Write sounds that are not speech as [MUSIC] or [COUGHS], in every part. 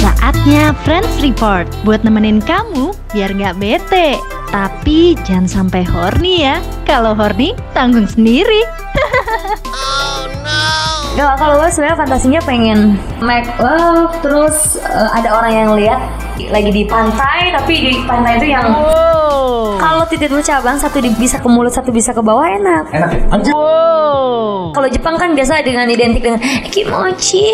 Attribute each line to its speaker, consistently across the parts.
Speaker 1: podcastnya Friends Report buat nemenin kamu biar nggak bete. Tapi jangan sampai horny ya. Kalau horny, tanggung sendiri.
Speaker 2: Gak, kalau gue sebenarnya fantasinya pengen make love terus eh, ada orang yang lihat lagi di pantai tapi di pantai itu yang
Speaker 1: Wow.
Speaker 2: kalau titik dulu cabang satu di- bisa ke mulut satu bisa ke bawah enak.
Speaker 3: Enak ya? Anjir.
Speaker 1: Wow.
Speaker 2: Kalau Jepang kan biasa dengan identik dengan kimochi,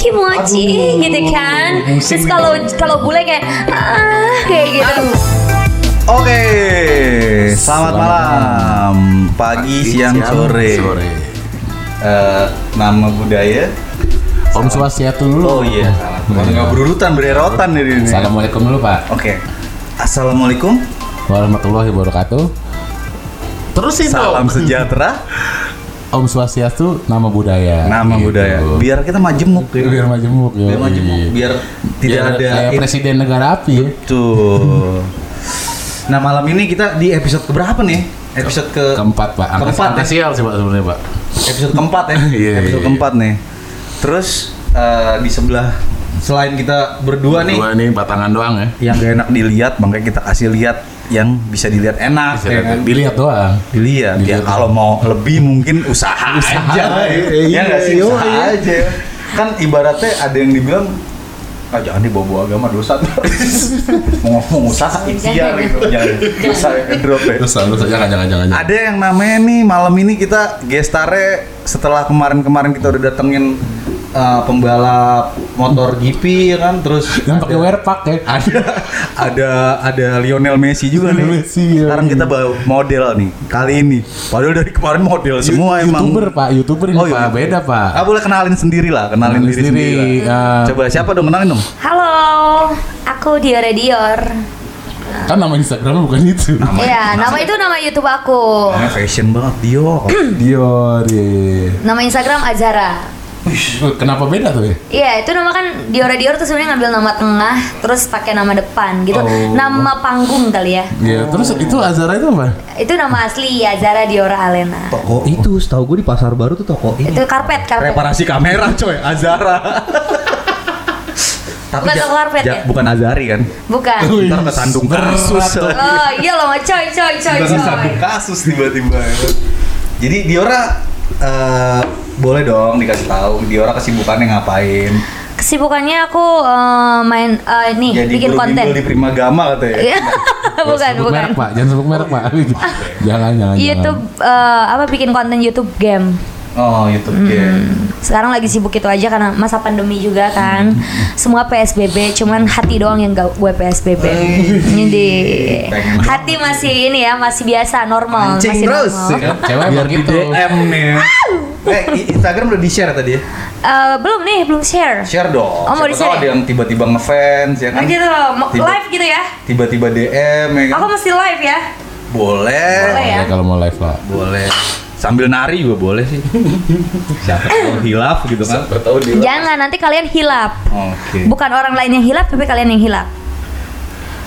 Speaker 2: kimochi
Speaker 3: Aduh,
Speaker 2: gitu kan.
Speaker 3: musim
Speaker 2: Terus kalau
Speaker 3: gitu.
Speaker 2: kalau bule kayak ah kayak gitu.
Speaker 4: Oke, selamat,
Speaker 3: Selamat
Speaker 4: malam, pagi, siang, sore. Eh, nama budaya?
Speaker 3: Om Swastiatu dulu.
Speaker 4: Oh iya, salah. Kalau nggak berurutan bererotan dari ini.
Speaker 3: Assalamualaikum dulu Pak.
Speaker 4: Oke, assalamualaikum,
Speaker 3: Warahmatullahi wabarakatuh. Terusin
Speaker 4: salam
Speaker 3: dong.
Speaker 4: sejahtera,
Speaker 3: Om Swastiatu nama budaya.
Speaker 4: nama
Speaker 3: Gitu.
Speaker 4: budaya. Biar kita majemuk ya.
Speaker 3: biar majemuk ya.
Speaker 4: Iya. Biar majemuk, biar tidak ada
Speaker 3: kayak
Speaker 4: in-
Speaker 3: presiden negara api ya.
Speaker 4: Tuh. Nah malam ini kita di episode keberapa nih? Episode ke
Speaker 3: Keempat Pak. Angka-
Speaker 4: Keempat,
Speaker 3: angka
Speaker 4: ya?
Speaker 3: sial sih Pak sebenarnya Pak.
Speaker 4: episode keempat ya.
Speaker 3: [LAUGHS] Iya,
Speaker 4: episode
Speaker 3: iya.
Speaker 4: keempat nih. Terus eh, di sebelah selain kita berdua nih
Speaker 3: Dua nih batangan doang ya.
Speaker 4: yang gak enak dilihat makanya kita kasih lihat yang bisa dilihat enak
Speaker 3: Bisa
Speaker 4: ya kan?
Speaker 3: Dilihat doang.
Speaker 4: dilihat ya
Speaker 3: Dilihat.
Speaker 4: kalau mau lebih mungkin usaha, aja ya nggak sih
Speaker 3: iya,
Speaker 4: usaha
Speaker 3: iya.
Speaker 4: aja kan ibaratnya ada yang dibilang ah jangan dibawa-bawa agama dosa [LAUGHS] ngomong usaha ikhtiar gitu jangan dosa yang ngedrop ya
Speaker 3: Terus terus jangan jangan jangan. jangan.
Speaker 4: ada yang namanya nih malam ini kita gestare setelah kemarin-kemarin kita udah datengin uh, pembalap motor GP ya kan terus
Speaker 3: Yang pakai wear pack ya. Ada.
Speaker 4: [LAUGHS] ada ada Lionel Messi juga nih.
Speaker 3: Lionel Messi, iya.
Speaker 4: Sekarang kita bawa model nih kali ini. Padahal dari kemarin model semua emang.
Speaker 3: YouTuber Pak, YouTuber ini
Speaker 4: Oh,
Speaker 3: Pak,
Speaker 4: iya.
Speaker 3: beda Pak.
Speaker 4: Ah, boleh kenalin sendiri lah, kenalin
Speaker 3: Kenalin
Speaker 4: diri sendiri.
Speaker 3: sendiri,
Speaker 4: lah.
Speaker 3: ah.
Speaker 4: Coba siapa dong kenalin dong? [CLEARS THROAT]
Speaker 2: Halo, aku Diora Dior.
Speaker 3: Kan nama Instagramnya bukan itu.
Speaker 2: Iya, nama itu nama YouTube aku.
Speaker 4: Namanya fashion banget Dio.
Speaker 3: [CLEARS THROAT] Dior. iya, iya.
Speaker 2: Nama Instagram Azara.
Speaker 3: Kenapa beda tuh ya?
Speaker 2: Iya, itu nama kan Diora Dior tuh sebenarnya ngambil nama tengah, terus pakai nama depan gitu.
Speaker 3: Oh.
Speaker 2: Nama panggung kali ya.
Speaker 3: Iya, terus itu Azara itu apa?
Speaker 2: Itu nama asli ya, Zara Diora Alena.
Speaker 4: toko itu, setahu gue di pasar baru tuh toko
Speaker 2: Itu karpet, karpet.
Speaker 4: Reparasi kamera coy,
Speaker 2: [LAUGHS]
Speaker 4: Azara. Tapi
Speaker 2: Bukan
Speaker 4: ja-
Speaker 2: toko karpet
Speaker 4: ja-
Speaker 2: ya?
Speaker 4: bukan Azari kan?
Speaker 2: Bukan.
Speaker 4: Ntar kesandung kasus.
Speaker 2: Oh, iya loh, sama coy, coy, coy,
Speaker 4: Ntar
Speaker 2: coy.
Speaker 4: kesandung kasus tiba-tiba. ya kan? Jadi Diora eh, boleh dong dikasih tahu Diora kesibukannya ngapain?
Speaker 2: Kesibukannya aku eh, main eh, ini
Speaker 4: Jadi
Speaker 2: bikin
Speaker 4: guru bimbel
Speaker 2: konten. [LAUGHS]
Speaker 4: di Primagama katanya. ya?
Speaker 2: Iya. bukan,
Speaker 3: Sebut
Speaker 2: bukan.
Speaker 3: merek, Pak. Jangan sebut merek,
Speaker 2: [LAUGHS]
Speaker 3: Pak. jangan, jangan.
Speaker 2: YouTube
Speaker 3: jangan.
Speaker 2: eh, apa bikin konten YouTube game.
Speaker 4: Oh, YouTube
Speaker 2: Hmm.
Speaker 4: game.
Speaker 2: Sekarang lagi sibuk itu aja karena masa pandemi juga kan. Semua PSBB, cuman hati doang yang gak gue PSBB. Jadi
Speaker 4: Pengen doang.
Speaker 2: hati masih ini ya, masih biasa, normal,
Speaker 4: Mancing
Speaker 2: masih
Speaker 4: terus.
Speaker 2: normal.
Speaker 4: ya kan?
Speaker 3: Cewek
Speaker 4: Biar
Speaker 3: emang
Speaker 4: di
Speaker 3: gitu.
Speaker 2: ya.
Speaker 4: DM nih. Eh, i- Instagram udah di-share tadi ya?
Speaker 2: Eh, belum nih, belum share.
Speaker 4: Share dong.
Speaker 2: Oh, mau
Speaker 4: Siapa
Speaker 2: di-share
Speaker 4: tahu ada
Speaker 2: ya?
Speaker 4: yang tiba-tiba ngefans ya kan?
Speaker 2: Nah, gitu, mau-
Speaker 4: Tiba-
Speaker 2: live gitu ya.
Speaker 4: Tiba-tiba DM ya kan?
Speaker 2: Aku mesti live ya.
Speaker 4: Boleh.
Speaker 2: Boleh ya.
Speaker 3: Boleh Iya, kalau mau live, Pak.
Speaker 4: Boleh. Sambil nari juga boleh
Speaker 3: [LAUGHS]
Speaker 4: sih. Siapa tahu hilaf gitu kan? Siapa tahu Oke.
Speaker 2: Jangan nanti kalian hilap. Bukan orang lain yang hilap, tapi kalian yang hilap.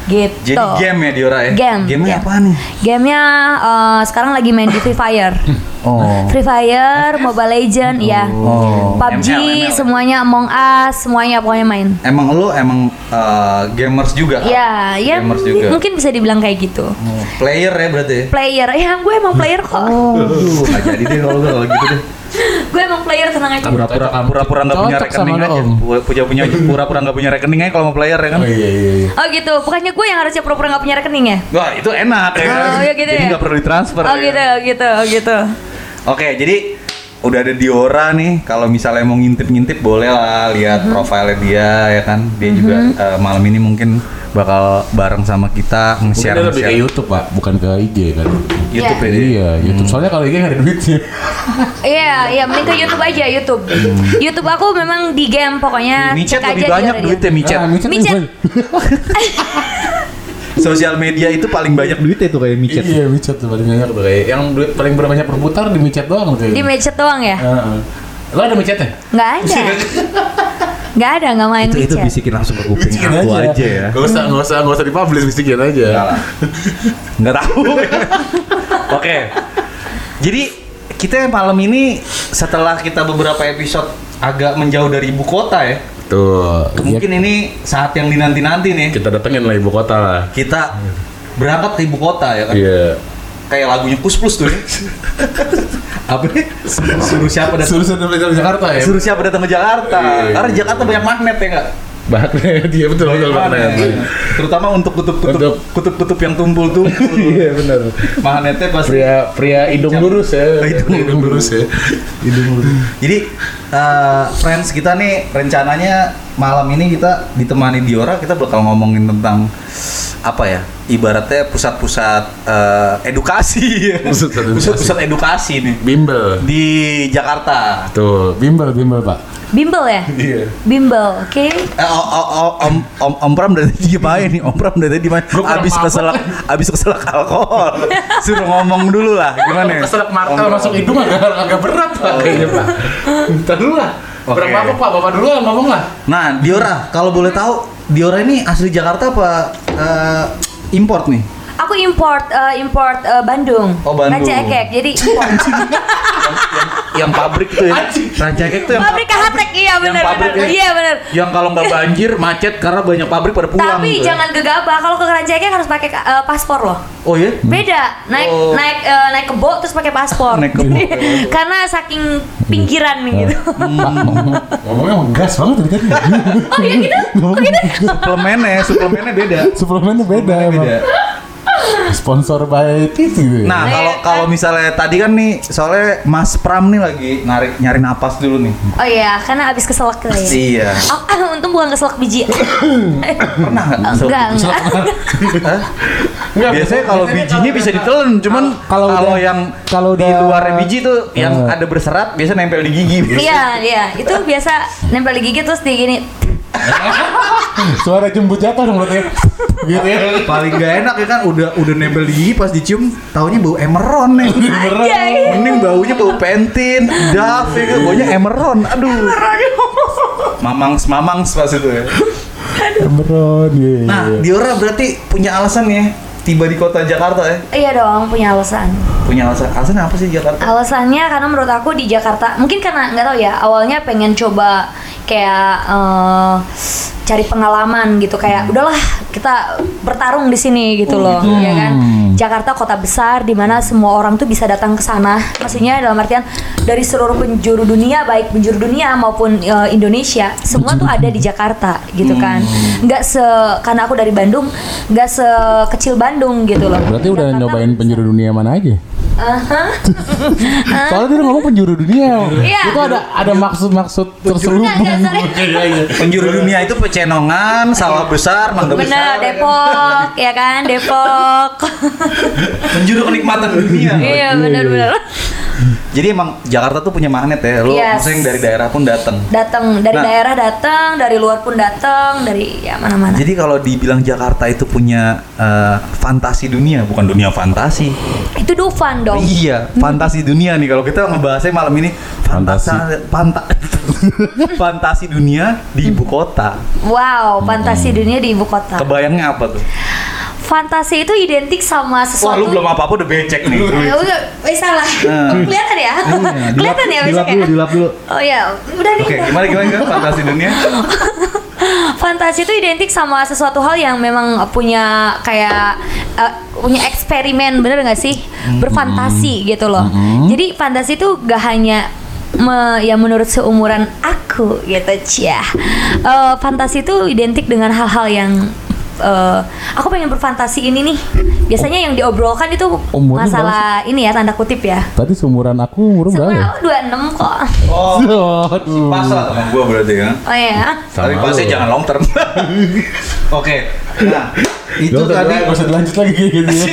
Speaker 2: Gitu.
Speaker 4: Jadi game ya Diora ya?
Speaker 2: Game. Iya.
Speaker 4: Gamenya
Speaker 2: game.
Speaker 4: apa nih?
Speaker 2: Gamenya eh, sekarang lagi main di Free Fire.
Speaker 4: Oh.
Speaker 2: Free Fire, Mobile Legend, ya.
Speaker 4: Oh.
Speaker 2: PUBG,
Speaker 4: ML.
Speaker 2: semuanya Among Us, semuanya pokoknya main.
Speaker 4: Emang lo emang eh, gamers juga? kan?
Speaker 2: Ya, ya
Speaker 4: Gamers juga.
Speaker 2: mungkin bisa dibilang kayak gitu.
Speaker 4: Oh, Player ya berarti ya?
Speaker 2: Player, ya gue emang player kok.
Speaker 4: Aduh, nggak jadi deh kalau gue kalau gitu deh.
Speaker 2: [LAUGHS] Gue emang player tenang aja.
Speaker 4: Pura-pura
Speaker 3: Cocok sama-
Speaker 4: pura-pura nggak punya
Speaker 3: cocok sama
Speaker 4: rekening
Speaker 3: lo,
Speaker 4: aja.
Speaker 3: Om.
Speaker 4: Pu- Punya punya pura-pura nggak punya rekening aja kalau mau player ya kan.
Speaker 3: Oh iya iya iya.
Speaker 2: Oh gitu, bukannya gue yang harusnya pura-pura gak punya rekening ya?
Speaker 4: Wah itu enak ya. kan?
Speaker 2: Oh, iya gitu
Speaker 4: jadi
Speaker 2: ya?
Speaker 4: nggak perlu ditransfer.
Speaker 2: Oh
Speaker 4: ya kan?
Speaker 2: gitu, gitu, gitu.
Speaker 4: Oke jadi udah ada Diora nih. Kalau misalnya mau ngintip-ngintip boleh lah lihat
Speaker 2: Mhm.
Speaker 4: profilnya dia ya kan. Dia juga eh, malam ini mungkin bakal bareng sama kita
Speaker 3: Mungkin
Speaker 4: nge-share
Speaker 3: dia lebih ke
Speaker 4: nge-share
Speaker 3: YouTube, Pak, bukan ke IG kan.
Speaker 4: YouTube ya. dia.
Speaker 3: Iya, YouTube. Soalnya kalau IG nggak ada duitnya.
Speaker 2: Iya, iya mending ke YouTube aja YouTube.
Speaker 4: Hmm.
Speaker 2: YouTube aku memang di game pokoknya.
Speaker 4: Micet
Speaker 2: cek Nah, aja
Speaker 4: lebih
Speaker 2: di
Speaker 4: banyak
Speaker 2: radio.
Speaker 4: duitnya micet.
Speaker 3: Ah, micet.
Speaker 4: Eh,
Speaker 2: Micet.
Speaker 4: Sosial media itu paling banyak duitnya tuh kayak micet.
Speaker 3: Iya, micet tuh paling banyak tuh kayak yang duit paling banyak berputar di micet doang tuh.
Speaker 2: Di micet doang ya?
Speaker 3: Heeh. Lo ada micetnya?
Speaker 2: Nggak ada.
Speaker 4: Iya.
Speaker 2: Nggak ada, nggak main
Speaker 4: Itu, itu
Speaker 2: micet.
Speaker 4: bisikin langsung ke kuping aku aja ya.
Speaker 3: Gak usah, gak usah, gak usah dipublish, bisikin
Speaker 4: Enggak
Speaker 3: aja.
Speaker 4: lah. Enggak
Speaker 3: [LAUGHS]
Speaker 4: tahu. Oke. Jadi kita malam ini setelah kita beberapa episode agak menjauh dari ibu kota ya.
Speaker 3: Betul.
Speaker 4: Mungkin ini saat yang dinanti-nanti nih.
Speaker 3: Ya, Iya. kita datengin lah ibu kota lah.
Speaker 4: Kita berangkat ke ibu kota ya kan.
Speaker 3: Iya.
Speaker 4: Kayak lagunya Plus Plus
Speaker 3: [LAUGHS]
Speaker 4: tuh. ya. Apa? nih? Suruh- Suruh siapa datang?
Speaker 3: Suruh saya datang ke Jakarta ya.
Speaker 4: Suruh siapa datang ke Jakarta?
Speaker 3: Iya.
Speaker 4: Karena Jakarta banyak magnet ya enggak?
Speaker 3: Magnet, [LAUGHS] iya betul betul magnet.
Speaker 4: Terutama untuk kutub-kutub
Speaker 3: Untuk-
Speaker 4: kutub-kutub yang tumpul-tumpul.
Speaker 3: [LAUGHS] Iya benar.
Speaker 4: Magnetnya pasti
Speaker 3: Pria pria hidung lurus ya. Pria Hidung lurus ya.
Speaker 4: Jadi eh, friends kita nih rencananya malam ini kita ditemani Diora kita bakal ngomongin tentang apa ya? Ibaratnya pusat-pusat eh, edukasi. ya.
Speaker 3: Pusat edukasi.
Speaker 4: Pusat-pusat edukasi nih
Speaker 3: Bimbel.
Speaker 4: di Jakarta.
Speaker 3: Tuh, bimbel bimbel Pak.
Speaker 2: Bimbel ya?
Speaker 3: Iya.
Speaker 2: Bimbel, oke.
Speaker 4: Eh, o- o- o- om om om Pram dari tadi gimana nih? Om Pram dari tadi gimana?
Speaker 3: Gua kurang
Speaker 4: Abis
Speaker 3: mabok.
Speaker 4: keselak abis keselak alkohol. Suruh ngomong dulu lah gimana? ya?
Speaker 3: Keselak
Speaker 4: Om
Speaker 3: martel
Speaker 4: Pram.
Speaker 3: masuk hidung agak agak berat Pak kayaknya Oh, iya, Pak. Entar dulu lah.
Speaker 4: Oke.
Speaker 3: Berapa apa Pak? Bapak dulu lah ngomong lah.
Speaker 4: Nah, Diora, kalau boleh tahu, Diora ini asli Jakarta apa eh, import nih?
Speaker 2: Aku import eh, import eh, Bandung.
Speaker 4: Oh, Bandung.
Speaker 2: Raja Ekek.
Speaker 4: [LAUGHS]
Speaker 2: Jadi import.
Speaker 4: Yang pabrik tuh ya.
Speaker 3: Anjing.
Speaker 4: Raja Ekek tuh yang ya?
Speaker 2: pabrik Kahatek iya benar benar.
Speaker 4: pabriknya.
Speaker 2: Iya benar.
Speaker 4: yang kalau nggak banjir macet karena banyak pabrik pada pulang.
Speaker 2: Tapi
Speaker 4: tuh ya.
Speaker 2: jangan gegabah kalau ke Raja Ekek harus pakai eh, paspor loh.
Speaker 4: Oh ya?
Speaker 2: Beda, naik
Speaker 4: Oh.
Speaker 2: naik eh, naik ke boat terus pakai paspor.
Speaker 4: Naik ke boat.
Speaker 2: [LAUGHS] Karena saking pinggiran gitu.
Speaker 3: Hmm. Ngomongnya gas banget tadi kan.
Speaker 4: Ah.
Speaker 2: oh iya
Speaker 4: [LAUGHS]
Speaker 2: gitu. Kok gitu?
Speaker 4: [LAUGHS] Suplemennya, suplemennya beda.
Speaker 3: Suplemennya beda,
Speaker 4: Beda.
Speaker 3: Sponsor by TV gitu
Speaker 4: Nah, kalau kalau misalnya tadi kan nih soalnya Mas Pram nih lagi narik nyari napas dulu nih.
Speaker 2: Oh iya, karena abis keselak kali ya.
Speaker 4: Iya.
Speaker 2: Oh, ah, untung bukan keselak biji.
Speaker 4: [COUGHS] Pernah nggak?
Speaker 2: enggak, enggak.
Speaker 4: Hah?
Speaker 3: Enggak,
Speaker 4: Biasanya kalau bijinya bisa ditelan, cuman kalau
Speaker 5: kalau udah-
Speaker 4: yang
Speaker 5: kalau
Speaker 4: di
Speaker 5: udah-
Speaker 4: luarnya biji tuh yang ada berserat biasa nempel di gigi.
Speaker 2: Iya, iya. Itu biasa nempel di gigi terus di gini.
Speaker 5: suara jembut jatuh dong berarti gitu ya
Speaker 4: Paling gak enak ya kan udah udah nempel di gigi pas dicium taunya bau emeron nih.
Speaker 2: Anjay.
Speaker 4: Mending baunya bau pentin, daf ya kan baunya emeron. Aduh. Mamangs mamangs pas itu ya.
Speaker 5: Cameron ya
Speaker 4: Nah, Diora berarti punya alasan ya tiba di kota Jakarta ya.
Speaker 2: Iya dong, punya alasan.
Speaker 4: Punya alasan. Alasan apa sih Jakarta?
Speaker 2: Alasannya karena menurut aku di Jakarta, mungkin karena nggak tahu ya, awalnya pengen coba kayak eh, cari pengalaman gitu kayak udahlah kita bertarung di sini gitu loh, ya kan? Jakarta kota besar di mana semua orang tuh bisa datang ke sana. Maksudnya dalam artian dari seluruh penjuru dunia, baik penjuru dunia maupun eh, Indonesia, semua tuh ada di Jakarta gitu kan. Nggak se karena aku dari Bandung, nggak sekecil Bandung gitu loh.
Speaker 5: berarti udah
Speaker 2: Jakarta
Speaker 5: nyobain penjuru dunia mana aja [LAUGHS] soalnya dia ngomong penjuru dunia
Speaker 2: Iya.
Speaker 5: itu ada ada maksud maksud terselubung
Speaker 2: Nggak, nggak, sorry.
Speaker 4: iya, Penjuru dunia itu pecenongan, sawah besar, mangga
Speaker 2: Bener,
Speaker 4: besar. ya kan?
Speaker 2: Depok, ya kan? Depok.
Speaker 4: Penjuru kenikmatan dunia.
Speaker 2: iya, bener-bener.
Speaker 4: Jadi emang Jakarta tuh punya magnet ya. Lo
Speaker 2: Yes.
Speaker 4: maksudnya yang dari daerah pun datang.
Speaker 2: Datang dari
Speaker 4: Nah.
Speaker 2: daerah datang, dari luar pun datang, dari ya mana-mana.
Speaker 4: Jadi kalau dibilang Jakarta itu punya eh, fantasi dunia, bukan dunia fantasi.
Speaker 2: Itu Dufan dong.
Speaker 4: Iya, fantasi dunia nih kalau kita ngebahasnya malam ini fantasi fanta- [LAUGHS] fantasi dunia di ibu kota.
Speaker 2: Nah. Wow, fantasi
Speaker 4: Hmm.
Speaker 2: dunia di ibu kota.
Speaker 4: Kebayangnya apa tuh?
Speaker 2: Fantasi itu identik sama
Speaker 4: Wah,
Speaker 2: sesuatu.
Speaker 4: lu belum apa-apa udah becek nih.
Speaker 2: Ya udah, eh salah.
Speaker 4: Nah.
Speaker 2: Kelihatan ya? Kelihatan ya besok ya?
Speaker 4: dulu.
Speaker 2: Oh ya, udah nih.
Speaker 4: Oke,
Speaker 2: udah.
Speaker 4: gimana gimana gimana fantasi dunia?
Speaker 2: [GASPS] Fantasi itu identik sama sesuatu hal yang memang punya kayak eh, punya eksperimen, bener nggak sih? Berfantasi gitu loh. Jadi fantasi itu gak hanya me- ya menurut seumuran aku gitu cia. Eh, fantasi itu identik dengan hal-hal yang eh, aku pengen berfantasi ini nih. Biasanya yang diobrolkan itu
Speaker 5: Umurnya
Speaker 2: masalah ini ya tanda kutip ya.
Speaker 5: tadi seumuran aku umur berapa
Speaker 2: Sebenarnya aku 26 kok.
Speaker 4: Oh,
Speaker 5: Aduh.
Speaker 4: pasrah sama gua berarti kan.
Speaker 2: Oh ya.
Speaker 4: Tapi
Speaker 3: Sama
Speaker 4: pasti
Speaker 3: lu.
Speaker 4: jangan long term. [LAUGHS] Oke. Nah, itu
Speaker 5: Gak usah
Speaker 4: tadi
Speaker 5: gak usah dilanjut lagi kayak gitu
Speaker 4: [LAUGHS]
Speaker 5: ya.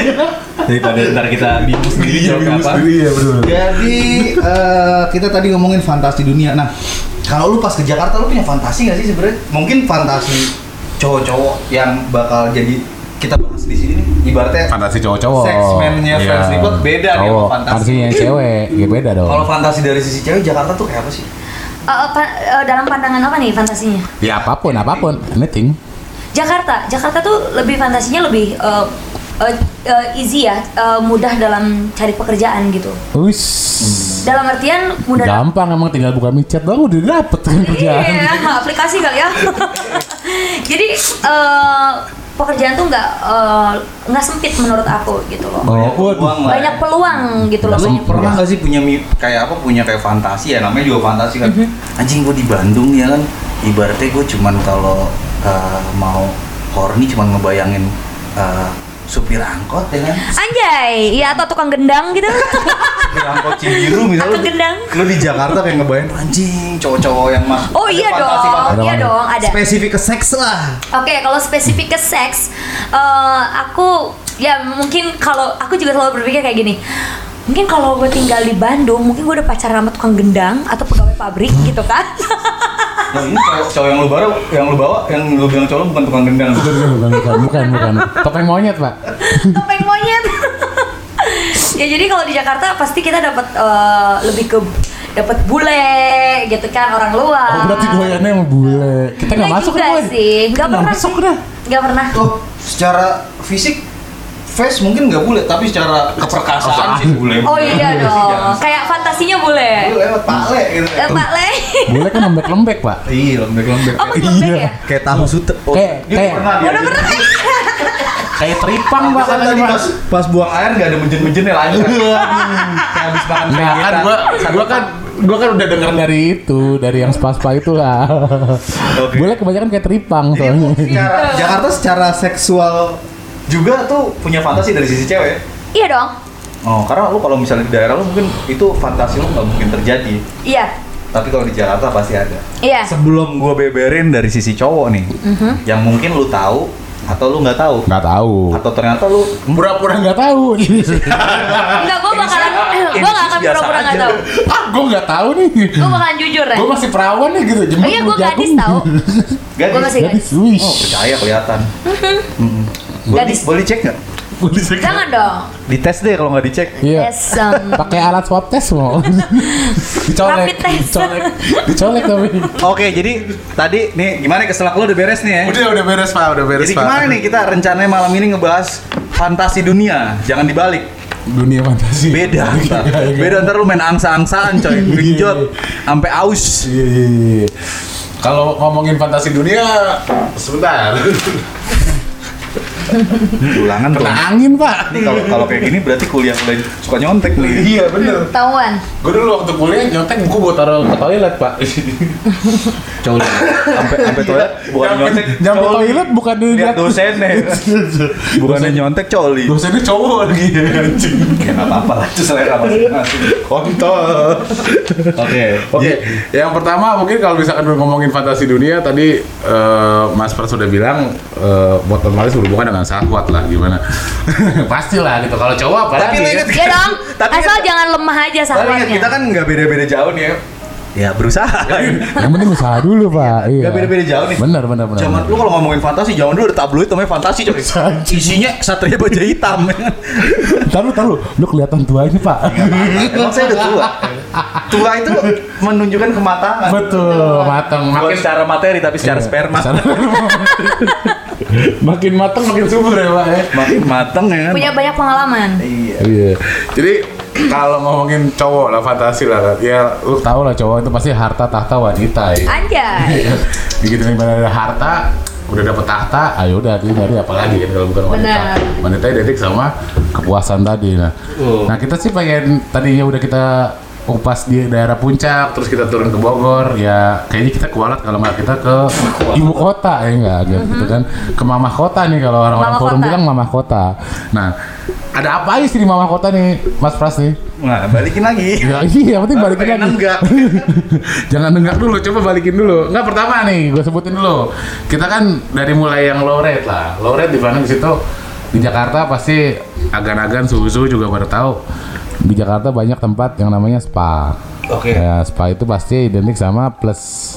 Speaker 4: daripada ntar kita bingung sendiri jawab apa.
Speaker 5: Iya betul.
Speaker 4: Jadi eh, kita tadi ngomongin fantasi dunia. Nah, kalau lu pas ke Jakarta lu punya fantasi nggak sih sebenarnya? Mungkin fantasi cowok-cowok yang bakal jadi kita bahas di sini nih. Ibaratnya
Speaker 3: Fantasi cowok-cowok.
Speaker 4: Sexman-nya
Speaker 3: Iya.
Speaker 4: Friends Report beda nih sama
Speaker 5: Cowok.
Speaker 4: fantasi.
Speaker 5: Oh, Fantasinya yang cewek ya beda dong.
Speaker 4: kalau fantasi dari sisi cewek Jakarta tuh kayak apa sih?
Speaker 2: Eh, pa- eh, dalam pandangan apa nih fantasinya?
Speaker 5: Ya apapun apapun anything.
Speaker 2: Jakarta, Jakarta tuh lebih fantasinya lebih eh, eh, eh, easy ya, eh, mudah dalam cari pekerjaan gitu.
Speaker 5: Wis.
Speaker 2: Dalam artian mudah
Speaker 5: Gampang emang tinggal buka micet doang udah dapet kan kerjaan.
Speaker 2: Iya, [LAUGHS] aplikasi kali ya. Jadi eh, pekerjaan tuh nggak eh, nggak sempit menurut aku gitu loh.
Speaker 5: Oh,
Speaker 4: Banyak
Speaker 5: waduh.
Speaker 4: peluang lah ya.
Speaker 2: Banyak peluang gitu loh.
Speaker 4: Lu
Speaker 2: banyak
Speaker 4: pernah nggak sih punya mi- kayak apa punya kayak fantasi ya namanya juga fantasi kan
Speaker 2: Mhm.
Speaker 4: anjing gue di Bandung ya kan ibaratnya gue cuman kalau uh, mau horny cuman ngebayangin uh, supir angkot ya kan
Speaker 2: Anjay, ya atau tukang gendang gitu. [LAUGHS]
Speaker 4: supir angkot Cibiru misalnya
Speaker 2: Angkot gendang.
Speaker 4: lu di Jakarta kayak ngebayangin anjing cowok-cowok yang mas
Speaker 2: Oh iya dong,
Speaker 5: fantasi.
Speaker 2: iya dong ada.
Speaker 4: spesifik ke seks
Speaker 2: [LAUGHS]
Speaker 4: lah
Speaker 2: Oke, kalau spesifik ke seks, eh, aku ya mungkin kalau aku juga selalu berpikir kayak gini. Mungkin kalau gue tinggal di Bandung, mungkin gue udah pacaran sama tukang gendang atau pegawai pabrik gitu kan. [LAUGHS]
Speaker 4: nah, ini cowok, cowok yang lu bawa yang lu bawa yang lu bilang cowok lu bukan tukang gendang
Speaker 5: [LAUGHS] Bukan, bukan, bukan, bukan, bukan. Topeng monyet, Pak.
Speaker 2: topeng monyet [LAUGHS] ya jadi kalau di Jakarta pasti kita dapat eh, lebih ke dapat bule gitu kan orang luar
Speaker 5: Oh, berarti doyannya sama bule. Kita nggak
Speaker 2: Nggak
Speaker 5: masuk
Speaker 2: Nah, juga
Speaker 5: kan,
Speaker 2: sih nggak pernah
Speaker 5: masuk
Speaker 2: sih.
Speaker 5: dah.
Speaker 2: nggak pernah
Speaker 4: Tuh, secara fisik face mungkin nggak boleh, tapi secara keperkasaan sih boleh.
Speaker 2: oh iya dong kayak fantasinya bule
Speaker 4: Lu lewat pale gitu.
Speaker 2: eh, Pak [LAUGHS] Le
Speaker 5: Bule kan lembek-lembek, Pak.
Speaker 4: Iya, lembek-lembek.
Speaker 2: oh masih lembek ya
Speaker 4: Kayak tahu sutek. Oh,
Speaker 5: Kayak-
Speaker 4: dia
Speaker 5: kayak-
Speaker 4: pernah dia.
Speaker 2: udah pernah
Speaker 5: Kayak teripang, Pak.
Speaker 4: Pantesan tadi pas, pas buang air nggak ada menjen-menjennya lagi.
Speaker 2: Iya.
Speaker 4: Kayak habis makan
Speaker 5: Nah,
Speaker 4: vegetan.
Speaker 5: kan gua
Speaker 3: Gua kan
Speaker 5: gua kan udah denger dari itu, dari yang spa-spa itulah.
Speaker 4: Oke.
Speaker 5: Bule kebanyakan kayak teripang
Speaker 4: Jadi,
Speaker 5: soalnya.
Speaker 4: secara, Jakarta secara seksual juga tuh punya fantasi dari sisi cewek.
Speaker 2: iya dong
Speaker 4: Oh, karena lu kalau misalnya di daerah lu mungkin itu fantasi lu nggak mungkin terjadi.
Speaker 2: iya
Speaker 4: Tapi kalau di Jakarta pasti ada.
Speaker 2: iya
Speaker 4: Sebelum gua beberin dari sisi cowok nih, yang mungkin lu tahu atau lu nggak tahu,
Speaker 5: Nggak tahu.
Speaker 4: atau ternyata lu
Speaker 5: Pura-pura nggak tahu.
Speaker 2: enggak gue bakalan
Speaker 4: Ini
Speaker 2: gue nggak akan
Speaker 4: biasa
Speaker 2: pura-pura nggak
Speaker 4: aja.
Speaker 2: tahu
Speaker 5: ah, gua nggak tahu nih.
Speaker 2: gue bakalan jujur ya
Speaker 5: Gua masih perawan nih gitu. Jemur
Speaker 2: iya gue
Speaker 5: jagung.
Speaker 2: gadis tau
Speaker 4: gadis.
Speaker 2: gue masih
Speaker 5: [LAUGHS] Gadis,
Speaker 2: gadis
Speaker 5: wish.
Speaker 4: Oh, percaya kelihatan. Mm-mm. Boleh,
Speaker 2: Gadis.
Speaker 4: boleh cek nggak?
Speaker 2: jangan dong
Speaker 4: Dites deh kalau nggak dicek.
Speaker 5: Oh, Iya.
Speaker 2: Yes, um,
Speaker 5: Pakai alat swab test
Speaker 2: [LAUGHS]
Speaker 5: mau. dicolek,
Speaker 2: Rapid test.
Speaker 5: dicolek, dicolek tapi.
Speaker 4: Oke, jadi tadi nih gimana keselak lu udah beres nih ya?
Speaker 3: Udah udah beres Pak, udah beres
Speaker 4: Jadi
Speaker 3: Pak.
Speaker 4: gimana nih kita rencananya malam ini ngebahas fantasi dunia, jangan dibalik.
Speaker 5: Dunia fantasi.
Speaker 4: Beda,
Speaker 5: Iya,
Speaker 4: ntar.
Speaker 5: iya.
Speaker 4: beda ntar lu main angsa-angsaan
Speaker 3: Iya,
Speaker 4: coy, genjot, sampai aus.
Speaker 5: Iya, iya, iya.
Speaker 3: Kalau ngomongin fantasi dunia, [LAUGHS] sebentar. Iya.
Speaker 4: Ulangan tuh.
Speaker 5: Kena Nah, angin, Pak.
Speaker 4: Ini kalau kalau kayak gini berarti kuliah mulai suka nyontek nih.
Speaker 3: iya bener.
Speaker 4: [LAUGHS]
Speaker 2: tahuan
Speaker 3: Gue dulu waktu kuliah nyontek buku buat taruh ke toilet
Speaker 5: [LAUGHS]
Speaker 3: Pak.
Speaker 4: Cowok sampai sampai toilet bukan nyontek,
Speaker 5: Jangan ke toilet bukan di
Speaker 4: lihat [LAUGHS] dosennya. Bukannya nyontek coli.
Speaker 5: Dosennya cowok
Speaker 3: [LAUGHS]
Speaker 5: lagi anjing.
Speaker 4: [LAUGHS] Ya nggak apa-apa lah, itu selera masing-masing.
Speaker 3: Kontol.
Speaker 4: Oke.
Speaker 3: Oke,
Speaker 4: Iya.
Speaker 3: yang pertama mungkin kalau misalkan ngomongin fantasi dunia tadi eh, Mas Pras sudah bilang eh, buat otomatis berhubungan dengan syahwat lah gimana. [LAUGHS] Pastilah gitu kalau cowok
Speaker 4: Tapi
Speaker 3: apalagi
Speaker 4: lu
Speaker 3: ya.
Speaker 4: inget-
Speaker 2: Iya dong.
Speaker 4: Tapi ya.
Speaker 2: Asal jangan lemah aja
Speaker 4: Tapi ingat,
Speaker 2: sahabatnya.
Speaker 4: kita kan nggak beda-beda jauh nih ya. Iya. Ya berusaha. [LAUGHS]
Speaker 5: Yang penting usaha dulu, Pak. Iya.
Speaker 4: Nggak beda-beda jauh nih.
Speaker 5: Benar, benar, benar.
Speaker 4: Zaman lu kalau ngomongin fantasi, zaman dulu ada tabloid namanya fantasi coy. Isinya satria baja [LAUGHS] hitam.
Speaker 5: Entar lu, entar lu. Lu kelihatan tuanya, Pak.
Speaker 4: Iya, Emang saya udah tua. Tua itu menunjukkan kematangan.
Speaker 5: Betul, matang.
Speaker 4: Bukan
Speaker 5: Makin
Speaker 4: secara materi tapi secara
Speaker 5: Iya.
Speaker 4: sperma.
Speaker 3: [LAUGHS]
Speaker 5: makin matang makin subur ya, Pak ya.
Speaker 4: Makin mateng ya kan.
Speaker 2: Punya banyak pengalaman.
Speaker 4: Iya.
Speaker 5: Iya.
Speaker 3: Jadi kalau ngomongin cowok lah fantasi lah ya lu
Speaker 5: Tahu lah cowok itu pasti harta tahta wanita ya.
Speaker 2: Anjay.
Speaker 5: Begitu yang ada harta, udah dapet tahta, ayo udah dia nyari apa lagi kan kalau bukan wanita.
Speaker 2: Benar.
Speaker 5: Wanita identik sama kepuasan tadi. Nah, nah kita sih pengen tadinya udah kita kupas di daerah puncak, terus kita turun ke Bogor, ya kayaknya kita kualat kalau nggak kita ke ibu kota ya enggak gitu kan, ke mamah kota nih kalau
Speaker 2: Mhm.
Speaker 5: orang-orang
Speaker 2: Mamah
Speaker 5: forum
Speaker 2: kota.
Speaker 5: bilang mamah kota. Nah, ada apa aja sih di mamah kota nih, Mas Pras nih?
Speaker 4: Nah, balikin lagi.
Speaker 5: Ya, iya, yang penting
Speaker 4: Baru
Speaker 5: balikin
Speaker 4: pengen
Speaker 5: lagi.
Speaker 4: nenggak.
Speaker 5: [LAUGHS] Jangan nenggak dulu, coba balikin dulu. Enggak pertama nih, gue sebutin dulu. Kita kan dari mulai yang low rate lah. Low rate di Bandung situ di Jakarta pasti agan-agan suhu-suhu juga pada tahu. Di Jakarta banyak tempat yang namanya spa.
Speaker 4: Oke.
Speaker 5: Ya, spa itu pasti identik sama plus.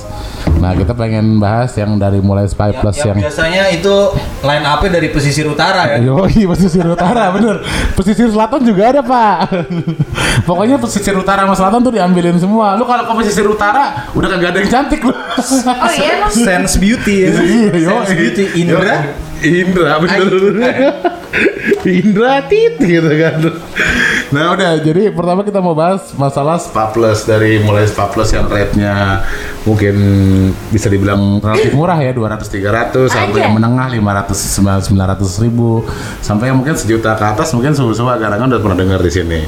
Speaker 5: Nah, kita pengen bahas yang dari mulai spa
Speaker 4: Ya,
Speaker 5: plus
Speaker 4: ya,
Speaker 5: yang Iya.
Speaker 4: biasanya itu line up-nya dari pesisir utara ya.
Speaker 5: Yoi, pesisir utara, bener. Pesisir selatan juga ada, Pak. Pokoknya pesisir utara sama selatan tuh diambilin semua. Lu kalau ke pesisir utara, udah kagak ada yang cantik lu. [LAUGHS]
Speaker 2: Oh iya emang.
Speaker 4: Sense Beauty ya.
Speaker 5: Iya, yo.
Speaker 4: Sense Beauty Indra
Speaker 5: Indra bener Indra tit gitu kan Nah udah jadi pertama kita mau bahas masalah spa plus Dari mulai spa plus yang rate-nya mungkin bisa dibilang relatif murah ya 200-300
Speaker 2: Aja.
Speaker 5: Sampai yang menengah 500-900 ribu Sampai yang mungkin sejuta ke atas mungkin suhu-suhu agak-agak udah pernah dengar di sini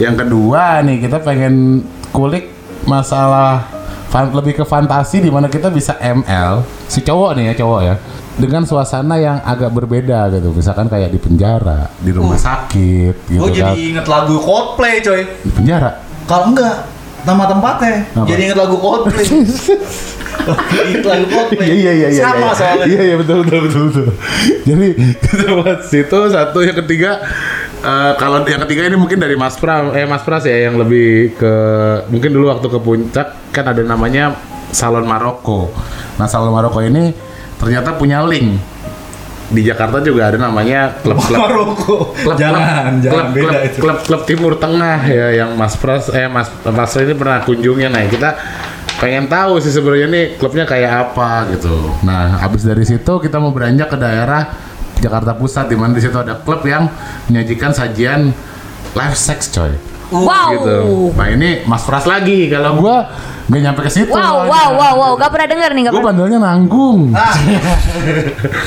Speaker 5: Yang kedua nih kita pengen kulik masalah fan- lebih ke fantasi di mana kita bisa ML si cowok nih ya cowok ya dengan suasana yang agak berbeda gitu misalkan kayak di penjara di rumah
Speaker 4: Uh.
Speaker 5: sakit gitu
Speaker 4: Gue Oh, jadi
Speaker 5: kan
Speaker 4: inget lagu Coldplay coy.
Speaker 5: di penjara [LAUGHS]
Speaker 4: Kalau enggak nama tempatnya
Speaker 5: Apa?
Speaker 4: jadi inget lagu
Speaker 5: [LAUGHS]
Speaker 4: Coldplay. inget lagu Coldplay.
Speaker 5: Iya iya iya iya.
Speaker 4: Sama
Speaker 5: iya.
Speaker 4: soalnya.
Speaker 5: Iya iya betul betul betul betul. Jadi [LAUGHS] kita bahas itu satu yang ketiga eh, kalau yang ketiga ini mungkin dari Mas Pram eh Mas Pras ya yang lebih ke mungkin dulu waktu ke puncak kan ada namanya Salon Maroko. Nah Salon Maroko ini ternyata punya link di Jakarta juga ada namanya klub-klub
Speaker 4: Maroko.
Speaker 5: klub,
Speaker 4: Jangan,
Speaker 5: klub,
Speaker 4: jangan
Speaker 5: klub,
Speaker 4: beda
Speaker 5: klub,
Speaker 4: itu.
Speaker 5: klub, klub Timur Tengah ya yang Mas Pras eh Mas Mas Pras ini pernah kunjungnya nah kita pengen tahu sih sebenarnya nih klubnya kayak apa gitu. Nah, habis dari situ kita mau beranjak ke daerah Jakarta Pusat di mana di situ ada klub yang menyajikan sajian live sex coy.
Speaker 4: Uh,
Speaker 2: wow.
Speaker 5: Gitu. Nah, ini Mas Pras lagi kalau gua nggak nyampe ke situ.
Speaker 2: Wow, wow, wow, wow, gak pernah denger nih, gak
Speaker 5: Gue
Speaker 2: pernah.
Speaker 5: bandelnya nanggung.
Speaker 4: Ah.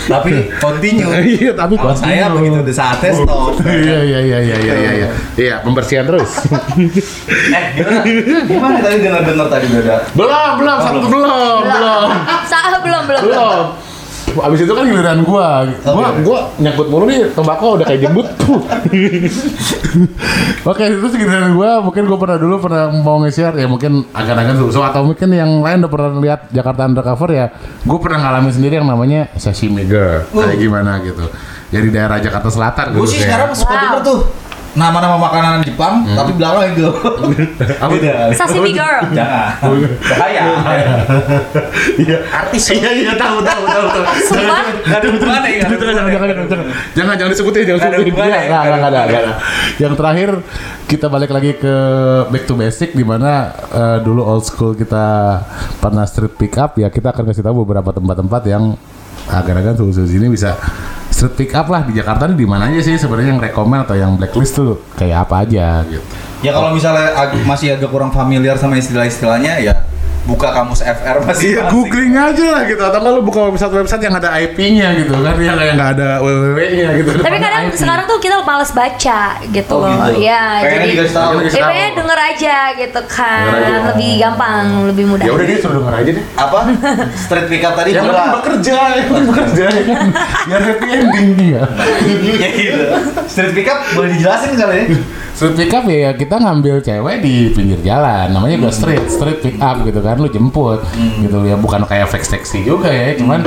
Speaker 4: Tapi continue.
Speaker 5: [LAUGHS] Iya, tapi
Speaker 4: Kalau
Speaker 5: gua
Speaker 4: saya
Speaker 5: bingung.
Speaker 4: begitu udah saatnya stop.
Speaker 5: [LAUGHS] Iya, iya, iya, iya, iya, iya, iya. Iya, pembersihan terus.
Speaker 2: [LAUGHS]
Speaker 4: Eh, gimana? Gimana tadi dengar-dengar tadi beda?
Speaker 5: Belum, belum, satu belum, belum,
Speaker 2: Sah, belum, belum, belum.
Speaker 5: belum. Abis itu kan giliran gua, gua,
Speaker 4: Oke.
Speaker 5: gua nyangkut mulu nih tembakau udah kayak jembut.
Speaker 4: [LAUGHS]
Speaker 5: Puh. Oke, terus giliran gua, mungkin gua pernah dulu pernah mau nge-share ya mungkin agak-agak susu atau mungkin yang lain udah pernah lihat Jakarta Undercover ya. Gua pernah ngalamin sendiri yang namanya sesi mega kayak gimana gitu. Ya di daerah Jakarta Selatan gitu
Speaker 4: Gue Uh. sih
Speaker 5: kayak.
Speaker 4: sekarang suka
Speaker 2: Wow.
Speaker 4: denger tuh nama-nama makanan Jepang, tapi belakang itu.
Speaker 5: Hmm. [LAUGHS] Apa?
Speaker 4: Beda.
Speaker 2: Sashimi girl.
Speaker 4: [LAUGHS] Jangan. Bahaya.
Speaker 5: Iya.
Speaker 4: Artis.
Speaker 5: Iya iya tahu tahu tahu tahu.
Speaker 2: Sumpah?
Speaker 4: Gak ada hubungannya ya.
Speaker 5: Jangan, jangan, jangan, jangan, jangan. jangan, jangan disebutin, jangan
Speaker 4: Nggak ada
Speaker 5: disebutin.
Speaker 4: hubungan
Speaker 5: Iya,
Speaker 4: ya?
Speaker 5: nggak,
Speaker 4: Nggak ada
Speaker 5: nggak ada,
Speaker 4: hubungan.
Speaker 5: nggak ada. Yang terakhir kita balik lagi ke back to basic di mana eh, dulu old school kita pernah street pick up ya kita akan kasih tahu beberapa tempat-tempat yang agar-agar tuh sini bisa street pick up lah di Jakarta ini di mana aja sih sebenarnya yang rekomend atau yang blacklist tuh kayak apa aja gitu.
Speaker 4: Ya kalau misalnya ag- masih agak kurang familiar sama istilah-istilahnya ya buka kamus FR masih
Speaker 5: Iya googling aja lah gitu atau kalau buka website-website yang ada IP-nya gitu kan yang yang nggak ada www-nya gitu.
Speaker 2: Tapi
Speaker 5: Ada
Speaker 2: kadang
Speaker 5: IP.
Speaker 2: sekarang tuh kita males baca gitu
Speaker 4: Oh,
Speaker 2: loh.
Speaker 4: gitu.
Speaker 2: Ya,
Speaker 4: Pengennya
Speaker 2: jadi
Speaker 4: dikasih tahu.
Speaker 2: Eh, pengennya denger aja gitu kan.
Speaker 5: Denger aja.
Speaker 2: Lebih gampang, lebih mudah.
Speaker 5: Ya udah dia suruh denger aja deh.
Speaker 4: apa street pick up tadi
Speaker 5: Yang penting
Speaker 4: buka
Speaker 5: Ya, kan bekerja, yang penting bekerja ya kan. Biar happy ending dia.
Speaker 4: [LAUGHS] ya gitu street pick up boleh dijelasin kali ya
Speaker 5: Street pick up ya kita ngambil cewek di pinggir jalan, namanya juga street, street pick up gitu kan, lu jemput gitu ya, bukan kayak fake taxi juga ya, cuman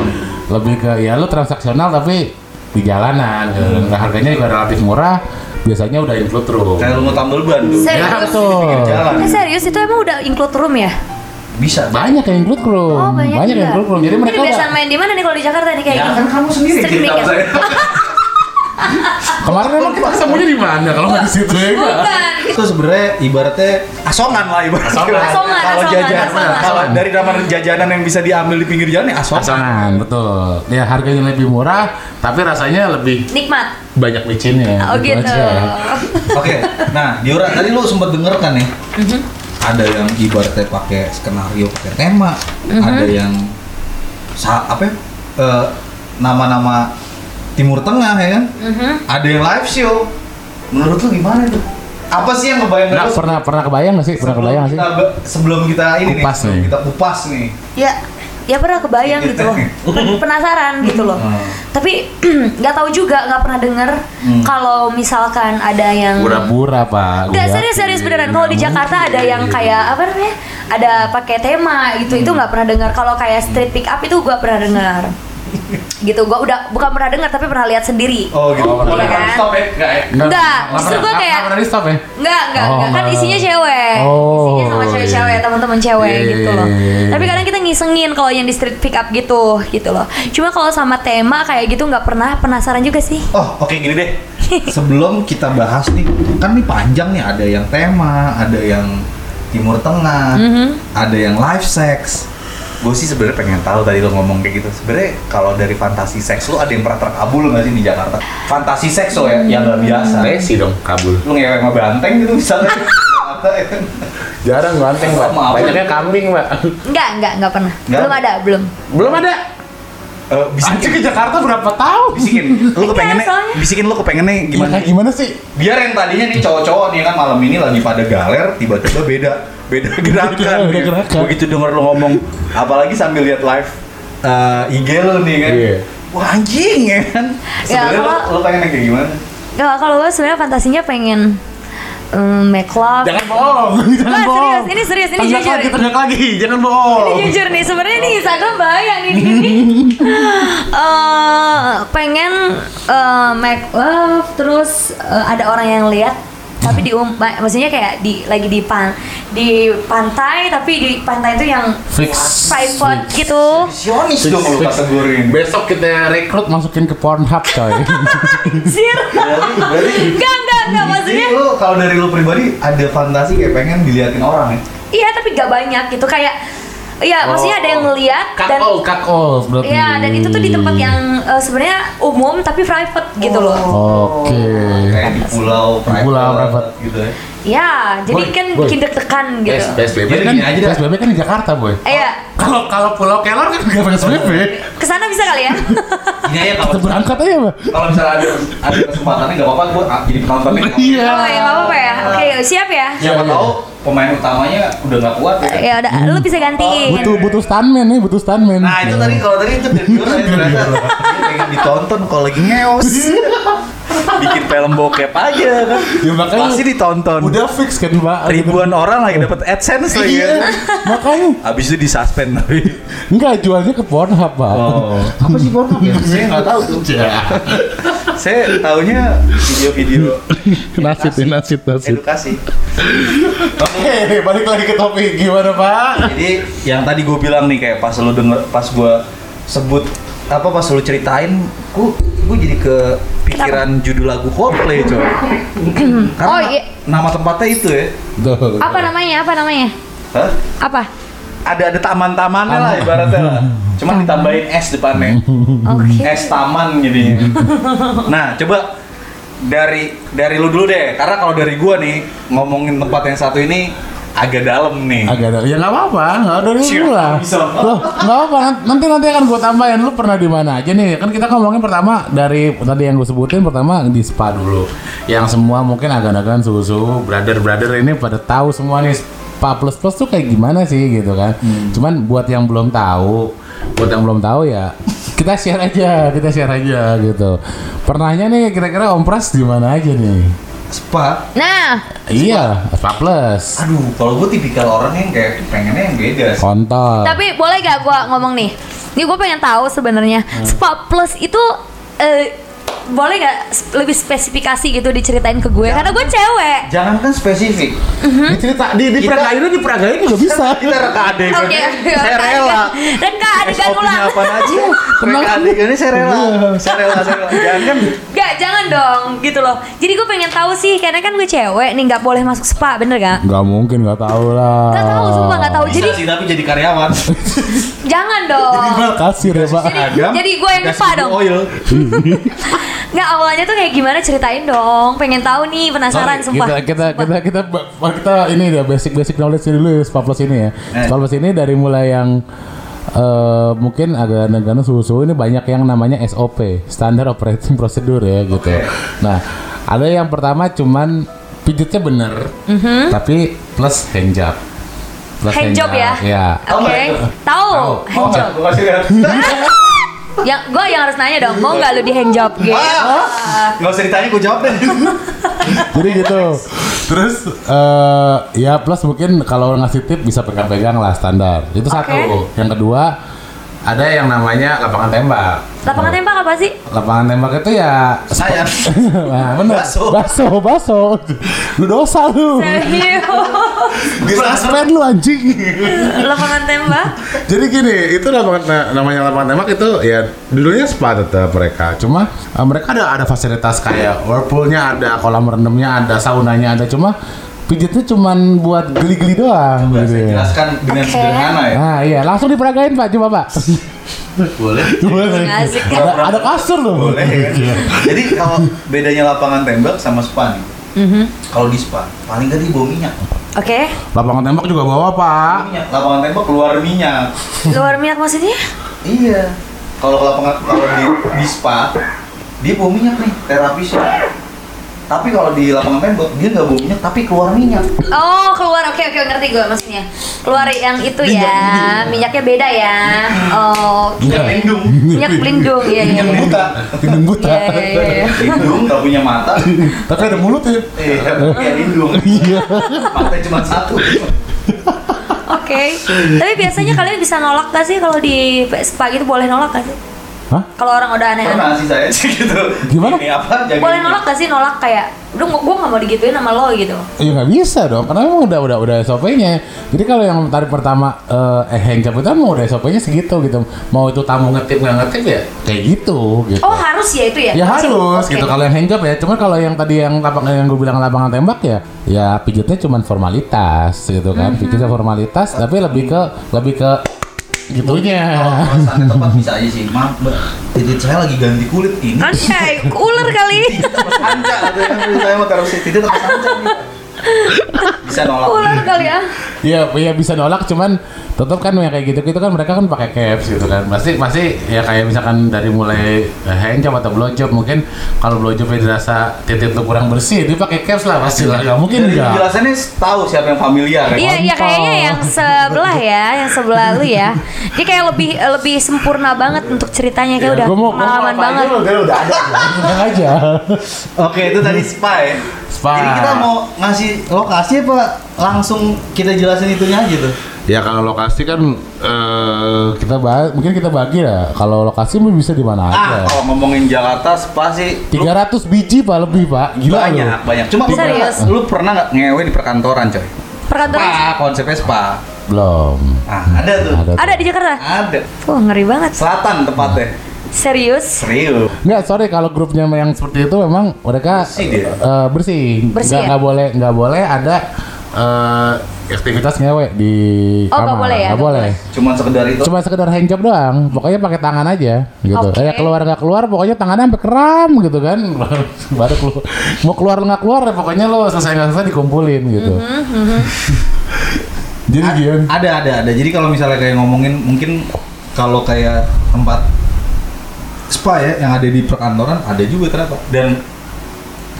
Speaker 5: lebih ke ya lu transaksional tapi di jalanan, gitu. Nah, harganya juga relatif murah, biasanya udah include room.
Speaker 4: kayak lu mau tambal ban tuh
Speaker 2: Serius?
Speaker 5: Ya
Speaker 4: Pinggir
Speaker 5: betul.
Speaker 4: jalan
Speaker 2: Eh serius itu emang udah include room ya?
Speaker 4: bisa
Speaker 5: Banyak yang include room,
Speaker 2: Oh banyak,
Speaker 5: Hmm, yang
Speaker 2: juga.
Speaker 5: include room. Jadi mereka
Speaker 2: biasa
Speaker 5: udah,
Speaker 2: main di mana nih kalau di Jakarta nih kayak gitu?
Speaker 4: ya
Speaker 2: gini?
Speaker 4: kan kamu sendiri
Speaker 2: Street
Speaker 4: cerita
Speaker 2: pick up.
Speaker 4: saya
Speaker 2: [LAUGHS]
Speaker 5: kemarin emang kita ketemunya di mana kalau nggak di situ ya kan?
Speaker 2: Bukan.
Speaker 4: itu sebenarnya ibaratnya asongan lah ibaratnya
Speaker 2: Asongan,
Speaker 4: kalau
Speaker 2: asongan,
Speaker 4: jajanan
Speaker 2: asongan.
Speaker 4: kalau dari ramah jajanan yang bisa diambil di pinggir jalan ya asongan
Speaker 5: Pasangan, betul. Ya harganya lebih murah, tapi rasanya lebih
Speaker 2: Nikmat.
Speaker 5: banyak micinnya.
Speaker 2: Oh
Speaker 5: Itu
Speaker 2: gitu.
Speaker 5: Ya, aja.
Speaker 4: oke nah Diora tadi lu sempat denger kan nih
Speaker 2: Mhm.
Speaker 4: ada yang ibaratnya pakai skenario pakai tema
Speaker 2: Mhm.
Speaker 4: ada yang sa apa ya, eh, nama-nama timur tengah ya kan
Speaker 2: Mhm.
Speaker 4: ada yang live show menurut lu gimana tuh apa sih yang ngebayang
Speaker 5: Nggak, pernah pernah kebayang nggak sih? Pernah kebayang nggak sih?
Speaker 4: kita, be- sebelum kita ini
Speaker 5: Kupas
Speaker 4: nih, sebelum
Speaker 5: nih.
Speaker 4: kita kupas nih
Speaker 2: Ya, ya pernah kebayang gitu
Speaker 4: [LAUGHS]
Speaker 2: loh. Pen- Penasaran gitu loh.
Speaker 4: Hmm.
Speaker 2: Tapi [CLEARS THROAT] nggak tahu juga, nggak pernah denger
Speaker 4: Hmm.
Speaker 2: kalau misalkan ada yang
Speaker 5: Pura-pura pak.
Speaker 2: Gak
Speaker 5: Gua
Speaker 2: serius serius
Speaker 5: yakin.
Speaker 2: beneran kalau di
Speaker 5: Nggak
Speaker 2: Jakarta
Speaker 5: mungkin.
Speaker 2: ada yang kayak apa namanya ada pakai tema gitu itu nggak pernah dengar kalau kayak street pick up itu gua pernah dengar gitu gua udah bukan pernah dengar tapi pernah lihat sendiri
Speaker 4: oh gitu
Speaker 5: Oh,
Speaker 2: Boleh kan?
Speaker 4: stop ya nggak ya
Speaker 5: Nggak,
Speaker 2: Nggak,
Speaker 5: nggak
Speaker 2: justru
Speaker 5: pernah-
Speaker 2: gua
Speaker 5: nggak-
Speaker 2: kayak-
Speaker 5: nggak pernah di stop ya.
Speaker 2: Nggak, nggak,
Speaker 5: Oh,
Speaker 2: nggak. Kan
Speaker 5: nggak.
Speaker 2: isinya cewek.
Speaker 5: Oh,
Speaker 2: isinya sama cewek-cewek,
Speaker 5: iya.
Speaker 2: teman-teman cewek
Speaker 5: Iya,
Speaker 2: gitu
Speaker 5: iya,
Speaker 2: loh.
Speaker 5: iya, iya.
Speaker 2: Tapi kadang kita ngisengin kalau yang di street pick up gitu, gitu loh. Cuma kalau sama tema kayak gitu nggak pernah penasaran juga sih.
Speaker 4: Oh, oke gini deh. Sebelum kita bahas nih, kan nih panjang nih ada yang
Speaker 3: Mm-hmm.
Speaker 4: tema, ada yang Timur Tengah, ada yang live sex. gue sih sebenarnya pengen tahu tadi lo ngomong kayak gitu sebenarnya kalau dari fantasi seks lo ada yang pernah terkabul nggak sih di Jakarta fantasi seks lo
Speaker 3: Hmm.
Speaker 4: ya yang nggak biasa
Speaker 3: Resi dong kabul.
Speaker 4: lo ngewek sama banteng gitu
Speaker 3: [LAUGHS]
Speaker 4: misalnya di Jakarta ya kan?
Speaker 3: Jarang banteng, Mbak.
Speaker 4: Maaf.
Speaker 3: Banyaknya kambing, Mbak.
Speaker 2: Enggak, enggak, enggak pernah.
Speaker 4: Nggak?
Speaker 2: Belum ada, belum.
Speaker 3: Belum ada.
Speaker 4: Eh,
Speaker 3: Anjir
Speaker 4: bisikin
Speaker 3: ke Jakarta Iya, berapa tahun?
Speaker 4: bisikin lo kepengennya
Speaker 2: soalnya.
Speaker 4: bisikin lo kepengennya gimana
Speaker 3: Gimana gimana sih?
Speaker 4: biar yang tadinya nih cowok-cowok nih kan malam ini lagi pada galer tiba-tiba beda beda
Speaker 5: Iya,
Speaker 4: gerakan,
Speaker 3: Beda
Speaker 4: ya.
Speaker 3: gerakan.
Speaker 4: begitu denger lo ngomong apalagi sambil lihat live eh, IG lo nih kan
Speaker 3: Iya.
Speaker 4: wah anjing ya kan sebenarnya lo,
Speaker 2: kalau-
Speaker 4: lo pengen yang kayak gimana
Speaker 2: Enggak, kalau gue sebenarnya fantasinya pengen em, make love.
Speaker 3: Jangan bohong.
Speaker 5: [LAUGHS]
Speaker 3: Jangan
Speaker 2: Nggak,
Speaker 3: bohong.
Speaker 2: serius, ini serius, ini
Speaker 3: Tegak
Speaker 2: jujur.
Speaker 3: lagi, tegak lagi. Jangan bohong.
Speaker 2: Ini jujur nih, sebenarnya ini Instagram bahaya nih. di sini. Eh, pengen eh, make love terus eh, ada orang yang lihat tapi di um- ma- maksudnya kayak di lagi di pan di pantai tapi di pantai itu yang
Speaker 5: Fix.
Speaker 2: private gitu.
Speaker 4: Sionis dong lo kategorin
Speaker 5: Besok kita rekrut masukin ke Pornhub
Speaker 2: [LAUGHS]
Speaker 5: coy.
Speaker 2: Anjir.
Speaker 4: Berarti- berarti
Speaker 2: Enggak, enggak, enggak maksudnya.
Speaker 4: Jadi lo kalau dari lo pribadi ada fantasi kayak pengen diliatin orang ya?
Speaker 2: Iya, tapi gak banyak gitu kayak Iya, maksudnya ada yang ngeliat dan
Speaker 5: Kakol, kakol berarti.
Speaker 2: Iya, dan itu tuh di tempat yang eh, sebenarnya umum tapi private gitu loh.
Speaker 5: Oke.
Speaker 4: Kayak di pulau
Speaker 5: Di pulau private.
Speaker 4: gitu ya.
Speaker 2: Iya, jadi
Speaker 5: Boy,
Speaker 2: kan
Speaker 5: boy.
Speaker 2: bikin deg-degan gitu.
Speaker 3: PSBB.
Speaker 4: Jadi
Speaker 5: Kan
Speaker 4: gini aja dah.
Speaker 5: PSBB kan di Jakarta, Boy.
Speaker 2: Eh, Iya,
Speaker 5: Kalau kalau Pulau Kelor kan nggak PSBB.
Speaker 2: kesana bisa kali
Speaker 5: [LAUGHS]
Speaker 2: ya?
Speaker 4: Gini aja
Speaker 5: Kita
Speaker 4: kalau
Speaker 5: berangkat aja, Mbak.
Speaker 4: kalau misalnya ada ada kesempatannya nggak apa-apa gue jadi penontonnya.
Speaker 5: Iya.
Speaker 2: Oh ya, nggak apa-apa ya. Oke, siap ya.
Speaker 4: Siapa tahu pemain utamanya udah nggak kuat ya.
Speaker 2: Ya udah, lu bisa gantiin.
Speaker 5: Hmm. Butuh butuh stuntman nih, butuh stuntman.
Speaker 4: Nah itu tadi kalau tadi itu dari dulu tadi ternyata Iya, dia pengen ditonton kalau lagi [LAUGHS] ngeos. Bikin film bokep aja kan.
Speaker 5: Ya, makanya
Speaker 4: Pasti ditonton.
Speaker 5: udah fix kan, Mbak. [LAUGHS]
Speaker 4: ribuan orang lagi dapat AdSense lagi.
Speaker 5: Iya.
Speaker 4: kan.
Speaker 5: Makanya
Speaker 4: Abis itu disuspend tapi.
Speaker 5: enggak jualnya ke Pornhub, Pak.
Speaker 4: [LAUGHS] Apa sih porno? Ya, saya nggak tahu tuh.
Speaker 5: Iya.
Speaker 4: Saya taunya video-video
Speaker 5: Nasid, ya, nasid, nasid.
Speaker 4: edukasi.
Speaker 5: Oke, balik lagi ke topik gimana, Pak?
Speaker 4: Jadi yang tadi gue bilang nih kayak pas lu denger pas gue sebut apa pas lu ceritain, gue gue jadi ke pikiran judul lagu Coldplay coy. Karena
Speaker 2: Oh, iya.
Speaker 4: nama tempatnya itu ya.
Speaker 5: Tuh.
Speaker 2: Apa namanya? Apa namanya?
Speaker 4: Hah?
Speaker 2: Apa?
Speaker 4: Ada ada taman-tamannya lah ibaratnya lah. Cuman ditambahin S
Speaker 2: [LAUGHS]
Speaker 4: depannya.
Speaker 2: Oke.
Speaker 5: Hmm.
Speaker 4: Es taman jadinya. nah, coba dari dari lu dulu deh. Karena kalau dari gua nih ngomongin tempat yang satu ini agak dalam nih.
Speaker 5: Agak ada. Ya nggak apa-apa, nggak ada dulu
Speaker 4: Siap,
Speaker 5: lah.
Speaker 4: Hmm. bisa.
Speaker 5: Loh, nggak apa-apa. Nanti nanti akan gue tambahin. Lu pernah di mana aja nih? Kan kita ngomongin pertama dari tadi yang gue sebutin pertama di spa dulu. Yang semua mungkin agak-agan susu brother-brother ini pada tahu semua nih spa plus plus tuh kayak gimana sih gitu kan.
Speaker 4: Hmm.
Speaker 5: Cuman buat yang belum tahu, buat yang belum tahu ya kita share aja, kita share aja gitu. Pernahnya nih kira-kira Om Pras di mana aja nih?
Speaker 4: Spa.
Speaker 2: Nah,
Speaker 5: Iya, spa plus.
Speaker 4: Aduh, kalau gua tipikal orang yang kayak pengennya yang beda sih.
Speaker 5: Kontol.
Speaker 2: tapi boleh gak gua ngomong nih? Ini gue pengen tahu sebenarnya
Speaker 5: Hmm.
Speaker 2: spa plus itu eh, boleh gak sp- lebih spesifikasi gitu diceritain ke
Speaker 5: Ya.
Speaker 2: gue? Karena gue cewek.
Speaker 5: [LAUGHS]
Speaker 4: Jangan kan spesifik.
Speaker 2: Mm-hmm.
Speaker 5: Dicerita di di
Speaker 4: Kita-
Speaker 5: peragainnya di peragain juga bisa.
Speaker 4: Kita reka adegan.
Speaker 2: Oke, oke.
Speaker 4: Saya rela.
Speaker 2: Reka adegan
Speaker 4: SOP -nya
Speaker 2: [LAUGHS] ulang.
Speaker 4: apaan aja? Reka adegannya saya rela. Saya rela, saya rela. Jangan kan
Speaker 2: Gak, jangan dong gitu loh. Jadi gue pengen tahu sih, karena kan gue cewek nih nggak boleh masuk spa, bener gak?
Speaker 5: Gak mungkin gak tahu lah.
Speaker 2: Gak tahu, sumpah gak tahu.
Speaker 4: bisa
Speaker 2: Oh, Jadi
Speaker 4: sih tapi jadi karyawan.
Speaker 2: jangan dong.
Speaker 5: Kasir ya pak.
Speaker 4: Agam,
Speaker 2: jadi gua yang
Speaker 4: gas
Speaker 2: lupa dong.
Speaker 4: Oil.
Speaker 2: Nggak awalnya tuh kayak gimana ceritain dong. Pengen tahu nih, penasaran
Speaker 5: Sorry,
Speaker 2: sumpah.
Speaker 5: Kita kita, kita kita kita kita ini ya basic basic knowledge dulu ya Spa Plus ini ya.
Speaker 4: Eh.
Speaker 5: Spa Plus ini dari mulai yang eh, mungkin agak negara susu ini banyak yang namanya SOP standar operating procedure ya gitu. Nah ada yang pertama cuman pijitnya bener, tapi plus hand job. Plus
Speaker 2: Mhm. Hand job ya?
Speaker 5: Ya.
Speaker 2: Oke, tahu.
Speaker 5: Tahu.
Speaker 4: Oh, enggak, gua kasih lihat.
Speaker 2: Yang gue yang harus nanya dong, mau nggak lu di hand job gitu?
Speaker 4: Nggak usah ditanya, gue jawab
Speaker 2: [LAUGHS]
Speaker 4: deh.
Speaker 5: Jadi gitu. Terus eh ya plus mungkin kalau ngasih tip bisa pegang-pegang lah standar. Itu satu. Yang kedua ada yang namanya lapangan tembak.
Speaker 2: Lapangan tembak apa sih?
Speaker 5: Lapangan tembak itu ya [LAUGHS]
Speaker 4: Saya.
Speaker 5: nah, bener.
Speaker 4: Baso.
Speaker 5: Baso, baso. Lu dosa lu.
Speaker 2: Serius.
Speaker 5: Di suspend lu anjing.
Speaker 2: Lapangan tembak?
Speaker 3: Jadi gini, itu lapangan na- namanya lapangan tembak itu ya dulunya spa tetap mereka.
Speaker 5: Cuma eh, mereka ada ada fasilitas kayak whirlpoolnya ada, kolam renangnya ada, saunanya ada. Cuma pijitnya cuman buat geli-geli doang
Speaker 4: Coba
Speaker 5: gitu
Speaker 4: saya
Speaker 5: ya.
Speaker 4: jelaskan dengan
Speaker 2: Oke.
Speaker 4: sederhana ya.
Speaker 5: Nah iya, langsung diperagain Pak, coba Pak.
Speaker 4: Boleh.
Speaker 5: Boleh.
Speaker 2: Asik.
Speaker 5: Ada, ada kasur loh.
Speaker 4: Boleh. ya kan? Jadi kalau bedanya lapangan tembak sama spa nih.
Speaker 2: Mhm.
Speaker 4: Kalau di spa paling gak di bawah minyak.
Speaker 2: Oke,
Speaker 5: Lapangan tembak juga bawa Pak.
Speaker 4: Minyak. Lapangan tembak keluar minyak.
Speaker 2: luar minyak maksudnya?
Speaker 4: Iya. Kalau ke lapangan kalau di, di spa dia bau minyak nih terapisnya. Tapi kalau di lapangan tembak dia nggak bau minyak tapi keluar minyak.
Speaker 2: Oh, keluar. Oke, oke, ngerti gue maksudnya. Keluar yang itu
Speaker 4: Minyak
Speaker 2: ya. Minyaknya beda ya. Oh, oke.
Speaker 4: Minyak lindung.
Speaker 2: Minyak pelindung, iya iya.
Speaker 4: Minyak
Speaker 2: iya.
Speaker 4: buta.
Speaker 5: Hidung buta.
Speaker 2: Iya, iya, iya, iya.
Speaker 4: Lindung nggak punya mata.
Speaker 5: Tapi ada mulut ya.
Speaker 4: Iya, kayak lindung.
Speaker 5: Iya.
Speaker 4: Mata cuma satu.
Speaker 2: Oke. Tapi biasanya kalian bisa nolak gak sih kalau di spa gitu boleh nolak gak sih?
Speaker 5: Hah?
Speaker 2: Kalau orang udah aneh-aneh.
Speaker 4: Pernah sih saya sih gitu.
Speaker 5: Gimana?
Speaker 4: Ini apa? jagain
Speaker 2: Boleh
Speaker 4: dia.
Speaker 2: nolak gak sih nolak kayak, "Duh, gue gak mau digituin sama lo" gitu.
Speaker 5: Ya nggak bisa dong, karena memang udah udah udah SOP-nya. Jadi kalau yang tarik pertama eh hang cabutan mau udah SOP-nya segitu gitu. Mau itu tamu ngetip nggak ngetip ya kayak gitu gitu.
Speaker 2: Oh, harus ya itu ya?
Speaker 5: Ya
Speaker 2: Masih-
Speaker 5: harus
Speaker 2: oke.
Speaker 5: gitu kalau yang hang job ya. Cuma kalau yang tadi yang lapang yang gue bilang lapangan tembak ya, ya pijatnya cuma formalitas gitu kan.
Speaker 2: Mm-hmm.
Speaker 5: Pijatnya formalitas tapi lebih ke lebih ke gitunya.
Speaker 4: Kalau
Speaker 2: Oh,
Speaker 4: alasannya tepat bisa aja sih. Maaf, Mbak. Titik saya lagi ganti kulit ini.
Speaker 2: Anjay, ular kali.
Speaker 4: Terus anca ada yang beli kan saya mau taruh titik terus anca. nih. gitu. Bisa nolak.
Speaker 2: ular kali ya.
Speaker 5: Iya, iya bisa nolak cuman tetap kan yang kayak gitu-gitu kan mereka kan pakai caps gitu kan. Pasti pasti ya kayak misalkan dari mulai eh, hand job atau blow job mungkin kalau blow jobnya dirasa titik lu kurang bersih dia pakai caps lah pasti lah nggak mungkin
Speaker 4: Dari
Speaker 5: enggak.
Speaker 4: penjelasannya tahu siapa yang familiar kan?
Speaker 2: Iya iya kayaknya yang sebelah ya, yang sebelah lu ya. Dia kayak lebih lebih sempurna banget untuk ceritanya kayak udah
Speaker 5: Iya, gua mau- gua mau
Speaker 2: pengalaman banget.
Speaker 4: udah
Speaker 2: [LAUGHS]
Speaker 4: ada.
Speaker 5: Tenang aja.
Speaker 4: Oke, itu tadi spa ya.
Speaker 5: Spa.
Speaker 4: Jadi kita mau ngasih lokasi apa langsung kita jelasin itunya aja tuh.
Speaker 5: Ya kalau lokasi kan eh, kita bahas, mungkin kita bagi ya. Kalau lokasi mah bisa di mana aja.
Speaker 4: Ah, kalau ngomongin Jakarta spa sih
Speaker 5: 300 biji Pak lebih Pak. Gila lu.
Speaker 4: banyak, banyak. Cuma lu pernah,
Speaker 2: Serius?
Speaker 4: lu pernah nggak ngewe di perkantoran, coy?
Speaker 2: Perkantoran
Speaker 4: Spa, konsepnya spa.
Speaker 5: Belum.
Speaker 4: Ah, ada tuh.
Speaker 5: Ada.
Speaker 2: ada di Jakarta.
Speaker 4: Ada.
Speaker 2: Wah ngeri banget.
Speaker 4: Selatan tepatnya.
Speaker 2: Serius?
Speaker 4: Serius.
Speaker 5: Nggak, sorry kalau grupnya yang seperti itu memang mereka
Speaker 4: Bersih dia.
Speaker 5: eh, bersih.
Speaker 2: Bersih
Speaker 5: nggak,
Speaker 2: ya?
Speaker 5: nggak boleh nggak boleh ada eh, aktivitas ngewe di
Speaker 2: Oh, nggak
Speaker 5: kamar.
Speaker 2: boleh ya? Nggak
Speaker 5: Nggak boleh.
Speaker 4: Cuman sekedar itu.
Speaker 5: Cuma sekedar handjob doang. Pokoknya pakai tangan aja gitu.
Speaker 2: Oke.
Speaker 5: Kayak keluar nggak keluar, pokoknya tangannya sampai keram gitu kan. [LAUGHS] Baru keluar. Mau keluar nggak keluar, ya pokoknya lo selesai nggak selesai dikumpulin gitu.
Speaker 2: Mm-hmm,
Speaker 5: Jadi Gian,
Speaker 4: Ada, ada, ada. Jadi kalau misalnya kayak ngomongin mungkin kalau kayak tempat spa ya yang ada di perkantoran ada juga ternyata. Dan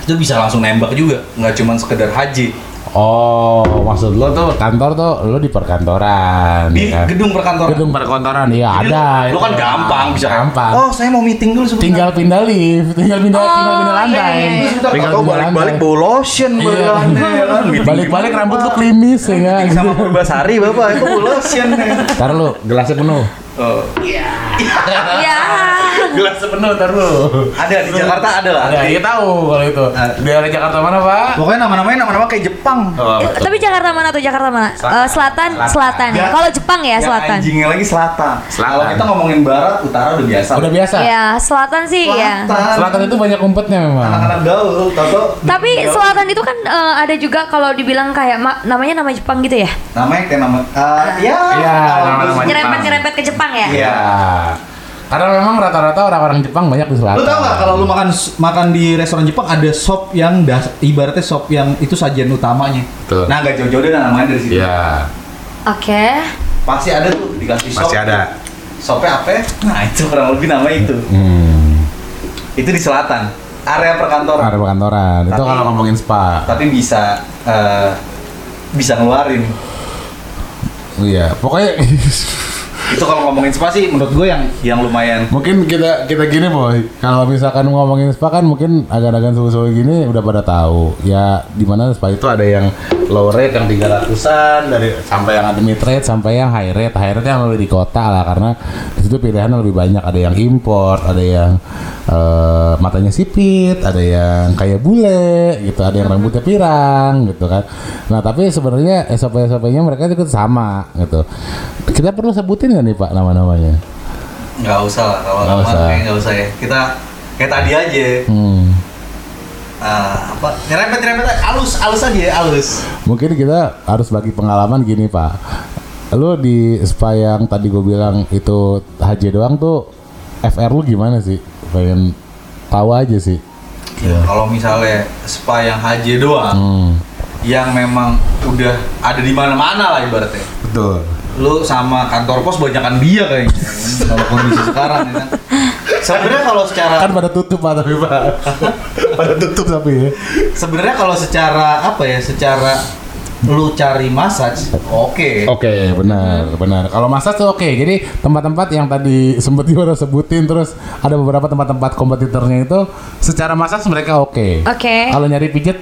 Speaker 4: itu bisa langsung nembak juga, nggak cuman sekedar haji.
Speaker 5: oh maksud lo tuh kantor tuh lo di perkantoran.
Speaker 4: Di
Speaker 5: ya kan?
Speaker 4: gedung perkantoran.
Speaker 5: gedung perkantoran iya
Speaker 4: Jadi
Speaker 5: ada
Speaker 4: Lu, lu kan gampang bisa kayak,
Speaker 5: gampang
Speaker 4: Oh, saya mau meeting dulu sebentar.
Speaker 5: tinggal pindah lift tinggal pindah
Speaker 2: Oh,
Speaker 5: tinggal pindah
Speaker 2: iya, iya,
Speaker 5: lantai
Speaker 2: iya.
Speaker 4: Sebentar,
Speaker 5: Tinggal
Speaker 4: tau
Speaker 5: pindah
Speaker 4: balik-balik
Speaker 5: lantai.
Speaker 4: bau lotion bau
Speaker 5: Iya.
Speaker 4: lantai, ya kan? Meeting
Speaker 5: balik-balik
Speaker 4: gimana,
Speaker 5: rambut lu
Speaker 4: Pak?
Speaker 5: klimis ya nggak?
Speaker 4: Meeting sama Purbasari, Bapak. Itu bau lotion. ya?
Speaker 5: [LAUGHS] taruh lu gelasnya penuh
Speaker 4: Oh.
Speaker 2: Ya.
Speaker 5: gelasnya penuh taruh lu
Speaker 4: Ada di Jakarta ada lah.
Speaker 5: ada iya. kita tahu kalau itu
Speaker 4: Ada. Oh,
Speaker 5: daerah Jakarta mana pak
Speaker 4: Pokoknya nama-namanya nama-nama kayak Jepang.
Speaker 2: Eh, Tapi Jakarta mana tuh Jakarta mana? Eh, Selatan, selatan.
Speaker 4: Ya.
Speaker 2: Kalau Jepang ya
Speaker 4: Yang
Speaker 2: selatan.
Speaker 4: Anjingnya lagi selatan.
Speaker 3: Selatan.
Speaker 4: Kalau kita ngomongin barat, utara udah biasa.
Speaker 5: udah biasa
Speaker 2: Ya selatan sih ya.
Speaker 4: Selatan.
Speaker 5: selatan itu banyak umpetnya memang
Speaker 4: anak-anak gaul, tahu
Speaker 2: Tapi selatan itu kan eh, ada juga kalau dibilang kayak ma- namanya nama Jepang gitu ya.
Speaker 4: namanya kayak nama eh,
Speaker 5: Iya,
Speaker 4: ya. kalau
Speaker 5: nama-nama
Speaker 4: gaul.
Speaker 5: Jepang.
Speaker 2: Nyerempet-nyerempet ke Jepang ya.
Speaker 4: Iya.
Speaker 5: karena memang rata-rata orang-orang Jepang banyak di selatan
Speaker 4: Lu tau gak kalau lu makan makan di restoran Jepang ada sop yang das, ibaratnya sop yang itu sajian utamanya.
Speaker 3: Betul.
Speaker 4: Nah gak jauh-jauh deh namanya dari situ.
Speaker 3: Iya,
Speaker 2: Oke.
Speaker 4: Pasti ada tuh dikasih sop.
Speaker 3: masih ada.
Speaker 4: Sopnya apa? Nah itu kurang lebih nama itu.
Speaker 5: hmm,
Speaker 4: Itu di selatan. Area perkantoran.
Speaker 5: ada kantoran itu
Speaker 4: Tapi-
Speaker 5: kalau ngomongin spa
Speaker 4: Tapi bisa eh, bisa ngeluarin.
Speaker 5: iya pokoknya [LAUGHS]
Speaker 4: itu kalau ngomongin spa sih menurut gue yang yang lumayan
Speaker 5: Mungkin kita kita gini boy, kalau misalkan ngomongin spa kan mungkin agak-agak suhu-suhu gini udah pada tahu. Ya di mana spa itu ada yang low rate yang 300-an dari sampai yang ada mid rate sampai yang high rate. High rate yang lebih di kota lah karena di situ pilihan lebih banyak. Ada yang import, ada yang eh, matanya sipit, ada yang kayak bule gitu, ada yang rambutnya pirang gitu kan. Nah, tapi sebenarnya SOP-SOP-nya mereka juga sama gitu. Kita perlu sebutin nggak nih Pak nama-namanya?
Speaker 4: nggak usah lah kalau
Speaker 5: Nggak
Speaker 4: nggak
Speaker 5: usah.
Speaker 4: usah. nggak usah ya kita kayak tadi aja
Speaker 5: Hmm.
Speaker 4: eh, apa nyerempet nyerempet alus alus aja ya alus
Speaker 5: Mungkin kita harus bagi pengalaman gini pak. Lu di spa yang tadi gue bilang itu HJ doang tuh FR lu gimana sih? Pengen tahu aja sih.
Speaker 4: kalau misalnya spa yang HJ
Speaker 5: Iya.
Speaker 4: doang
Speaker 5: Hmm.
Speaker 4: yang memang udah ada di mana-mana lah ibaratnya
Speaker 5: Betul.
Speaker 4: lu sama kantor pos banyakan dia kayaknya kalau kondisi sekarang ya kan sebenarnya kalau secara
Speaker 5: Kan pada tutup pak tapi pak. pada tutup tapi ya.
Speaker 4: sebenarnya kalau secara apa ya secara lu cari massage oke
Speaker 5: Oke, benar, benar. Kalau massage tuh oke. Jadi tempat-tempat yang tadi [LAUGHS] sempet gue udah sebutin terus ada beberapa tempat-tempat kompetitornya itu secara massage mereka oke.
Speaker 2: Oke.
Speaker 5: Kalau nyari pijet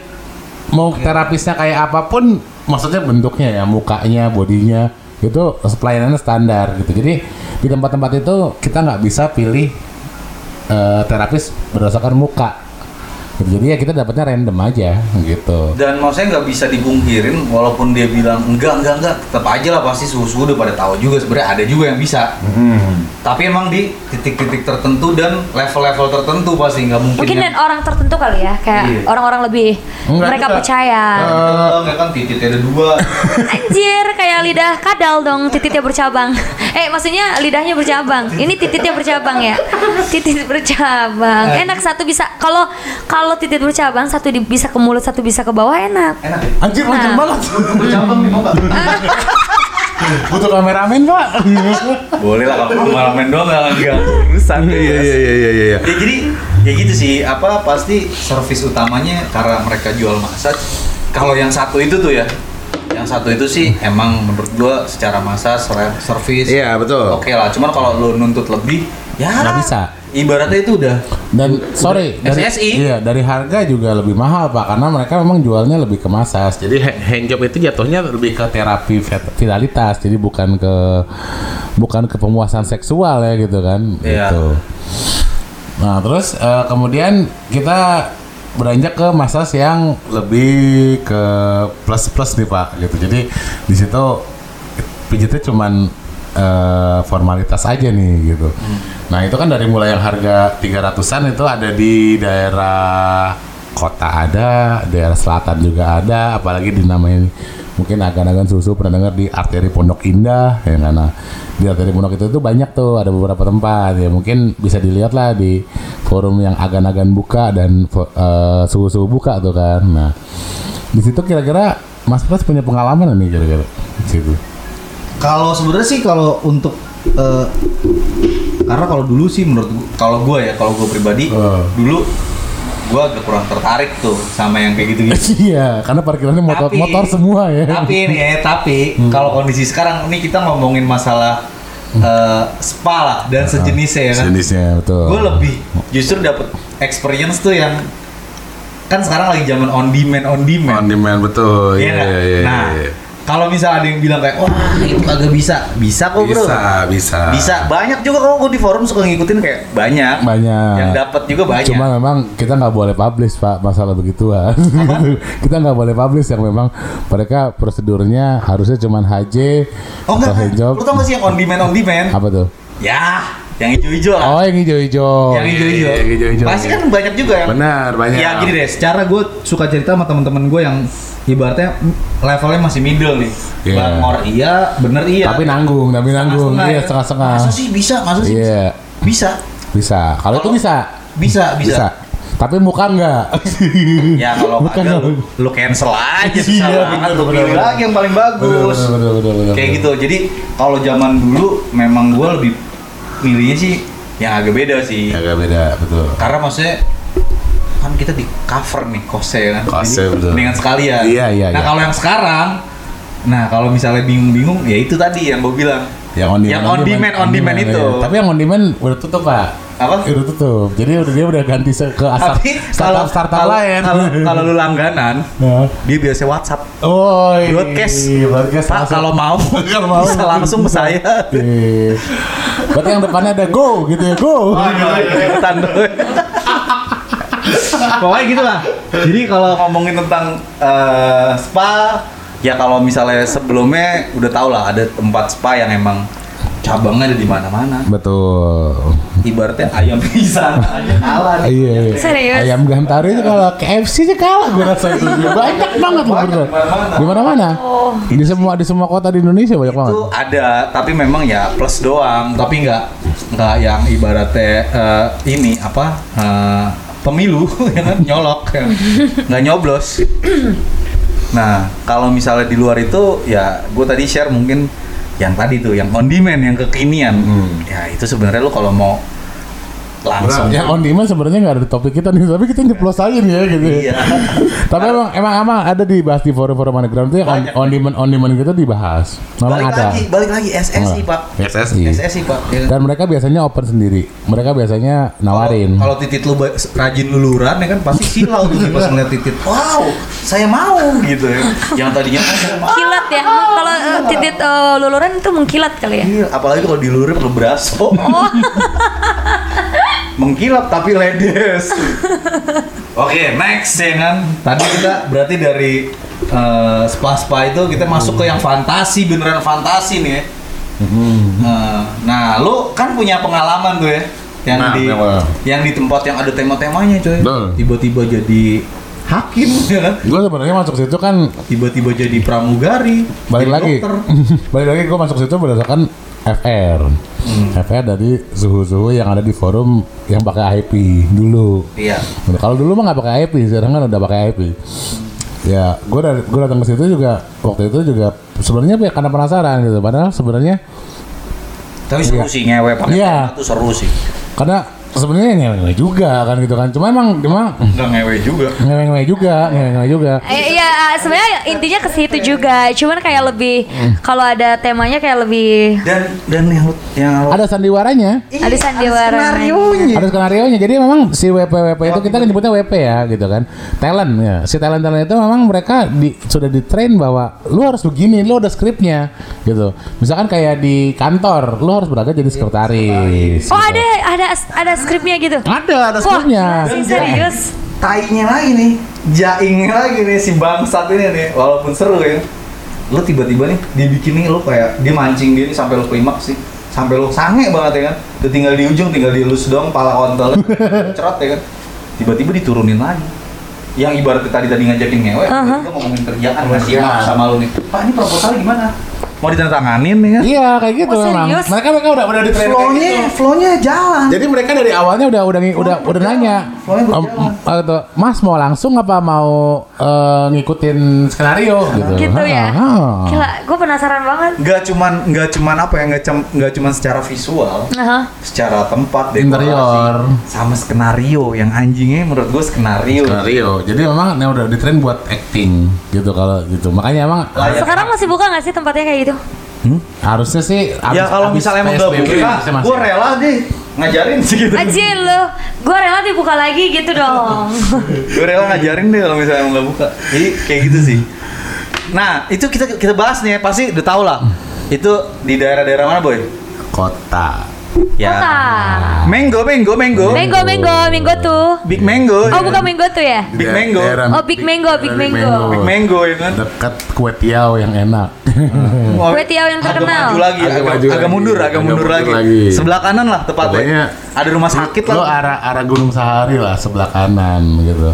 Speaker 5: mau terapisnya kayak apapun, maksudnya bentuknya ya, mukanya, bodinya itu pelayanannya standar gitu. Jadi di tempat-tempat itu kita nggak bisa pilih eh, terapis berdasarkan muka. Gitu. Jadi ya kita dapatnya random aja gitu.
Speaker 4: dan maksudnya nggak bisa dipungkirin walaupun dia bilang enggak enggak enggak tetap aja lah pasti suhu-suhu udah pada tahu juga sebenarnya ada juga yang bisa tapi emang di titik-titik tertentu dan level-level tertentu pasti nggak mungkin
Speaker 2: Mungkin dan
Speaker 4: yang-
Speaker 2: orang tertentu kali ya,
Speaker 4: Iya.
Speaker 2: kayak orang-orang lebih
Speaker 5: Enggak
Speaker 2: mereka
Speaker 5: juga.
Speaker 2: percaya.
Speaker 4: Enggak, enggak kan titiknya ada [LAUGHS] dua
Speaker 2: Anjir, kayak lidah kadal dong, tititnya bercabang. Eh, maksudnya lidahnya bercabang. Ini tititnya bercabang ya. Titit bercabang.
Speaker 5: Eh.
Speaker 2: Enak satu bisa kalau kalau titit bercabang satu di- bisa ke mulut, satu bisa ke bawah enak.
Speaker 5: Eh.
Speaker 4: enak ya?
Speaker 5: Anjir lancar
Speaker 2: Nah.
Speaker 5: banget.
Speaker 4: bercabang nih mau nggak?
Speaker 5: Butuh kameramen, Pak.
Speaker 4: boleh lah kalau malam main doang nggak nggak urusan
Speaker 3: Iya iya iya iya iya.
Speaker 4: ya jadi ya gitu sih apa pasti servis utamanya karena mereka jual massage kalau yang satu itu tuh ya yang satu itu sih emang menurut gua secara massage ser- servis
Speaker 3: Iya, betul.
Speaker 4: oke lah cuman kalau lu nuntut lebih ya
Speaker 5: Oh. Nggak bisa.
Speaker 4: ibaratnya itu udah
Speaker 5: Dan sorry, dari,
Speaker 4: SSI.
Speaker 5: iya dari harga juga lebih mahal pak, karena mereka memang jualnya lebih ke massage, jadi
Speaker 3: Jadi ha- hand job itu jatuhnya lebih
Speaker 5: lebih ke terapi vet- vitalitas, jadi bukan ke bukan ke pemuasan seksual ya gitu kan,
Speaker 4: Iya.
Speaker 5: gitu. Nah terus eh, kemudian kita beranjak ke massage yang lebih ke plus plus nih pak, gitu. Jadi di situ pijitnya cuman eh, formalitas aja nih gitu. Nah itu kan dari mulai yang harga 300-an itu ada di daerah kota ada, daerah selatan juga ada, apalagi dinamain mungkin agan-agan susu pernah dengar di arteri Pondok Indah ya kan? Nah, di arteri Pondok itu tuh banyak tuh ada beberapa tempat ya mungkin bisa dilihat lah di forum yang agan-agan buka dan eh, susu-susu buka tuh kan. Nah di situ kira-kira Mas Pras punya pengalaman nih kira-kira di situ.
Speaker 4: Kalau sebenarnya sih kalau untuk eh, karena kalau dulu sih menurut gua- kalau gue ya kalau gue pribadi
Speaker 5: Eh.
Speaker 4: dulu gue agak kurang tertarik tuh sama yang kayak gitu-gitu.
Speaker 5: [LAUGHS] Iya, karena parkirannya motor
Speaker 4: Tapi-
Speaker 5: motor semua ya.
Speaker 4: Tapi ini ya, tapi
Speaker 5: Hmm.
Speaker 4: kalau kondisi sekarang ini kita ngomongin masalah eh, spa lah
Speaker 5: Ah,
Speaker 4: dan sejenisnya ya kan.
Speaker 5: Jenisnya betul.
Speaker 4: Gue lebih justru dapet experience tuh yang kan sekarang lagi zaman on demand on demand.
Speaker 3: on demand betul.
Speaker 4: Iya
Speaker 3: Iya
Speaker 4: nggak?
Speaker 3: iya iya.
Speaker 4: Nah,
Speaker 3: iya.
Speaker 4: kalau misal ada yang bilang kayak wah itu kagak bisa, bisa kok bro.
Speaker 3: Bisa bisa.
Speaker 4: Bisa. Banyak juga kok gue di forum suka ngikutin kayak banyak.
Speaker 5: banyak.
Speaker 4: Yang dapat juga banyak.
Speaker 5: Cuma memang kita nggak boleh publish pak masalah
Speaker 4: [LAUGHS]
Speaker 5: begituan. kita nggak boleh publish yang memang mereka prosedurnya harusnya cuman HJ
Speaker 4: oh
Speaker 5: atau hand
Speaker 4: enggak,
Speaker 5: job.
Speaker 4: lu tau gak sih yang on demand on demand?
Speaker 5: Apa tuh?
Speaker 4: Ya, yang hijau-hijau lah.
Speaker 5: Oh yang hijau-hijau.
Speaker 3: iya,
Speaker 4: yang
Speaker 3: yang
Speaker 4: hijau-hijau.
Speaker 3: hijau-hijau.
Speaker 4: Pasti kan banyak juga yang
Speaker 3: Benar banyak.
Speaker 4: Ya gini deh, secara gue suka cerita sama temen-temen gue yang ibaratnya levelnya masih middle nih.
Speaker 5: Iya.
Speaker 4: Bangor iya, bener iya.
Speaker 5: Tapi nanggung, tapi nanggung.
Speaker 4: Setengah-setengah
Speaker 5: Iya
Speaker 4: ya.
Speaker 5: setengah-setengah.
Speaker 4: Masa sih bisa, masa sih
Speaker 5: Iya
Speaker 4: bisa.
Speaker 5: bisa. Kalau itu bisa.
Speaker 4: Bisa, bisa.
Speaker 5: Bisa. Tapi muka nggak.
Speaker 4: Ya
Speaker 5: [LAUGHS]
Speaker 4: kalau
Speaker 5: Bukan
Speaker 4: kagak
Speaker 5: dong.
Speaker 4: lu, lu cancel aja susah
Speaker 5: Iya,
Speaker 4: banget
Speaker 5: bener,
Speaker 4: lu
Speaker 5: bener,
Speaker 4: pilih
Speaker 5: bener.
Speaker 4: lagi yang paling bagus.
Speaker 5: Bener, bener, bener, bener,
Speaker 4: Kayak
Speaker 5: bener.
Speaker 4: gitu. Jadi kalau zaman dulu memang gue lebih milihnya sih yang agak beda sih.
Speaker 5: Agak beda betul.
Speaker 4: Karena maksudnya kan kita di cover nih kosnya ya kan.
Speaker 3: Kosnya,
Speaker 4: Jadi,
Speaker 3: betul.
Speaker 4: Mendingan sekalian.
Speaker 5: Iya, iya, iya.
Speaker 4: Nah, kalau yang sekarang nah kalau misalnya bingung-bingung ya itu tadi yang gue bilang.
Speaker 5: Yang on demand,
Speaker 4: Yang on demand, on demand itu.
Speaker 5: iya. Tapi yang on demand udah tutup pak.
Speaker 4: Apa?
Speaker 5: Udah tutup. Jadi udah dia udah ganti se- ke asal
Speaker 4: Tapi kalau
Speaker 5: startup startup
Speaker 4: kalau-
Speaker 5: lain. [LAUGHS]
Speaker 4: kalau kalau lu langganan
Speaker 5: Nah.
Speaker 4: dia biasa WhatsApp.
Speaker 5: Oh, iya.
Speaker 4: Broadcast.
Speaker 5: broadcast
Speaker 4: Pak
Speaker 5: langsung.
Speaker 4: kalau mau
Speaker 5: [LAUGHS] Kalau mau.
Speaker 4: bisa langsung ke saya.
Speaker 5: Iya. Berarti yang depannya ada go gitu ya
Speaker 4: Oh,
Speaker 5: go.
Speaker 4: Iya, Setan doi. [LAUGHS] Pokoknya gitu lah. Jadi kalau ngomongin tentang eh, spa, ya kalau misalnya sebelumnya udah tau lah ada tempat spa yang emang cabangnya ada di mana-mana.
Speaker 5: Betul.
Speaker 4: Ibaratnya ayam pisang aja kalah nih.
Speaker 5: Iya, iya.
Speaker 2: Serius?
Speaker 5: Ayam Gantari itu kalau KFC sih kalah gue rasa itu. Banyak banget loh bener.
Speaker 4: Banyak
Speaker 5: Di mana-mana. Di semua di semua kota di Indonesia banyak banget.
Speaker 4: itu ada tapi memang ya plus doang tapi nggak nggak yang ibaratnya eh, ini apa eh, pemilu [LAUGHS] ya kan, nyolok ya. nggak nyoblos nah kalau misalnya di luar itu ya gue tadi share mungkin yang tadi tuh yang on demand yang kekinian ya itu sebenarnya lo kalau mau langsung
Speaker 5: Yang Nah, ya, on demand sebenarnya nggak ada di topik kita nih, [LAUGHS] tapi kita nyeplos aja nih ya gitu.
Speaker 4: [LAUGHS] iya
Speaker 5: Tapi emang emang emang ada dibahas di forum-forum underground itu yang on,
Speaker 4: Banyak,
Speaker 5: on demand on demand gitu dibahas. Memang
Speaker 4: balik
Speaker 5: ada.
Speaker 4: lagi balik lagi SSI
Speaker 5: Enggak.
Speaker 4: pak
Speaker 3: SSI.
Speaker 4: SSI pak ya kan?
Speaker 5: Dan mereka biasanya open sendiri. Mereka biasanya nawarin.
Speaker 4: Kalau titit lu ba- rajin luluran ya kan pasti silau tuh pas ngeliat titit. Wow, saya mau gitu ya. Yang tadinya "Ah, saya mau.
Speaker 2: Kilat ya. Kalau eh, titit eh, luluran itu mengkilat kali ya.
Speaker 4: Iya, apalagi kalau diluruh perlu [LAUGHS] beraso. Mengkilap tapi ledes. Oke, next ya kan. Tadi kita berarti dari eh, spa-spa itu kita masuk ke yang fantasi beneran fantasi nih ya. Eh, nah, lu kan punya pengalaman tuh ya yang
Speaker 3: Nah,
Speaker 4: di
Speaker 3: memang.
Speaker 4: yang di tempat yang ada tema-temanya coy.
Speaker 3: Betul.
Speaker 4: Tiba-tiba jadi hakim ya kan.
Speaker 5: Gue sebenarnya masuk situ kan
Speaker 4: Tiba-tiba jadi pramugari,
Speaker 5: balik
Speaker 4: jadi
Speaker 5: lagi [LAUGHS]
Speaker 4: dokter.
Speaker 5: balik lagi gue masuk situ berdasarkan FR
Speaker 4: Hmm.
Speaker 5: FR dari suhu-suhu yang ada di forum yang pakai IP dulu
Speaker 4: Iya.
Speaker 5: Nah, kalau dulu mah nggak pakai IP sekarang kan udah pakai IP ya gue gue datang ke situ juga waktu itu juga sebenarnya ya karena penasaran gitu padahal sebenarnya
Speaker 4: Tapi seru sih ngewe pakai
Speaker 5: Iya.
Speaker 4: tema tuh seru sih.
Speaker 5: karena sebenarnya nyeleneh juga kan gitu kan cuma emang emang
Speaker 4: Enggak ngewe juga.
Speaker 5: ngewe juga ngewe juga
Speaker 2: Eh, Iya, sebenarnya intinya ke situ juga. Cuman kayak lebih
Speaker 5: Hmm.
Speaker 2: kalau ada temanya kayak lebih
Speaker 4: Dan dan yang yang
Speaker 5: ada sandiwaranya
Speaker 2: ada sandiwara.
Speaker 5: Ada skenario nya. Jadi memang si WP WP itu kita kan nyebutnya WP ya gitu kan. Talent ya. Si talent talent itu memang mereka di, sudah di train bahwa lu harus begini, lu ada skripnya gitu. Misalkan kayak di kantor, lu harus beragam jadi sekretaris.
Speaker 2: Oh, ada ada ada skripnya gitu.
Speaker 5: Ada, ada Iya.
Speaker 2: Wah,
Speaker 5: skripnya.
Speaker 2: sih, serius.
Speaker 4: tainya lagi nih, jaingnya lagi nih si bangsat ini nih, walaupun seru ya. Lo tiba-tiba nih dibikin nih lo kayak dia mancing dia nih sampai lo klimaks sih, sampai lo sange banget ya kan. Udah tinggal di ujung, tinggal dielus dong
Speaker 5: [LAUGHS]
Speaker 4: pala kontol, cerot ya kan. Tiba-tiba diturunin lagi. Yang ibaratnya tadi tadi ngajakin ngewe, tiba-tiba ngomongin kerjaan masih
Speaker 5: Iya.
Speaker 3: Kerjaan.
Speaker 4: sama lo nih. Pak ini proposal gimana? Mau ditandatanganin ya kan?
Speaker 5: Iya, kayak gitu
Speaker 2: Oh,
Speaker 5: memang.
Speaker 2: serius?
Speaker 5: Mereka mereka udah udah di train kayak
Speaker 4: Flow-nya,
Speaker 5: gitu.
Speaker 4: flow-nya jalan.
Speaker 5: Jadi mereka dari awalnya udah udah udah udah
Speaker 4: berjalan.
Speaker 5: nanya,
Speaker 4: Flownya
Speaker 5: "Em,
Speaker 4: berjalan."
Speaker 5: eh, tuh, Mas mau langsung apa mau eh, ngikutin skenario gitu.
Speaker 2: Gitu ya.
Speaker 5: Ha, ha.
Speaker 2: Gila, gue penasaran banget.
Speaker 4: Nggak cuman nggak cuman apa ya nggak cem- nggak cuman secara visual,
Speaker 2: Aha.
Speaker 4: secara tempat
Speaker 5: Interior.
Speaker 4: sama skenario yang anjingnya menurut gue skenario
Speaker 3: Rio.
Speaker 5: Jadi memang ini udah di train buat acting gitu kalau gitu. Makanya emang
Speaker 4: Layak.
Speaker 2: Sekarang masih buka nggak sih tempatnya kayak gitu?
Speaker 5: harusnya sih
Speaker 4: ya kalau misalnya emang nggak buka gue
Speaker 5: rela.
Speaker 4: rela deh ngajarin sih gitu
Speaker 2: Anjir lu, gue rela dibuka lagi gitu
Speaker 4: [LAUGHS]
Speaker 2: dong.
Speaker 4: gue rela ngajarin deh kalau misalnya emang nggak buka jadi kayak gitu sih nah itu kita kita bahas nih ya. pasti udah tau lah itu di daerah-daerah mana boy Ya.
Speaker 5: Kota.
Speaker 2: Kota. Nah.
Speaker 4: mango mango mango
Speaker 2: Minggo, minggo, minggo tuh.
Speaker 4: big mango
Speaker 2: Oh,
Speaker 4: ya.
Speaker 2: bukan minggo tuh ya?
Speaker 4: Big Mango.
Speaker 2: Oh, Big Mango, Big Mango.
Speaker 4: big mango ya kan
Speaker 5: Dekat kue tiao yang enak.
Speaker 4: [LAUGHS] Wah,
Speaker 2: Kue tiaw yang
Speaker 4: agak
Speaker 2: terkenal.
Speaker 4: maju lagi,
Speaker 3: Agak
Speaker 4: agak,
Speaker 3: maju
Speaker 4: agak
Speaker 3: lagi.
Speaker 4: mundur, agak,
Speaker 3: Agak
Speaker 4: mundur, lagi.
Speaker 3: mundur lagi.
Speaker 4: Sebelah kanan lah tepatnya.
Speaker 5: Pokoknya-
Speaker 4: ada rumah sakit
Speaker 5: Lo
Speaker 4: lah.
Speaker 5: arah arah Gunung Sahari lah sebelah kanan gitu.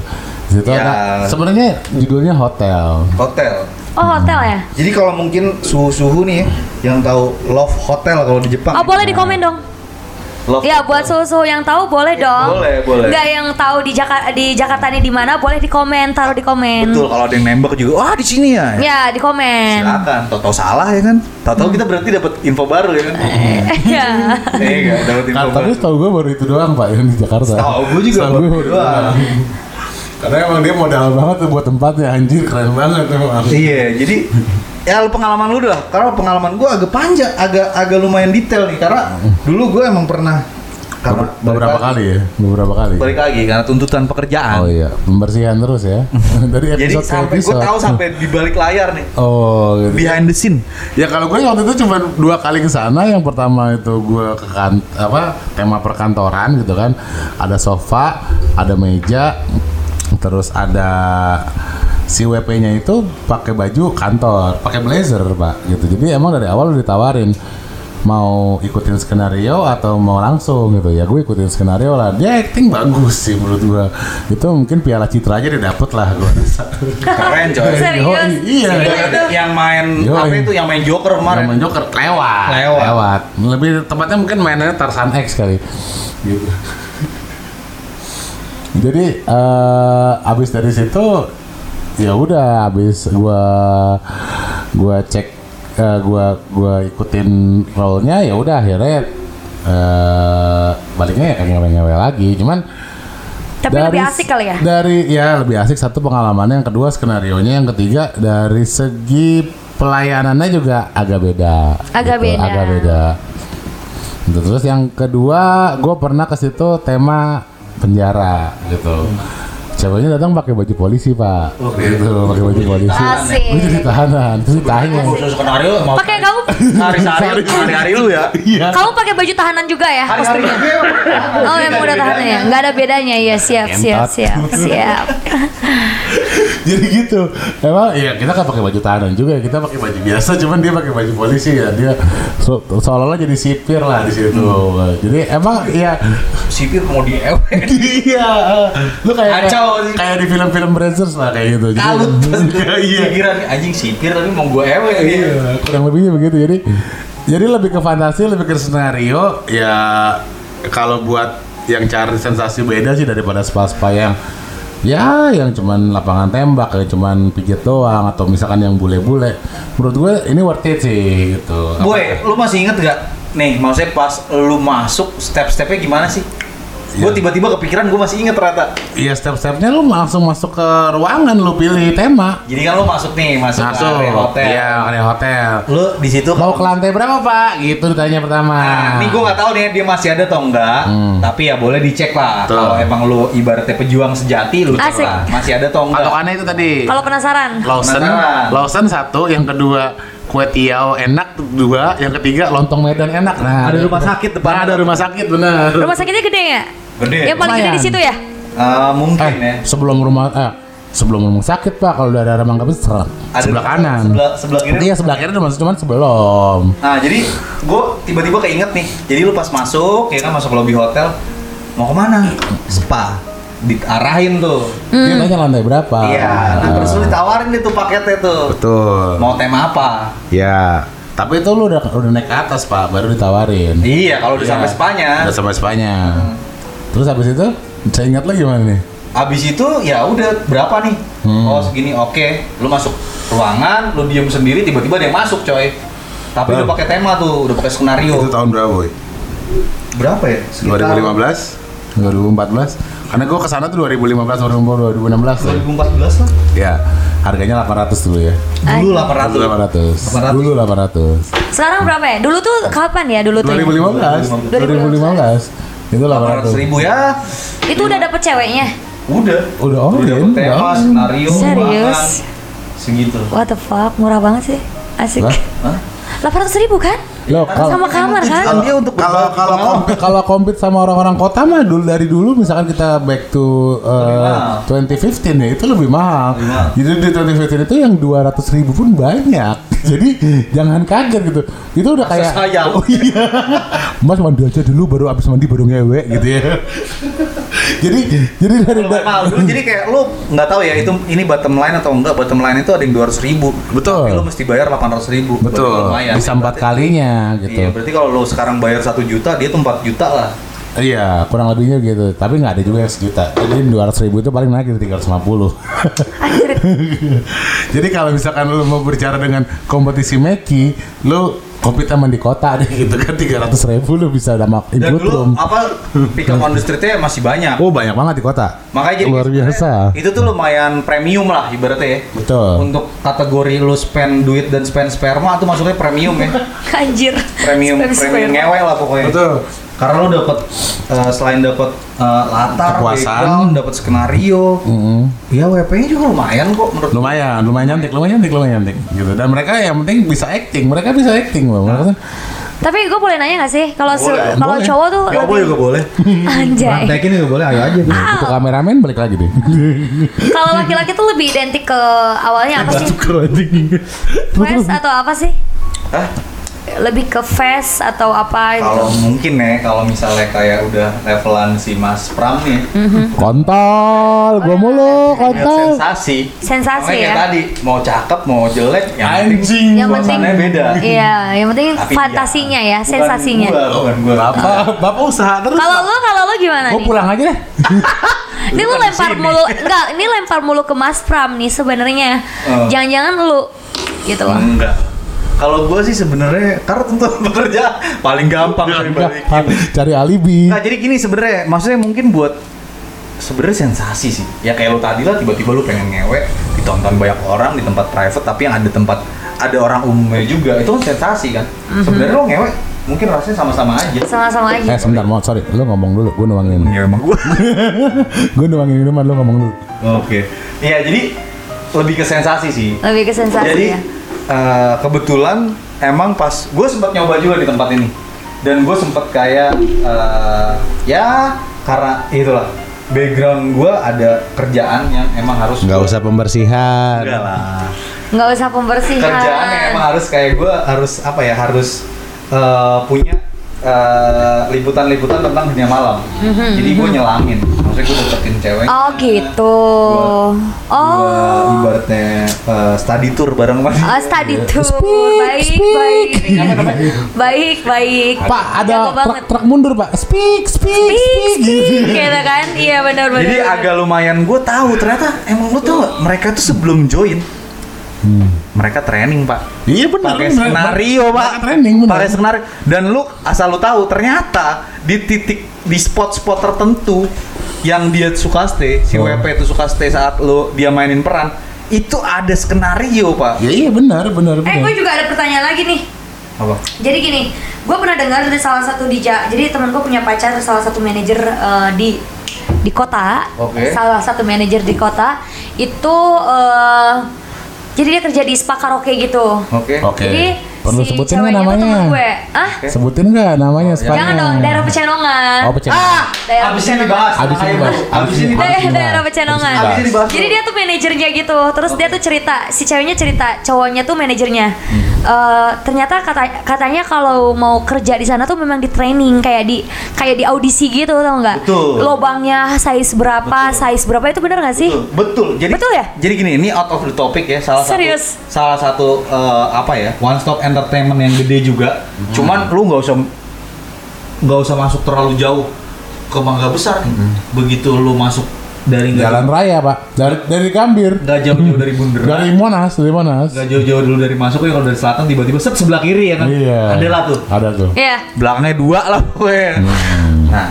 Speaker 5: Di situ
Speaker 4: Ya.
Speaker 5: ada sebenarnya judulnya hotel.
Speaker 4: Hotel.
Speaker 2: Oh, hotel ya?
Speaker 4: Jadi kalau mungkin suhu-suhu nih ya, yang tahu love hotel kalau di Jepang.
Speaker 2: Oh, boleh di komen dong.
Speaker 4: Love
Speaker 2: Ya, buat suhu-suhu yang tahu boleh dong.
Speaker 4: Iya, boleh, boleh.
Speaker 2: Nggak yang tahu di Jakarta di Jakarta ini di mana boleh di komen, taruh di komen.
Speaker 4: Betul kalau ada yang nembak juga. Wah, di sini ya.
Speaker 2: Ya, di komen.
Speaker 4: Silakan. Tahu-tahu salah ya kan? Tahu-tahu kita berarti dapat info baru ya kan?
Speaker 2: [LAUGHS] Ya.
Speaker 4: Iya, enggak dapat info
Speaker 5: Nah,
Speaker 4: baru.
Speaker 5: tapi setahu gue baru itu doang pak yang di Jakarta.
Speaker 4: Tahu gue juga
Speaker 5: Setahu
Speaker 4: baru
Speaker 5: gua baru
Speaker 4: itu doang.
Speaker 5: doang. Karena emang dia modal banget tuh buat tempatnya anjir keren banget emang.
Speaker 4: Iya, jadi ya lu pengalaman lu dah. Karena pengalaman gua agak panjang, agak agak lumayan detail nih karena dulu gua emang pernah karena
Speaker 5: Beber- beberapa
Speaker 4: balik
Speaker 5: kali ya, beberapa kali.
Speaker 4: lagi- Balik lagi karena tuntutan pekerjaan.
Speaker 5: Oh iya, pembersihan terus ya. [LAUGHS] Dari
Speaker 4: Jadi
Speaker 5: episode ke
Speaker 4: sampai gua
Speaker 5: episode.
Speaker 4: tahu sampai di balik layar nih.
Speaker 5: Oh, gitu.
Speaker 4: Behind the scene.
Speaker 5: Ya kalau gue waktu itu cuma dua kali ke sana. Yang pertama itu gue ke kan, apa tema perkantoran gitu kan. Ada sofa, ada meja, terus ada si WP-nya itu pakai baju kantor, pakai blazer, Pak, gitu. Jadi emang dari awal udah ditawarin mau ikutin skenario atau mau langsung gitu ya gue ikutin skenario lah dia acting bagus sih menurut gua itu mungkin piala citra aja dia dapet lah gua rasa
Speaker 4: Keren coy.
Speaker 2: Serius?
Speaker 5: Yoi, iya
Speaker 4: yang main
Speaker 5: Yoi.
Speaker 4: apa itu yang main Joker
Speaker 5: Yang main
Speaker 4: kemarin?
Speaker 5: Joker lewat.
Speaker 4: Lewat.
Speaker 5: Lebih tepatnya mungkin mainannya Tarsan X kali. Gitu. Jadi eh abis dari situ ya udah abis gua gua cek eh, gua gua ikutin role-nya ya udah akhirnya eh baliknya ya kayak ngewe-ngewe lagi cuman
Speaker 2: Tapi lebih asik kali ya?
Speaker 5: dari ya lebih asik satu pengalamannya yang kedua skenario nya yang ketiga dari segi pelayanannya juga agak beda
Speaker 2: Agak beda.
Speaker 5: agak beda Gitu. terus yang kedua gue pernah ke situ tema penjara gitu ceweknya datang pakai baju polisi pak gitu pakai baju polisi
Speaker 2: Asik.
Speaker 5: gue jadi tahanan terus ditanya
Speaker 4: Khusus skenario mau
Speaker 2: Pakai kamu
Speaker 4: hari-hari hari-hari lu ya.
Speaker 5: iya
Speaker 2: kamu pakai baju tahanan juga ya?
Speaker 4: Hari-hari.
Speaker 2: Oh emang udah tahanan ya? Nggak ada bedanya ya siap siap
Speaker 5: Entot.
Speaker 2: siap siap.
Speaker 5: jadi gitu emang ya kita kan pakai baju tahanan juga kita pakai baju biasa cuman dia pakai baju polisi ya dia so, seolah-olah jadi sipir lah di situ
Speaker 4: Hmm.
Speaker 5: jadi emang
Speaker 4: [LAUGHS]
Speaker 5: ya
Speaker 4: Sipir mau di
Speaker 5: iya lu kayak
Speaker 4: Kacau sih.
Speaker 5: kayak di film-film Brazzers lah kayak gitu Jadi-
Speaker 4: kalut
Speaker 5: [LAUGHS] iya
Speaker 4: pikiran anjing sipir tapi mau gue ewe gitu.
Speaker 5: Iya, kurang lebihnya begitu. Jadi jadi lebih ke fantasi, lebih ke skenario. Ya kalau buat yang cari sensasi beda sih daripada spa-spa yang ya yang cuman lapangan tembak, yang cuman pijat doang atau misalkan yang bule-bule. Menurut gue ini worth it sih gitu.
Speaker 4: Boy, lu masih inget gak? Nih, maksudnya pas lu masuk step-stepnya gimana sih? Gue tiba-tiba kepikiran gue masih inget ternyata.
Speaker 5: Iya step-stepnya lu langsung masuk ke ruangan, lu pilih tema.
Speaker 4: Jadi kan lu masuk nih, masuk, ke
Speaker 5: Masuk,
Speaker 4: area hotel.
Speaker 5: iya area hotel.
Speaker 4: Lu di situ
Speaker 5: Mau ke lantai berapa pak? Gitu ditanya pertama.
Speaker 4: Nah, ini gue nggak tahu nih dia masih ada atau enggak,
Speaker 5: Hmm.
Speaker 4: tapi ya boleh dicek lah.
Speaker 5: Betul.
Speaker 4: Kalau emang lu ibaratnya pejuang sejati, lu cek
Speaker 2: Asik.
Speaker 4: lah masih ada atau enggak.
Speaker 5: Patokannya itu tadi.
Speaker 4: Iya.
Speaker 2: Kalau penasaran,
Speaker 5: Lawson,
Speaker 4: Penasaran.
Speaker 5: Lawson satu, yang kedua kue tiao enak dua, yang ketiga lontong Medan enak. Nah,
Speaker 4: Ada rumah sakit depan.
Speaker 5: Nah, ada rumah sakit benar.
Speaker 2: rumah sakitnya gede nggak?
Speaker 4: Gede.
Speaker 2: Yang paling gede di
Speaker 5: Lumayan.
Speaker 2: situ ya?
Speaker 4: Eh, mungkin
Speaker 5: eh, sebelum rumah eh sebelum rumah sakit pak kalau udah ada rumah nggak besar
Speaker 4: Ada
Speaker 5: sebelah
Speaker 4: rumah-
Speaker 5: kanan.
Speaker 4: sebelah- sebelah kiri.
Speaker 5: Iya sebelah kiri rumah cuman sebelum.
Speaker 4: ya. Nah, jadi gue tiba-tiba keinget nih. Jadi lu pas masuk, ya kan masuk lobby hotel, mau kemana? Spa. Diarahin tuh.
Speaker 5: Dia tanya lantai berapa.
Speaker 4: Iya. Nah, terus lu ditawarin deh tuh paketnya tuh.
Speaker 5: Betul.
Speaker 4: Mau tema apa?
Speaker 5: Ya. Tapi itu lu udah udah naik ke atas pak, baru ditawarin.
Speaker 4: Iya, kalau udah
Speaker 5: Iya. Hmm.
Speaker 4: sampai spanya.
Speaker 5: Udah sampai spanya. Terus habis itu, saya ingat lagi gimana nih?
Speaker 4: Abis itu ya udah berapa nih?
Speaker 5: Hmm.
Speaker 4: Oh segini oke. Lu masuk ruangan, lu diem sendiri tiba-tiba ada yang masuk coy. Tapi
Speaker 5: Bang.
Speaker 4: udah pakai tema tuh, udah pakai skenario.
Speaker 3: Itu tahun berapa, Boy?
Speaker 4: Berapa ya? Sekitar
Speaker 3: 2015?
Speaker 5: 2014 karena gue kesana tuh 2015 2016 tuh
Speaker 4: 2014 lah.
Speaker 5: ya harganya 800 dulu ya
Speaker 4: Dulu
Speaker 5: dulu
Speaker 4: 800.
Speaker 5: 800
Speaker 4: 800.
Speaker 5: dulu 800
Speaker 2: Sekarang berapa ya? Dulu tuh kapan ya dulu tuh?
Speaker 5: 2015 2015 itu
Speaker 4: 800
Speaker 5: 800
Speaker 4: ribu ya.
Speaker 2: Itu udah dapet ceweknya?
Speaker 4: Udah.
Speaker 5: Udah all
Speaker 4: Udah
Speaker 5: in,
Speaker 4: dapet tema,
Speaker 5: all in.
Speaker 4: skenario,
Speaker 2: Serius?
Speaker 4: ruangan. Segitu.
Speaker 2: What the fuck, murah banget sih, asik.
Speaker 5: Hah?
Speaker 4: Hah?
Speaker 2: 800 ribu kan?
Speaker 5: lo kalau
Speaker 2: Sama kamar kan?
Speaker 4: dia untuk
Speaker 3: Kalau
Speaker 4: berbagi
Speaker 3: kalau
Speaker 4: pengalaman.
Speaker 5: kalau compete sama orang-orang kota mah dulu dari dulu misalkan kita back to uh, 2015 ya itu lebih mahal.
Speaker 4: Lebih mahal.
Speaker 5: Jadi di 2015 itu yang 200 ribu pun banyak. [LAUGHS] Jadi jangan kaget gitu. Itu udah
Speaker 4: Masa
Speaker 5: kayak
Speaker 4: sayang.
Speaker 5: [LAUGHS] Oh iya. Mas mandi aja dulu baru abis mandi baru ngewe gitu ya. [LAUGHS] jadi jadi dari
Speaker 4: Kalau mahal dulu jadi kayak lu nggak tahu ya itu ini bottom line atau enggak bottom line itu ada yang 200 ribu
Speaker 5: Betul.
Speaker 4: tapi lu mesti bayar 800 ribu
Speaker 5: betul bisa empat kalinya gitu.
Speaker 4: Iya, berarti kalau lo sekarang bayar satu juta, dia tuh 4 juta lah.
Speaker 5: Iya, kurang lebihnya gitu. Tapi nggak ada juga yang sejuta. Jadi 200 ribu itu paling naik jadi [LAUGHS] 350.
Speaker 2: Anjir,
Speaker 4: [LAUGHS]
Speaker 5: [LAUGHS] Jadi kalau misalkan lu mau berbicara dengan kompetisi Meki, lu kompet sama di kota deh [LAUGHS] gitu kan 300 ribu lu bisa ada mak
Speaker 4: Dan dulu
Speaker 5: room.
Speaker 4: apa pick up on the street-nya masih banyak.
Speaker 5: Oh banyak banget di kota.
Speaker 4: Makanya jadi
Speaker 5: luar biasa.
Speaker 4: itu tuh lumayan premium lah ibaratnya ya.
Speaker 5: Betul.
Speaker 4: Untuk kategori lu spend duit dan spend sperma tuh masuknya premium ya.
Speaker 2: [LAUGHS] anjir.
Speaker 4: Premium
Speaker 2: Spend sperma.
Speaker 4: premium ngewe lah pokoknya.
Speaker 5: Betul.
Speaker 4: Karena lu dapat eh, selain dapat eh, latar,
Speaker 5: Kepuasan.
Speaker 4: background, dapat skenario.
Speaker 5: Mm-mm.
Speaker 4: Ya WP-nya juga lumayan kok menurut gua.
Speaker 5: Lumayan, lumayan cantik, lumayan cantik, lumayan cantik gitu. Dan mereka yang penting bisa acting, mereka bisa acting loh. Mereka kan tuh-
Speaker 2: Tapi gue boleh nanya gak sih kalau se-
Speaker 5: Boleh,
Speaker 2: kalau
Speaker 5: boleh.
Speaker 2: cowok tuh
Speaker 4: Ya boleh
Speaker 2: lebih
Speaker 4: juga boleh.
Speaker 2: Iya. anjay.
Speaker 4: Praktekin juga boleh, ayo aja. deh.
Speaker 5: Untuk kameramen balik lagi
Speaker 4: [LAUGHS]
Speaker 5: deh.
Speaker 2: Kalau laki-laki tuh lebih identik ke awalnya apa sih?
Speaker 5: Keren.
Speaker 2: Quest atau apa sih?
Speaker 4: Hah?
Speaker 2: lebih ke fast atau apa gitu.
Speaker 4: Kalau mungkin ya, kalau misalnya kayak udah levelan si Mas Pram nih,
Speaker 5: Kontol, gue mulu,
Speaker 4: lihat
Speaker 5: kontol.
Speaker 4: sensasi.
Speaker 2: Sensasi
Speaker 4: Makanya kayak
Speaker 2: ya?
Speaker 4: tadi, mau cakep, mau jelek, yang penting
Speaker 2: Yang penting
Speaker 4: suasananya beda.
Speaker 2: Iya, yang penting
Speaker 4: Tapi iya.
Speaker 2: fantasinya ya,
Speaker 4: Bukan
Speaker 2: sensasinya.
Speaker 4: Gua, bukan gua. Apa?
Speaker 5: Bapak usaha terus.
Speaker 2: Kalau lu kalau lu gimana
Speaker 5: Gue
Speaker 2: nih?
Speaker 5: pulang aja deh.
Speaker 2: Ini lu lempar mulu enggak, ini lempar mulu ke Mas Pram nih sebenarnya.
Speaker 4: Oh. Hmm.
Speaker 2: Jangan-jangan lu gitu loh.
Speaker 4: Enggak. Kalau gua sih sebenarnya karena tuntutan [LAUGHS] pekerja paling gampang dari balikin.
Speaker 5: Cari alibi.
Speaker 4: Nah, jadi gini sebenarnya, maksudnya mungkin buat sebenarnya sensasi sih. Ya kayak lu tadi lah tiba-tiba lu pengen ngewe ditonton banyak orang di tempat private tapi yang ada tempat ada orang umumnya juga. Itu kan sensasi kan. Sebenarnya lu ngewe mungkin rasanya sama-sama aja.
Speaker 2: Sama-sama aja.
Speaker 5: Eh sebentar, mau sorry, lu ngomong dulu, gue nuangin.
Speaker 4: Ya emang gua.
Speaker 5: gue nuangin minuman, lu ngomong dulu.
Speaker 4: Oke. Iya, jadi lebih ke sensasi sih.
Speaker 2: Lebih ke sensasi
Speaker 4: Jadi
Speaker 2: ya.
Speaker 4: eh, kebetulan emang pas gue sempat nyoba juga di tempat ini dan gue sempat kayak eh, ya karena itulah background gue ada kerjaan yang emang harus
Speaker 5: Gak
Speaker 4: gua-
Speaker 5: usah pembersihan.
Speaker 4: Enggak lah
Speaker 2: Enggak usah pembersihan.
Speaker 4: kerjaan ya, yang emang harus kayak gue harus apa ya harus eh, punya eh, liputan-liputan tentang dunia malam jadi gue nyelamin maksudnya gue deketin cewek
Speaker 2: Mhm, Oh gitu.
Speaker 4: Gua
Speaker 2: Oh.
Speaker 4: ibaratnya eh, study tour bareng
Speaker 2: Ah, study
Speaker 4: Iya.
Speaker 2: tour. Baik, baik. Baik, baik.
Speaker 5: Pak,
Speaker 2: Jago
Speaker 5: ada
Speaker 2: banget.
Speaker 5: truk, truk mundur, Pak. Speak, speak, speak.
Speaker 2: Pik, pik, gitu kan? Iya benar benar.
Speaker 4: Jadi agak lumayan gue tahu ternyata emang lu tau gak mereka tuh sebelum join Hmm. mereka training pak
Speaker 5: Iya benar.
Speaker 4: pakai skenario pak
Speaker 5: Training benar.
Speaker 4: pakai skenario dan lu asal lu tahu ternyata di titik di spot-spot tertentu yang dia suka stay si
Speaker 5: Oh.
Speaker 4: WP itu suka stay saat lu dia mainin peran itu ada skenario pak
Speaker 5: Ya iya benar, benar,
Speaker 2: Eh,
Speaker 5: benar.
Speaker 2: gue juga ada pertanyaan lagi nih.
Speaker 4: apa
Speaker 2: Jadi gini, gue pernah dengar dari salah satu dija. Jadi temen gue punya pacar salah satu manajer eh, di di kota.
Speaker 4: Oke.
Speaker 2: Salah satu manajer di kota itu eh, jadi dia kerja di spa karaoke gitu.
Speaker 4: oke
Speaker 5: Oke.
Speaker 2: Jadi
Speaker 5: Perlu sebutin nggak
Speaker 2: ceweknya tuh
Speaker 5: namanya?
Speaker 2: temen gue. Ah,
Speaker 5: Sebutin nggak namanya spanya?
Speaker 2: jangan dong, daerah Pecenongan.
Speaker 5: Oh, Pecenongan.
Speaker 2: Ah, daerah
Speaker 4: abis ini
Speaker 2: Pecenongan.
Speaker 4: dibahas
Speaker 5: Abis ini
Speaker 4: Ayo,
Speaker 5: bahas.
Speaker 4: Bu. abis ini
Speaker 5: Abis
Speaker 4: bahas.
Speaker 2: Daerah,
Speaker 5: ini
Speaker 2: daerah
Speaker 5: bahas.
Speaker 2: Pecenongan.
Speaker 5: Abis
Speaker 4: ini bahas.
Speaker 2: Jadi dia tuh manajernya gitu. Terus dia tuh cerita, si ceweknya cerita, cowoknya tuh manajernya. Eh ternyata kata katanya kalau mau kerja di sana tuh memang di training kayak di kayak di audisi gitu tau nggak?
Speaker 4: Betul.
Speaker 2: Lobangnya size berapa, size berapa itu bener nggak sih?
Speaker 4: Betul, betul. Jadi
Speaker 2: Betul ya?
Speaker 4: Jadi gini, ini out of the topic ya, salah
Speaker 2: Serius?
Speaker 4: satu salah satu eh, apa ya? One stop entertainment yang gede juga.
Speaker 5: Hmm.
Speaker 4: Cuman lu nggak usah nggak usah masuk terlalu jauh ke Mangga Besar. Begitu lu masuk dari nggak-
Speaker 5: Hmm. Jalan raya, Pak. Dari dari Gambir.
Speaker 4: nggak jauh-jauh dari Bundaran.
Speaker 5: Dari Monas, dari Monas.
Speaker 4: Nggak jauh-jauh dulu dari masuk ya kalau dari selatan tiba-tiba set sebelah kiri ya kan?
Speaker 5: Iya.
Speaker 4: Ada lah tuh.
Speaker 5: Ada tuh.
Speaker 2: Iya.
Speaker 4: Belakangnya dua lah pokoknya.
Speaker 5: Hmm.
Speaker 4: Nah,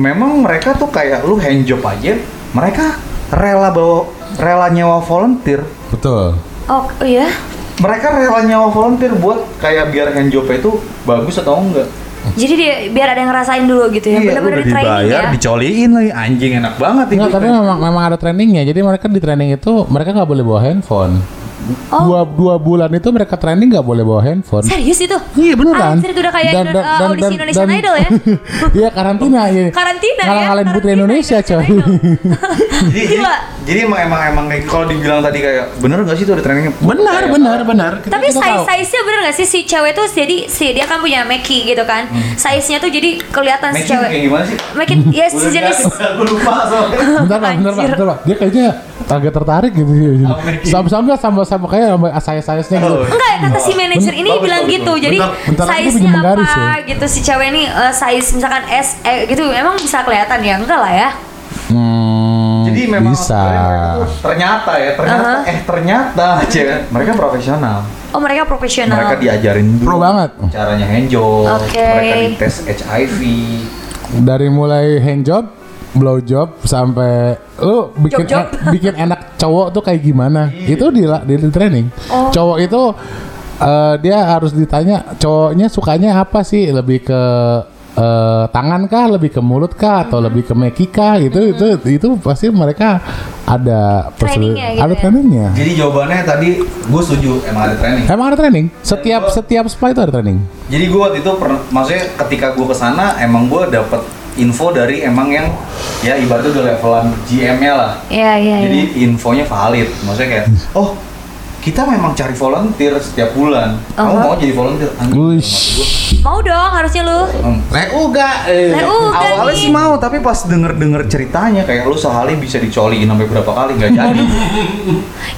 Speaker 4: memang mereka tuh kayak lu hand job aja, mereka rela bawa rela nyewa volunteer
Speaker 5: Betul.
Speaker 2: Oh iya.
Speaker 4: mereka rela nyawa volunteer buat kayak biar hand job itu bagus atau enggak
Speaker 2: Jadi dia biar ada yang ngerasain dulu gitu ya. Bener-bener di training ya.
Speaker 4: Iya, dicoliin lagi anjing enak banget
Speaker 5: Enggak, tapi memang, memang ada trainingnya. Jadi mereka di training itu mereka nggak boleh bawa handphone.
Speaker 2: Oh.
Speaker 5: Dua, dua bulan itu mereka training nggak boleh bawa handphone.
Speaker 2: Serius itu?
Speaker 5: Iya beneran.
Speaker 2: Anjir itu udah kayak Indo- eh, audisi Indonesian
Speaker 5: dan-
Speaker 2: Idol ya.
Speaker 5: [LAUGHS] Iya karantina ya.
Speaker 2: Karantina ya.
Speaker 5: Ngalah-ngalahin putri
Speaker 2: karantina gitu.
Speaker 5: Indonesia
Speaker 2: [LAUGHS]
Speaker 5: coy.
Speaker 4: jadi, jadi,
Speaker 2: Gila.
Speaker 4: jadi emang emang emang kayak kalau dibilang tadi kayak bener nggak sih itu ada trainingnya
Speaker 5: benar, benar, benar. Kita-
Speaker 2: Tapi
Speaker 5: kita tahu.
Speaker 2: size size nya bener gak sih si cewek tuh jadi si dia kan punya meki gitu kan. Size nya tuh jadi kelihatan si
Speaker 4: matching kayak
Speaker 2: cewek.
Speaker 4: gimana sih
Speaker 2: Meki ya sejenis
Speaker 4: [LAUGHS] aku lupa soalnya
Speaker 5: Bentar pak, bentar pak,
Speaker 2: Anjir.
Speaker 5: bentar pak. Dia kayaknya agak tertarik gitu. gitu.
Speaker 4: Sama Maggie.
Speaker 5: Sama-sama sama-sama kayak sama size-size-nya gitu.
Speaker 4: Oh.
Speaker 2: Enggak, kata si manajer ini
Speaker 4: Bagus,
Speaker 2: bilang
Speaker 4: bagus,
Speaker 2: gitu.
Speaker 4: bagus.
Speaker 2: Jadi
Speaker 5: Bentar, bentar lagi dia
Speaker 2: size-nya
Speaker 5: pinjam
Speaker 2: apa
Speaker 5: garis ya.
Speaker 2: gitu si cewek ini eh, size misalkan S eh, gitu emang bisa kelihatan ya? Enggak lah ya.
Speaker 5: Hmm,
Speaker 4: jadi memang
Speaker 5: bisa.
Speaker 4: sebenarnya mereka tuh ternyata ya ternyata
Speaker 2: Uh-huh.
Speaker 4: eh ternyata aja kan mereka profesional
Speaker 2: Oh, mereka profesional.
Speaker 4: mereka diajarin dulu
Speaker 5: Pro banget.
Speaker 4: caranya hand job
Speaker 2: Oke.
Speaker 4: mereka dites HIV
Speaker 5: Dari mulai hand job, blow job sampai lu bikin
Speaker 2: Job-job.
Speaker 5: en- bikin enak cowok tuh kayak gimana? Itu di la- di, di training.
Speaker 2: Oh.
Speaker 5: Cowok itu eh, dia harus ditanya cowoknya sukanya apa sih? Lebih ke eh, tangan kah, lebih ke mulut kah, atau lebih ke meki kah? Itu itu itu pasti mereka ada persu-
Speaker 2: Trainingnya gitu
Speaker 5: ada
Speaker 2: ya?
Speaker 5: trainingnya.
Speaker 4: jadi jawabannya tadi gue setuju emang ada training
Speaker 5: Emang ada training? Setiap
Speaker 4: gua-
Speaker 5: setiap spa itu ada training.
Speaker 4: Jadi gue waktu itu pernah, maksudnya ketika gue kesana emang gue dapet info dari emang yang ya ibaratnya udah levelan GM-nya lah.
Speaker 2: Iya, Hmm. iya, iya.
Speaker 4: Jadi infonya valid, maksudnya kayak oh ki- kita memang cari volunteer setiap bulan. Kamu
Speaker 2: Uh-huh.
Speaker 4: mau jadi volunteer? Anjing, maksud gua.
Speaker 2: Mau dong harusnya lu.
Speaker 4: Hmm.
Speaker 6: Lek uga. eh.
Speaker 2: Lah, uh,
Speaker 4: Awalnya
Speaker 2: Gani.
Speaker 4: sih mau, tapi pas denger-denger ceritanya kayak lu sehari bisa dicoliin sampai berapa kali nggak jadi.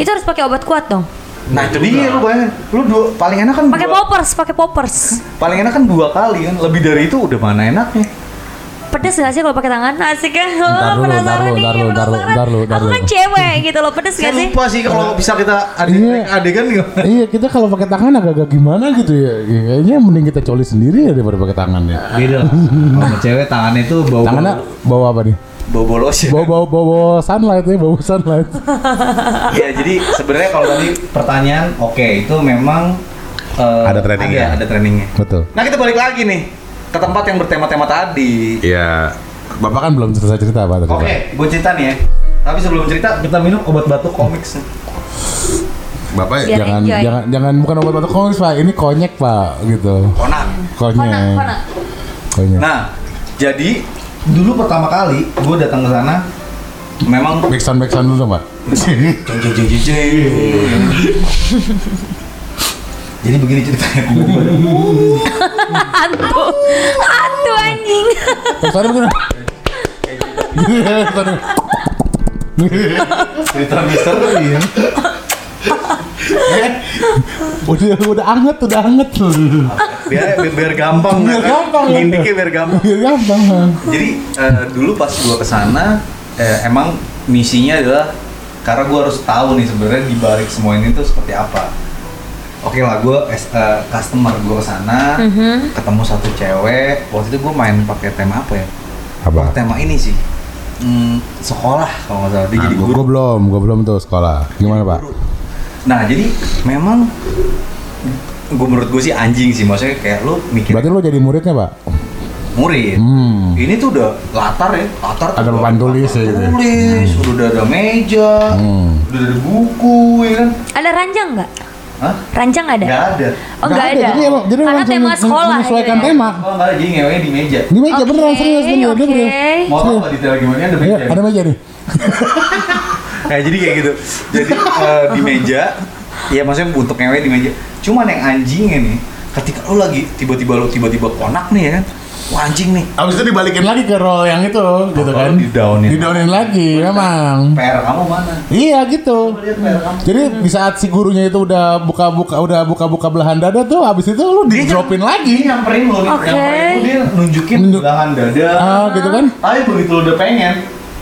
Speaker 2: Itu harus pakai obat kuat dong.
Speaker 4: nah itu dia lu bayangin, lu dua paling enak kan
Speaker 2: Pakai
Speaker 4: dua-
Speaker 2: poppers, pakai poppers.
Speaker 4: paling enak kan dua kali kan, lebih dari itu udah mana enaknya?
Speaker 2: Pedes gak sih kalau pakai tangan? Asik kan? Oh,
Speaker 5: Ntar dulu,
Speaker 2: penasaran
Speaker 5: ntar
Speaker 2: nih,
Speaker 5: dulu, ntar dulu,
Speaker 2: penasaran.
Speaker 5: ntar dulu, ntar
Speaker 2: Aku kan
Speaker 5: dulu.
Speaker 2: cewek gitu loh, pedes
Speaker 4: Saya
Speaker 2: gak sih?
Speaker 4: lupa sih kalau bisa kita
Speaker 5: Iya.
Speaker 4: adegan adegan gimana?
Speaker 5: Iya kita kalau pakai tangan agak-agak gimana gitu ya Kayaknya mending kita coli sendiri ya daripada pakai tangan ya
Speaker 4: Beda lah. Kalau cewek tangannya itu bau
Speaker 5: Tangannya bawa apa nih?
Speaker 4: bau bolos ya.
Speaker 5: Bawa bawa bawa, bawa sunlight ya, bawa sunlight
Speaker 4: Iya, jadi sebenarnya kalau tadi pertanyaan, oke itu memang eh,
Speaker 7: Ada trainingnya.
Speaker 4: Ada, ada trainingnya.
Speaker 5: Betul
Speaker 4: Nah kita balik lagi nih ke tempat yang bertema-tema tadi.
Speaker 7: Iya.
Speaker 5: Bapak kan belum selesai cerita apa tadi
Speaker 4: Oke,
Speaker 5: Pak?
Speaker 4: gue cerita nih ya. Tapi sebelum cerita kita minum obat batuk komiks.
Speaker 7: Bapak
Speaker 2: Biar
Speaker 5: Jangan,
Speaker 2: enjoy.
Speaker 5: jangan, jangan bukan obat batuk komis pak, ini konyek pak gitu
Speaker 4: Konak.
Speaker 5: Konyek,
Speaker 2: Kona, kona.
Speaker 5: konyek
Speaker 4: Nah, jadi dulu pertama kali gue datang ke sana memang
Speaker 5: [LAUGHS] Back sound, back sound dulu dong pak
Speaker 4: jadi begini ceritanya
Speaker 2: Hantu, hantu anjing.
Speaker 5: Back sound begini Back sound.
Speaker 4: cerita misteri ya.
Speaker 5: [LAUGHS] Udah, udah anget, udah anget
Speaker 4: biar biar, biar gampang
Speaker 5: Biar
Speaker 4: kan?
Speaker 5: gampang, ya.
Speaker 4: Ngindiknya biar gampang
Speaker 5: Iya gampang Pak.
Speaker 4: jadi eh, dulu pas gua kesana eh, emang misinya adalah karena gua harus tahu nih sebenarnya di balik semua ini tuh seperti apa oke lah gua as a customer gua kesana
Speaker 2: Mhm.
Speaker 4: ketemu satu cewek waktu itu gua main pakai tema apa ya
Speaker 5: Apa?
Speaker 4: tema ini sih Hmm, sekolah kalau nggak salah dia jadi
Speaker 5: Nah, Gua-
Speaker 4: guru
Speaker 5: gua belum, gua belum tuh sekolah Gimana pak?
Speaker 4: nah jadi memang gua menurut gue sih anjing sih maksudnya kayak lu mikir
Speaker 5: Berarti lo jadi muridnya pak?
Speaker 4: murid
Speaker 5: Hmm.
Speaker 4: ini tuh udah latar ya latar tuh
Speaker 5: Ada
Speaker 4: udah
Speaker 5: papan
Speaker 4: latar
Speaker 5: tulis ya gitu ya.
Speaker 4: tulis udah ada meja
Speaker 5: Hmm.
Speaker 4: udah ada buku ya kan
Speaker 2: Ada ranjang nggak?
Speaker 4: Hah?
Speaker 2: Ranjang ada?
Speaker 4: nggak ada
Speaker 2: Oh nggak ada.
Speaker 5: Jadi emang, jadi
Speaker 2: Karena
Speaker 5: langsung
Speaker 2: tema
Speaker 5: men-
Speaker 2: sekolah.
Speaker 5: menyesuaikan
Speaker 2: akhirnya.
Speaker 5: tema.
Speaker 4: oh nggak ada jadi ngeweknya di meja
Speaker 5: Ini meja beneran
Speaker 2: Oke,
Speaker 5: serius beneran dia
Speaker 2: oke.
Speaker 5: beneran.
Speaker 4: mau tau nggak detail gimana
Speaker 5: Iya,
Speaker 4: ada meja
Speaker 5: ada meja nih.
Speaker 4: kayak jadi kayak gitu jadi eh, di meja ya maksudnya untuk ngewe di meja cuman yang anjingnya nih ketika lu lagi tiba-tiba lu tiba-tiba konak nih ya kan wah anjing nih
Speaker 6: Abis itu dibalikin lagi ke role yang itu gitu kan.
Speaker 4: di downin
Speaker 5: Di downin lagi memang.
Speaker 4: PR kamu mana
Speaker 5: Iya gitu.
Speaker 4: lihat PR kamu
Speaker 5: Jadi di saat si gurunya itu udah buka-buka udah buka-buka belahan dada tuh habis itu lu di dropin
Speaker 4: dia
Speaker 5: lagi.
Speaker 6: Iya.
Speaker 4: nyamperin lo nih
Speaker 2: Oke.
Speaker 4: nyamperin lo, dia nunjukin
Speaker 5: Nunjuk-
Speaker 4: belahan dada
Speaker 5: Ah, gitu kan.
Speaker 4: tapi begitu lo udah pengen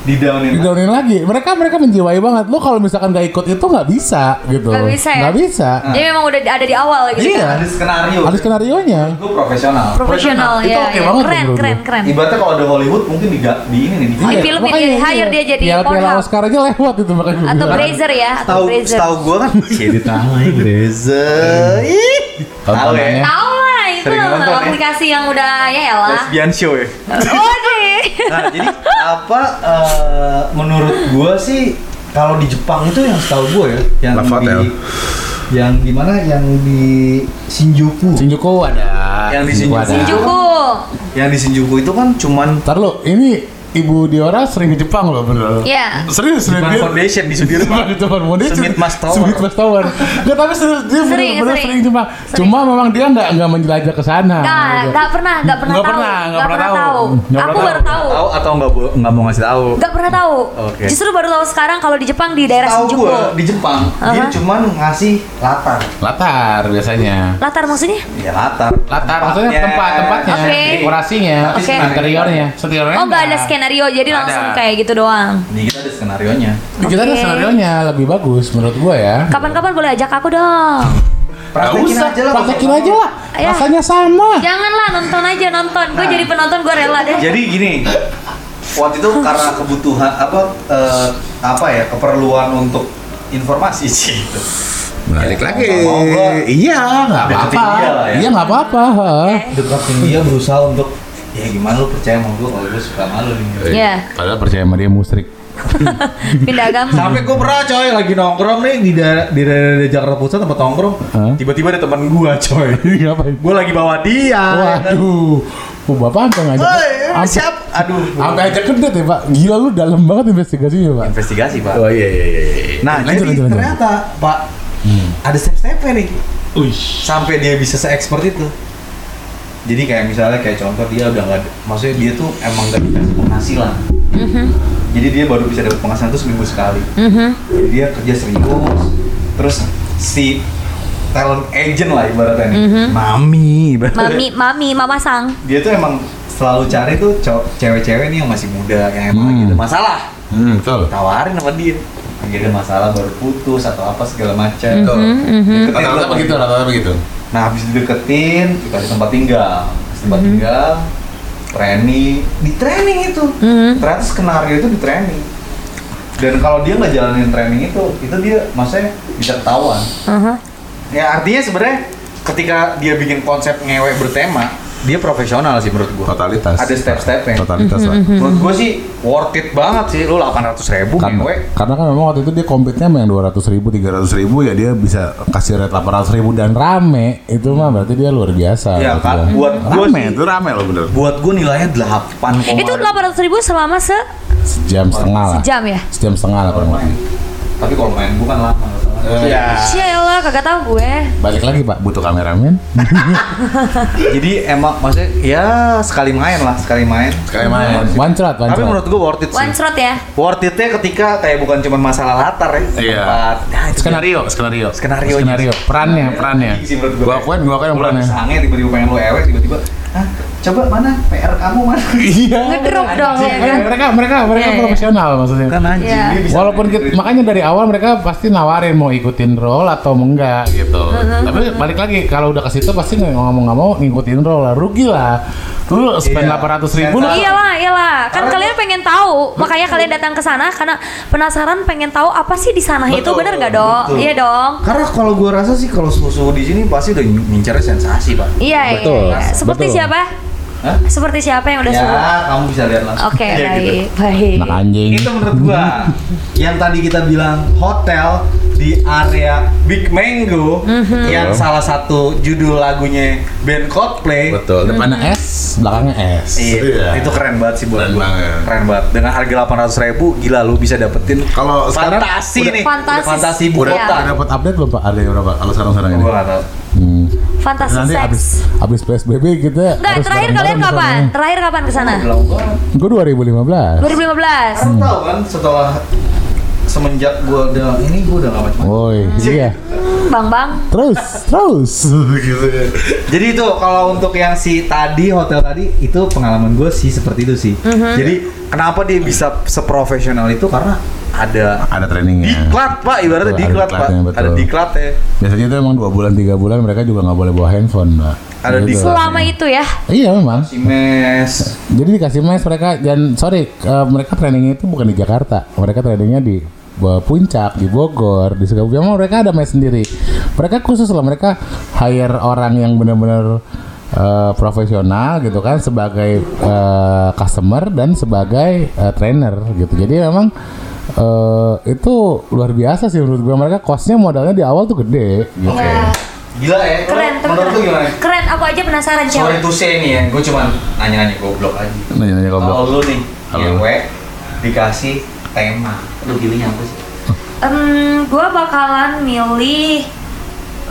Speaker 4: di downin
Speaker 5: Di downin lagi. Mereka mereka menjiwai banget. Lu kalau misalkan gak ikut itu nggak bisa gitu.
Speaker 2: Nggak bisa ya?
Speaker 5: Nggak bisa.
Speaker 2: Jadi memang udah ada di awal gitu.
Speaker 5: Iya.
Speaker 4: ada skenario
Speaker 5: Ada skenario nya.
Speaker 4: gue profesional
Speaker 2: Profesional
Speaker 5: Itu
Speaker 2: ya.
Speaker 5: oke
Speaker 2: ya.
Speaker 5: banget
Speaker 2: keren,
Speaker 5: menurut
Speaker 2: keren, keren. Iya.
Speaker 4: ibaratnya kalau ada Hollywood mungkin di, ga- di ini nih di
Speaker 2: Di
Speaker 5: Iya.
Speaker 2: filmnya dia hire dia Oh, ya? jadi
Speaker 5: Piala, piala
Speaker 2: Pornhub.
Speaker 5: Oscar aja lewat itu makanya. gua
Speaker 2: Atau
Speaker 5: bilang.
Speaker 2: Brazer ya, atau
Speaker 4: tahu
Speaker 2: Brazer.
Speaker 4: tahu gue kan jadi tahu Brazer ih tahu
Speaker 5: Tontonannya.
Speaker 4: ya
Speaker 2: Tahu lah itu
Speaker 4: Sering nonton, ya?
Speaker 2: aplikasi yang udah ya elah. Oh,
Speaker 4: lesbian show ya
Speaker 2: Oke.
Speaker 4: nah jadi apa eh, menurut gue sih kalau di Jepang itu yang setahu gue ya yang
Speaker 7: Love
Speaker 4: di
Speaker 7: Hotel.
Speaker 4: yang di mana yang di Shinjuku
Speaker 5: Shinjuku ada.
Speaker 4: Yang di
Speaker 5: ada.
Speaker 2: Shinjuku.
Speaker 4: yang di Shinjuku itu kan cuman
Speaker 5: Ntar lu, ini Ibu Diora sering ke Jepang loh bener
Speaker 2: Iya.
Speaker 5: Serius
Speaker 4: Jepang
Speaker 5: dia-
Speaker 4: Foundation di
Speaker 5: Jepang
Speaker 4: Sudirman.
Speaker 5: [LAUGHS] di Jepang Mau dia
Speaker 4: Smith Mas Tower.
Speaker 5: Smith Mas Tower Nggak, tapi serius dia bener
Speaker 2: Sering,
Speaker 5: bener
Speaker 2: sering.
Speaker 5: sering Jepang Cuma memang dia nggak nggak menjelajah ke sana
Speaker 2: Nggak,
Speaker 5: gitu.
Speaker 2: nggak pernah, nggak pernah
Speaker 5: Nggak
Speaker 2: tahu.
Speaker 5: pernah, nggak
Speaker 2: Nggak
Speaker 5: pernah
Speaker 2: pernah tahu.
Speaker 5: tahu. Nggak
Speaker 2: Aku
Speaker 5: pernah
Speaker 2: baru tahu.
Speaker 4: tahu atau nggak bo- nggak mau ngasih tahu
Speaker 2: Nggak pernah tahu.
Speaker 4: Oke.
Speaker 2: Justru baru tahu sekarang kalau di Jepang di daerah
Speaker 4: tahu
Speaker 2: Shinjuku.
Speaker 4: gue di Jepang dia
Speaker 2: Aha.
Speaker 4: cuman ngasih latar
Speaker 6: Latar biasanya.
Speaker 2: Latar maksudnya?
Speaker 4: ya latar
Speaker 6: Latar maksudnya
Speaker 4: Tempatnya.
Speaker 6: tempat tempatnya,
Speaker 2: Oke.
Speaker 6: dekorasinya,
Speaker 2: Oke.
Speaker 6: interiornya, interiornya.
Speaker 2: Oh nggak ada skenario, jadi
Speaker 6: Nggak
Speaker 2: langsung
Speaker 6: ada.
Speaker 2: kayak gitu doang.
Speaker 4: ini kita ada skenario nya
Speaker 5: Di kita ada
Speaker 2: Oke.
Speaker 5: skenario nya lebih bagus menurut gua ya
Speaker 2: Kapan-kapan boleh ajak aku dong.
Speaker 4: praktekin
Speaker 5: Usah,
Speaker 4: aja lah
Speaker 5: praktekin aja lah
Speaker 2: Ayo.
Speaker 5: Rasanya sama
Speaker 2: Janganlah nonton aja nonton. Gue jadi penonton gue rela deh.
Speaker 4: jadi gini waktu itu karena kebutuhan apa eh, apa ya keperluan untuk informasi sih gitu.
Speaker 7: Balik
Speaker 4: Ya,
Speaker 7: lagi.
Speaker 4: mau nggak mau, gua-
Speaker 7: Iya, nggak
Speaker 4: Ada
Speaker 7: apa-apa.
Speaker 4: ketiga lah ya.
Speaker 5: Iya nggak apa-apa ha.
Speaker 4: deketin dia berusaha untuk ya gimana lu percaya sama gue kalau gue suka malu nih
Speaker 2: Iya.
Speaker 5: Padahal percaya sama dia musrik
Speaker 2: Pindah agama.
Speaker 4: sampai gue pernah coy lagi nongkrong nih di daerah di daerah Jakarta Pusat tempat nongkrong
Speaker 5: Hah?
Speaker 4: tiba-tiba ada teman gue coy
Speaker 5: Ngapain?
Speaker 4: gue lagi bawa dia
Speaker 5: Waduh Oh, Bapak sampai ngajak
Speaker 4: Woi,
Speaker 5: sampai-
Speaker 4: siap. Aduh.
Speaker 5: Sampai aja kedet ya pak Gila lu dalam banget investigasinya pak
Speaker 4: Investigasi, Pak.
Speaker 7: Oh iya iya iya.
Speaker 5: Lanjut, Hmm.
Speaker 4: Nah, jadi
Speaker 5: lanjut, lanjut.
Speaker 4: ternyata, Pak, ada step-stepnya nih
Speaker 5: Uish.
Speaker 4: sampai dia bisa se-expert itu jadi kayak misalnya kayak contoh dia udah nggak maksudnya dia tuh emang nggak dikasih penghasilan
Speaker 5: Mm-hmm.
Speaker 4: jadi dia baru bisa dapat penghasilan tuh seminggu sekali jadi dia kerja serius terus si talent agent lah ibaratnya nih
Speaker 5: Mm-hmm.
Speaker 4: mami ibaratnya
Speaker 2: Mami, mami, mama sang.
Speaker 4: dia tuh emang selalu cari tuh cow- cewek-cewek nih yang masih muda yang emang lagi ada masalah
Speaker 5: Hmm, betul.
Speaker 4: tawarin sama dia lagi ada masalah baru putus atau apa segala macam
Speaker 5: Mm-hmm.
Speaker 2: Mhm.
Speaker 4: Deketin
Speaker 5: Rata-rata
Speaker 4: dulu.
Speaker 5: begitu, rata-rata begitu.
Speaker 4: Nah, habis dideketin, dikasih tempat tinggal. Kasih tempat tinggal, training. Di training itu. Ternyata skenario itu di training. Dan kalau dia nggak jalanin training itu, itu dia maksudnya bisa ketahuan. Ya artinya sebenarnya ketika dia bikin konsep ngewek bertema, dia profesional sih menurut gua.
Speaker 5: Totalitas.
Speaker 4: Ada step-stepnya.
Speaker 5: Totalitas lah.
Speaker 4: Menurut gua sih worth it banget sih, lu 800 ribu
Speaker 5: Kan,
Speaker 4: ngewek.
Speaker 5: karena kan memang waktu itu dia kompetnya sama yang 200 ribu, 300 ribu ya dia bisa kasih rate 800 ribu dan rame itu mah berarti dia luar biasa. menurut
Speaker 4: Iya, kan?
Speaker 5: gua.
Speaker 4: Buat gua
Speaker 5: rame,
Speaker 4: sih-
Speaker 5: itu rame loh bener.
Speaker 4: Buat gua nilainya 8,
Speaker 2: Itu 800 ribu selama sejam
Speaker 5: Sejam setengah lah.
Speaker 2: ya?
Speaker 5: Sejam setengah lah kurang lebih.
Speaker 4: Tapi kalau main gua kan lama. Ah.
Speaker 5: Iya.
Speaker 2: Sheila, kagak tahu gue.
Speaker 5: Balik lagi pak, butuh
Speaker 4: [LAUGHS]
Speaker 5: kameramen.
Speaker 4: Jadi emang maksudnya ya sekali main lah, sekali main.
Speaker 5: Sekali main. One shot, one
Speaker 4: Tapi
Speaker 5: shot.
Speaker 4: menurut gua worth it
Speaker 2: One
Speaker 4: sih.
Speaker 2: shot ya.
Speaker 4: Worth it-nya ketika kayak bukan cuma masalah latar ya,
Speaker 5: Iya.
Speaker 4: tempat. Nah, itu
Speaker 5: skenario, skenario,
Speaker 4: Skenario.
Speaker 5: skenario, perannya, perannya.
Speaker 4: Iya sih menurut gua.
Speaker 5: Gua akuin, gua akuin yang
Speaker 4: Bulan
Speaker 5: perannya.
Speaker 4: sange tiba-tiba pengen lu ewek tiba-tiba, "Hah, coba mana PR kamu
Speaker 2: [LAUGHS]
Speaker 4: mana?"
Speaker 5: Iya.
Speaker 2: Ngedrop dong ya kan.
Speaker 5: Mereka, mereka, mereka
Speaker 2: Iya, iya.
Speaker 5: profesional maksudnya.
Speaker 4: kan anjing,
Speaker 2: Iya.
Speaker 4: dia bisa
Speaker 5: Walaupun
Speaker 4: main
Speaker 5: kita,
Speaker 4: gitu.
Speaker 5: makanya dari awal mereka pasti nawarin mau ikutin role atau enggak gitu. Tapi balik lagi kalau udah ke situ pasti nggak ngomong nggak mau ngikutin role lah rugi lah. Lu spend
Speaker 4: Iya.
Speaker 5: delapan ratus ribu lu
Speaker 2: Iyalah, iyalah. Kan kalian pengen tahu, makanya kalian datang ke sana karena penasaran pengen tahu apa sih di sana itu bener nggak dong?
Speaker 4: betul.
Speaker 2: Iya dong.
Speaker 4: Karena kalau gua rasa sih kalau susu di sini pasti udah ngincar sensasi, Pak.
Speaker 2: Iya, iya,
Speaker 5: Betul,
Speaker 2: iya. Seperti
Speaker 5: betul.
Speaker 2: siapa?
Speaker 4: Hah?
Speaker 2: Seperti siapa yang udah
Speaker 4: Ya,
Speaker 2: suruh?
Speaker 4: kamu bisa lihat langsung. [LAUGHS]
Speaker 2: Oke,
Speaker 4: Ya, gitu.
Speaker 2: baik, baik.
Speaker 5: anak anjing.
Speaker 4: Itu menurut gua yang tadi kita bilang hotel di area Big Mango yang
Speaker 5: Iya.
Speaker 4: salah satu judul lagunya band Coldplay.
Speaker 5: Betul. Depannya S, belakangnya S. Gitu ya.
Speaker 4: Iya, itu keren banget sih buat
Speaker 5: Keren
Speaker 4: gua.
Speaker 5: banget.
Speaker 4: Keren banget. Dengan harga 800 ribu, gila lu bisa dapetin
Speaker 5: Kalau sekarang
Speaker 4: fantasi
Speaker 5: udah-
Speaker 4: nih.
Speaker 2: Fantasi.
Speaker 4: Udah fantasi ibu
Speaker 5: Udah,
Speaker 2: Iya.
Speaker 4: kota.
Speaker 5: udah dapat update belum Pak? Ada yang berapa? Kalau sekarang-sekarang ini.
Speaker 4: Gua nggak tahu.
Speaker 5: Hmm.
Speaker 2: Fantasi
Speaker 5: Nanti
Speaker 2: seks.
Speaker 5: abis, abis PSBB kita
Speaker 2: Enggak,
Speaker 5: harus
Speaker 2: terakhir kalian
Speaker 5: bareng-bareng
Speaker 2: kapan? Terakhir kapan ke sana?
Speaker 4: Bilang gua.
Speaker 5: Gue 2015.
Speaker 2: 2015.
Speaker 4: Karena tahu kan setelah semenjak gua udah ini gua udah gak macam-macam.
Speaker 5: Woi, iya.
Speaker 2: Hmm, Bang Bang.
Speaker 5: Terus, terus.
Speaker 4: [LAUGHS] gitu ya. Jadi itu kalau untuk yang si tadi hotel tadi itu pengalaman gue sih seperti itu sih.
Speaker 2: Mhm.
Speaker 4: Jadi kenapa dia bisa seprofesional itu karena ada
Speaker 5: Ada trainingnya.
Speaker 4: diklat pak, ibaratnya
Speaker 5: Betul, ada
Speaker 4: diklat pak,
Speaker 5: diklatnya, betul.
Speaker 4: ada diklat ya.
Speaker 5: Biasanya itu emang dua bulan tiga bulan mereka juga nggak boleh bawa handphone mbak. Gitu.
Speaker 4: Ada di-
Speaker 2: Selama itu ya.
Speaker 5: Iya memang.
Speaker 4: Si mes,
Speaker 5: Jadi dikasih mes mereka dan sorry eh, mereka trainingnya itu bukan di Jakarta. Mereka trainingnya di eh, Puncak, di Bogor, di Sukabumi. Memang mereka ada mes sendiri. Mereka khusus lah mereka hire orang yang benar-benar eh, profesional gitu kan sebagai eh, customer dan sebagai eh, trainer gitu. Jadi memang eh, itu luar biasa sih menurut gue mereka costnya modalnya di awal tuh gede. Gitu.
Speaker 4: gila ya.
Speaker 2: Keren, tapi
Speaker 4: Menurut lu
Speaker 2: keren.
Speaker 4: gimana?
Speaker 2: Keren, aku aja penasaran cewek.
Speaker 4: Sorry to say nih ya, gue cuman nanya-nanya goblok aja.
Speaker 5: Nanya-nanya goblok.
Speaker 4: Kalau lu nih,
Speaker 5: Halo.
Speaker 4: cewek dikasih tema, lu pilihnya apa sih?
Speaker 2: Em, gua bakalan milih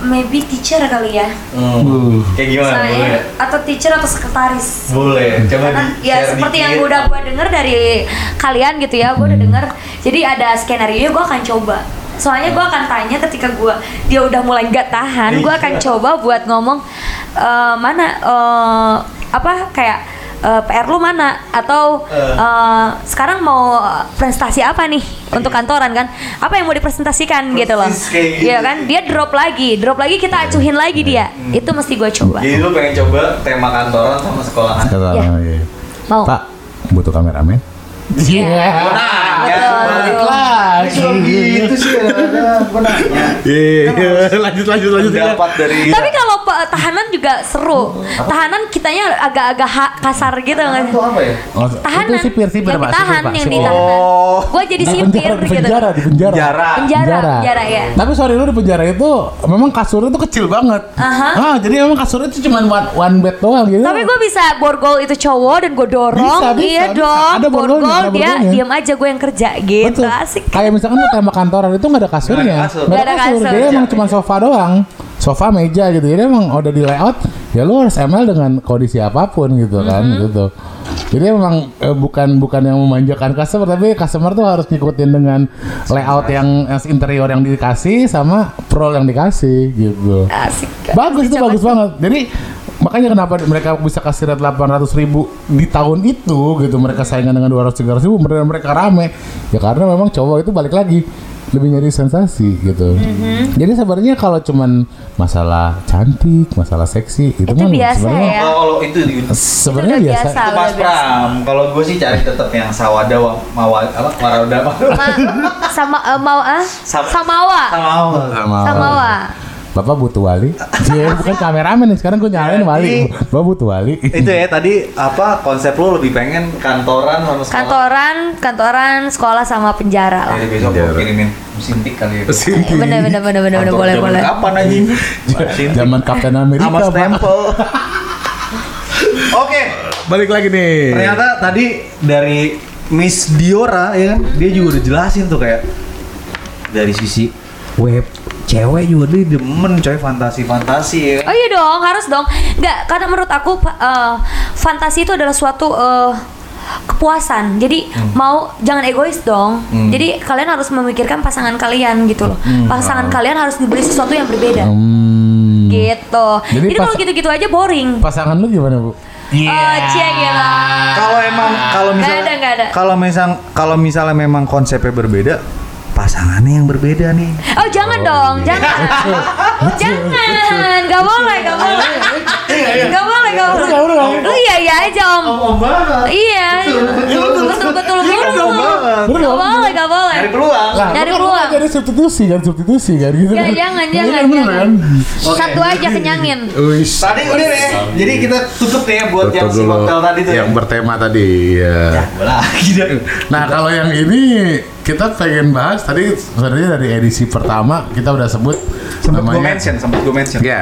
Speaker 2: maybe teacher kali ya.
Speaker 5: Uh.
Speaker 4: Hmm. Kayak gimana? Boleh.
Speaker 2: Saya atau teacher atau sekretaris.
Speaker 4: Boleh. Coba
Speaker 2: Karena
Speaker 4: di-
Speaker 2: ya
Speaker 4: share
Speaker 2: seperti yang
Speaker 4: dikit.
Speaker 2: udah gue denger dari kalian gitu ya, gue udah denger. Jadi ada skenario gue akan coba. Soalnya gue akan tanya ketika gue dia udah mulai nggak tahan, gue
Speaker 4: Iya.
Speaker 2: akan coba buat ngomong "Eh, mana eh, apa kayak eh, PR lu mana atau eh, sekarang mau presentasi apa nih untuk kantoran kan? Apa yang mau dipresentasikan gitu loh?
Speaker 4: Persis kayak gitu. Hmm.
Speaker 2: Iya kan? Dia drop lagi, drop lagi kita acuhin lagi dia. Itu mesti gue coba.
Speaker 4: Jadi lu pengen coba tema kantoran sama sekolahan.
Speaker 5: Kata
Speaker 2: Iya.
Speaker 5: orang, iya.
Speaker 2: Mau?
Speaker 5: Pak, butuh kameramen. Iya.
Speaker 4: Nah,
Speaker 2: Betul, betul.
Speaker 4: Cuma gitu sih ada gue nanya.
Speaker 5: Iya, lanjut lanjut lanjut.
Speaker 4: Pendapat dari
Speaker 5: Iya.
Speaker 2: Tapi kan- kalau Pak, tahanan juga seru. Tahanan kitanya agak-agak ha- kasar gitu nggak sih?
Speaker 4: Itu apa ya?
Speaker 5: Oh,
Speaker 2: Tahanan.
Speaker 5: Itu sipir, sipir,
Speaker 2: yang
Speaker 5: Pak,
Speaker 2: ditahan,
Speaker 5: sipir, Pak,
Speaker 2: yang
Speaker 5: sipir.
Speaker 2: ditahan.
Speaker 4: Oh.
Speaker 2: Gue jadi
Speaker 5: Nah,
Speaker 2: sipir
Speaker 5: penjara, di
Speaker 2: gitu.
Speaker 5: penjara, di penjara. iya.
Speaker 4: Penjara.
Speaker 2: Penjara, penjara ya.
Speaker 5: Tapi sorry lu di penjara itu memang kasurnya tuh kecil banget.
Speaker 2: Aha.
Speaker 5: Ah, jadi memang kasurnya tuh cuma one, one bed doang gitu.
Speaker 2: Tapi gue bisa borgol itu cowok dan gue dorong,
Speaker 5: Bisa, bisa,
Speaker 2: iya
Speaker 5: bisa.
Speaker 2: dong.
Speaker 5: Ada borgolnya,
Speaker 2: borgol
Speaker 5: ada
Speaker 2: dia
Speaker 5: borgolnya.
Speaker 2: diam aja gue yang kerja gitu,
Speaker 5: Betul.
Speaker 2: asik.
Speaker 5: Kayak misalkan lu tembak kantoran itu nggak ada kasurnya.
Speaker 4: Nggak ada kasur.
Speaker 5: Nggak ada
Speaker 2: Nggak ada
Speaker 5: kasur.
Speaker 2: kasur.
Speaker 5: Jadi emang
Speaker 4: Meja,
Speaker 5: cuma sofa doang. Sofa, meja gitu. Jadi emang udah di layout, ya lu harus ML dengan kondisi apapun gitu kan
Speaker 2: Mm-hmm.
Speaker 5: gitu. Jadi emang eh, bukan bukan yang memanjakan customer, tapi customer tuh harus ngikutin dengan layout yang, yang interior yang dikasih sama prol yang dikasih gitu.
Speaker 2: Asik.
Speaker 5: Bagus itu bagus banget. Jadi makanya kenapa mereka bisa kasih rate 800 ribu di tahun itu gitu mereka saingan dengan 200 300 ribu mereka mereka rame ya karena memang cowok itu balik lagi lebih nyari sensasi gitu.
Speaker 2: Mm-hmm.
Speaker 5: Jadi sebenarnya kalau cuman masalah cantik, masalah seksi itu,
Speaker 2: Itu
Speaker 5: mah
Speaker 2: biasa
Speaker 5: sebenarnya
Speaker 2: Ya.
Speaker 4: Kalau itu di
Speaker 5: sebenarnya
Speaker 2: Itu udah
Speaker 5: biasa.
Speaker 2: biasa.
Speaker 4: itu Mas
Speaker 2: udah biasa.
Speaker 4: Pram. Kalau gue sih cari tetap yang sawada wa- mawa apa warada
Speaker 2: Ma, sama eh, mau ah?
Speaker 4: Sama-
Speaker 2: Samawa.
Speaker 4: sama.
Speaker 5: Sama-
Speaker 2: Samawa.
Speaker 5: Bapak butuh wali. [LAUGHS] Iya, bukan kameramen nih. Sekarang gue nyalain wali. Bapak butuh wali.
Speaker 4: Itu ya tadi apa konsep lo lebih pengen kantoran sama sekolah.
Speaker 2: Kantoran, kantoran, sekolah sama penjara. lah.
Speaker 4: Jadi besok
Speaker 5: Iya,
Speaker 4: gue kirimin mesin tik kali ya.
Speaker 2: Bener bener bener bener bener
Speaker 4: Kantor
Speaker 2: boleh
Speaker 4: zaman
Speaker 2: boleh.
Speaker 4: Kapan anjing? Mesin
Speaker 5: [LAUGHS]
Speaker 4: tik
Speaker 5: Zaman Kapten Amerika.
Speaker 4: sama
Speaker 5: Pak. [LAUGHS]
Speaker 4: stempel. Oke,
Speaker 8: Balik lagi nih.
Speaker 5: Iya.
Speaker 4: ternyata tadi dari Miss Diora ya kan, dia juga udah jelasin tuh kayak dari sisi web cewek juga dia demen coy fantasi-fantasi ya.
Speaker 2: Oh iya dong, harus dong. Nggak, karena menurut aku pa- eh, fantasi itu adalah suatu eh, kepuasan. Jadi mau jangan egois dong.
Speaker 4: Hmm.
Speaker 2: Jadi kalian harus memikirkan pasangan kalian gitu loh. Pasangan kalian harus diberi sesuatu yang berbeda.
Speaker 5: Hmm.
Speaker 2: Gitu.
Speaker 5: Jadi
Speaker 2: Jadi, kalau
Speaker 5: pas-
Speaker 2: gitu-gitu aja boring.
Speaker 5: Pasangan lu gimana, Bu?
Speaker 2: Oh, cie gila.
Speaker 4: kalau emang kalau
Speaker 2: iya. Nggak
Speaker 4: misalnya
Speaker 2: ada, nggak ada.
Speaker 4: kalau misal kalau misalnya memang konsepnya berbeda pasangannya yang berbeda nih
Speaker 2: Oh, jangan dong, jangan. jangan. Gak boleh, gak boleh. Gak boleh, gak boleh. Lu iya iya aja, Om.
Speaker 4: om banget
Speaker 2: Iya. Betul, betul, betul.
Speaker 4: om banget
Speaker 2: Gak boleh, gak boleh.
Speaker 4: cari peluang
Speaker 5: Lah,
Speaker 2: Nyari
Speaker 5: lu kan
Speaker 2: peluang.
Speaker 5: Jadi substitusi kan, substitusi kan gitu.
Speaker 2: Ya,
Speaker 5: kan.
Speaker 2: jangan,
Speaker 5: Iya,
Speaker 2: jangan,
Speaker 5: bener
Speaker 2: jangan.
Speaker 5: kan?
Speaker 2: Satu aja kenyangin.
Speaker 4: tadi udah nih
Speaker 5: Iya.
Speaker 4: jadi kita tutup nih ya buat yang si hotel tadi tuh
Speaker 8: yang bertema tadi ya.
Speaker 4: Gua lagi dah.
Speaker 8: Nah kalau yang ini kita pengen bahas tadi sebenarnya dari edisi pertama kita udah sebut
Speaker 4: sempet gue mention sempet gue mention
Speaker 8: ya
Speaker 5: Iya.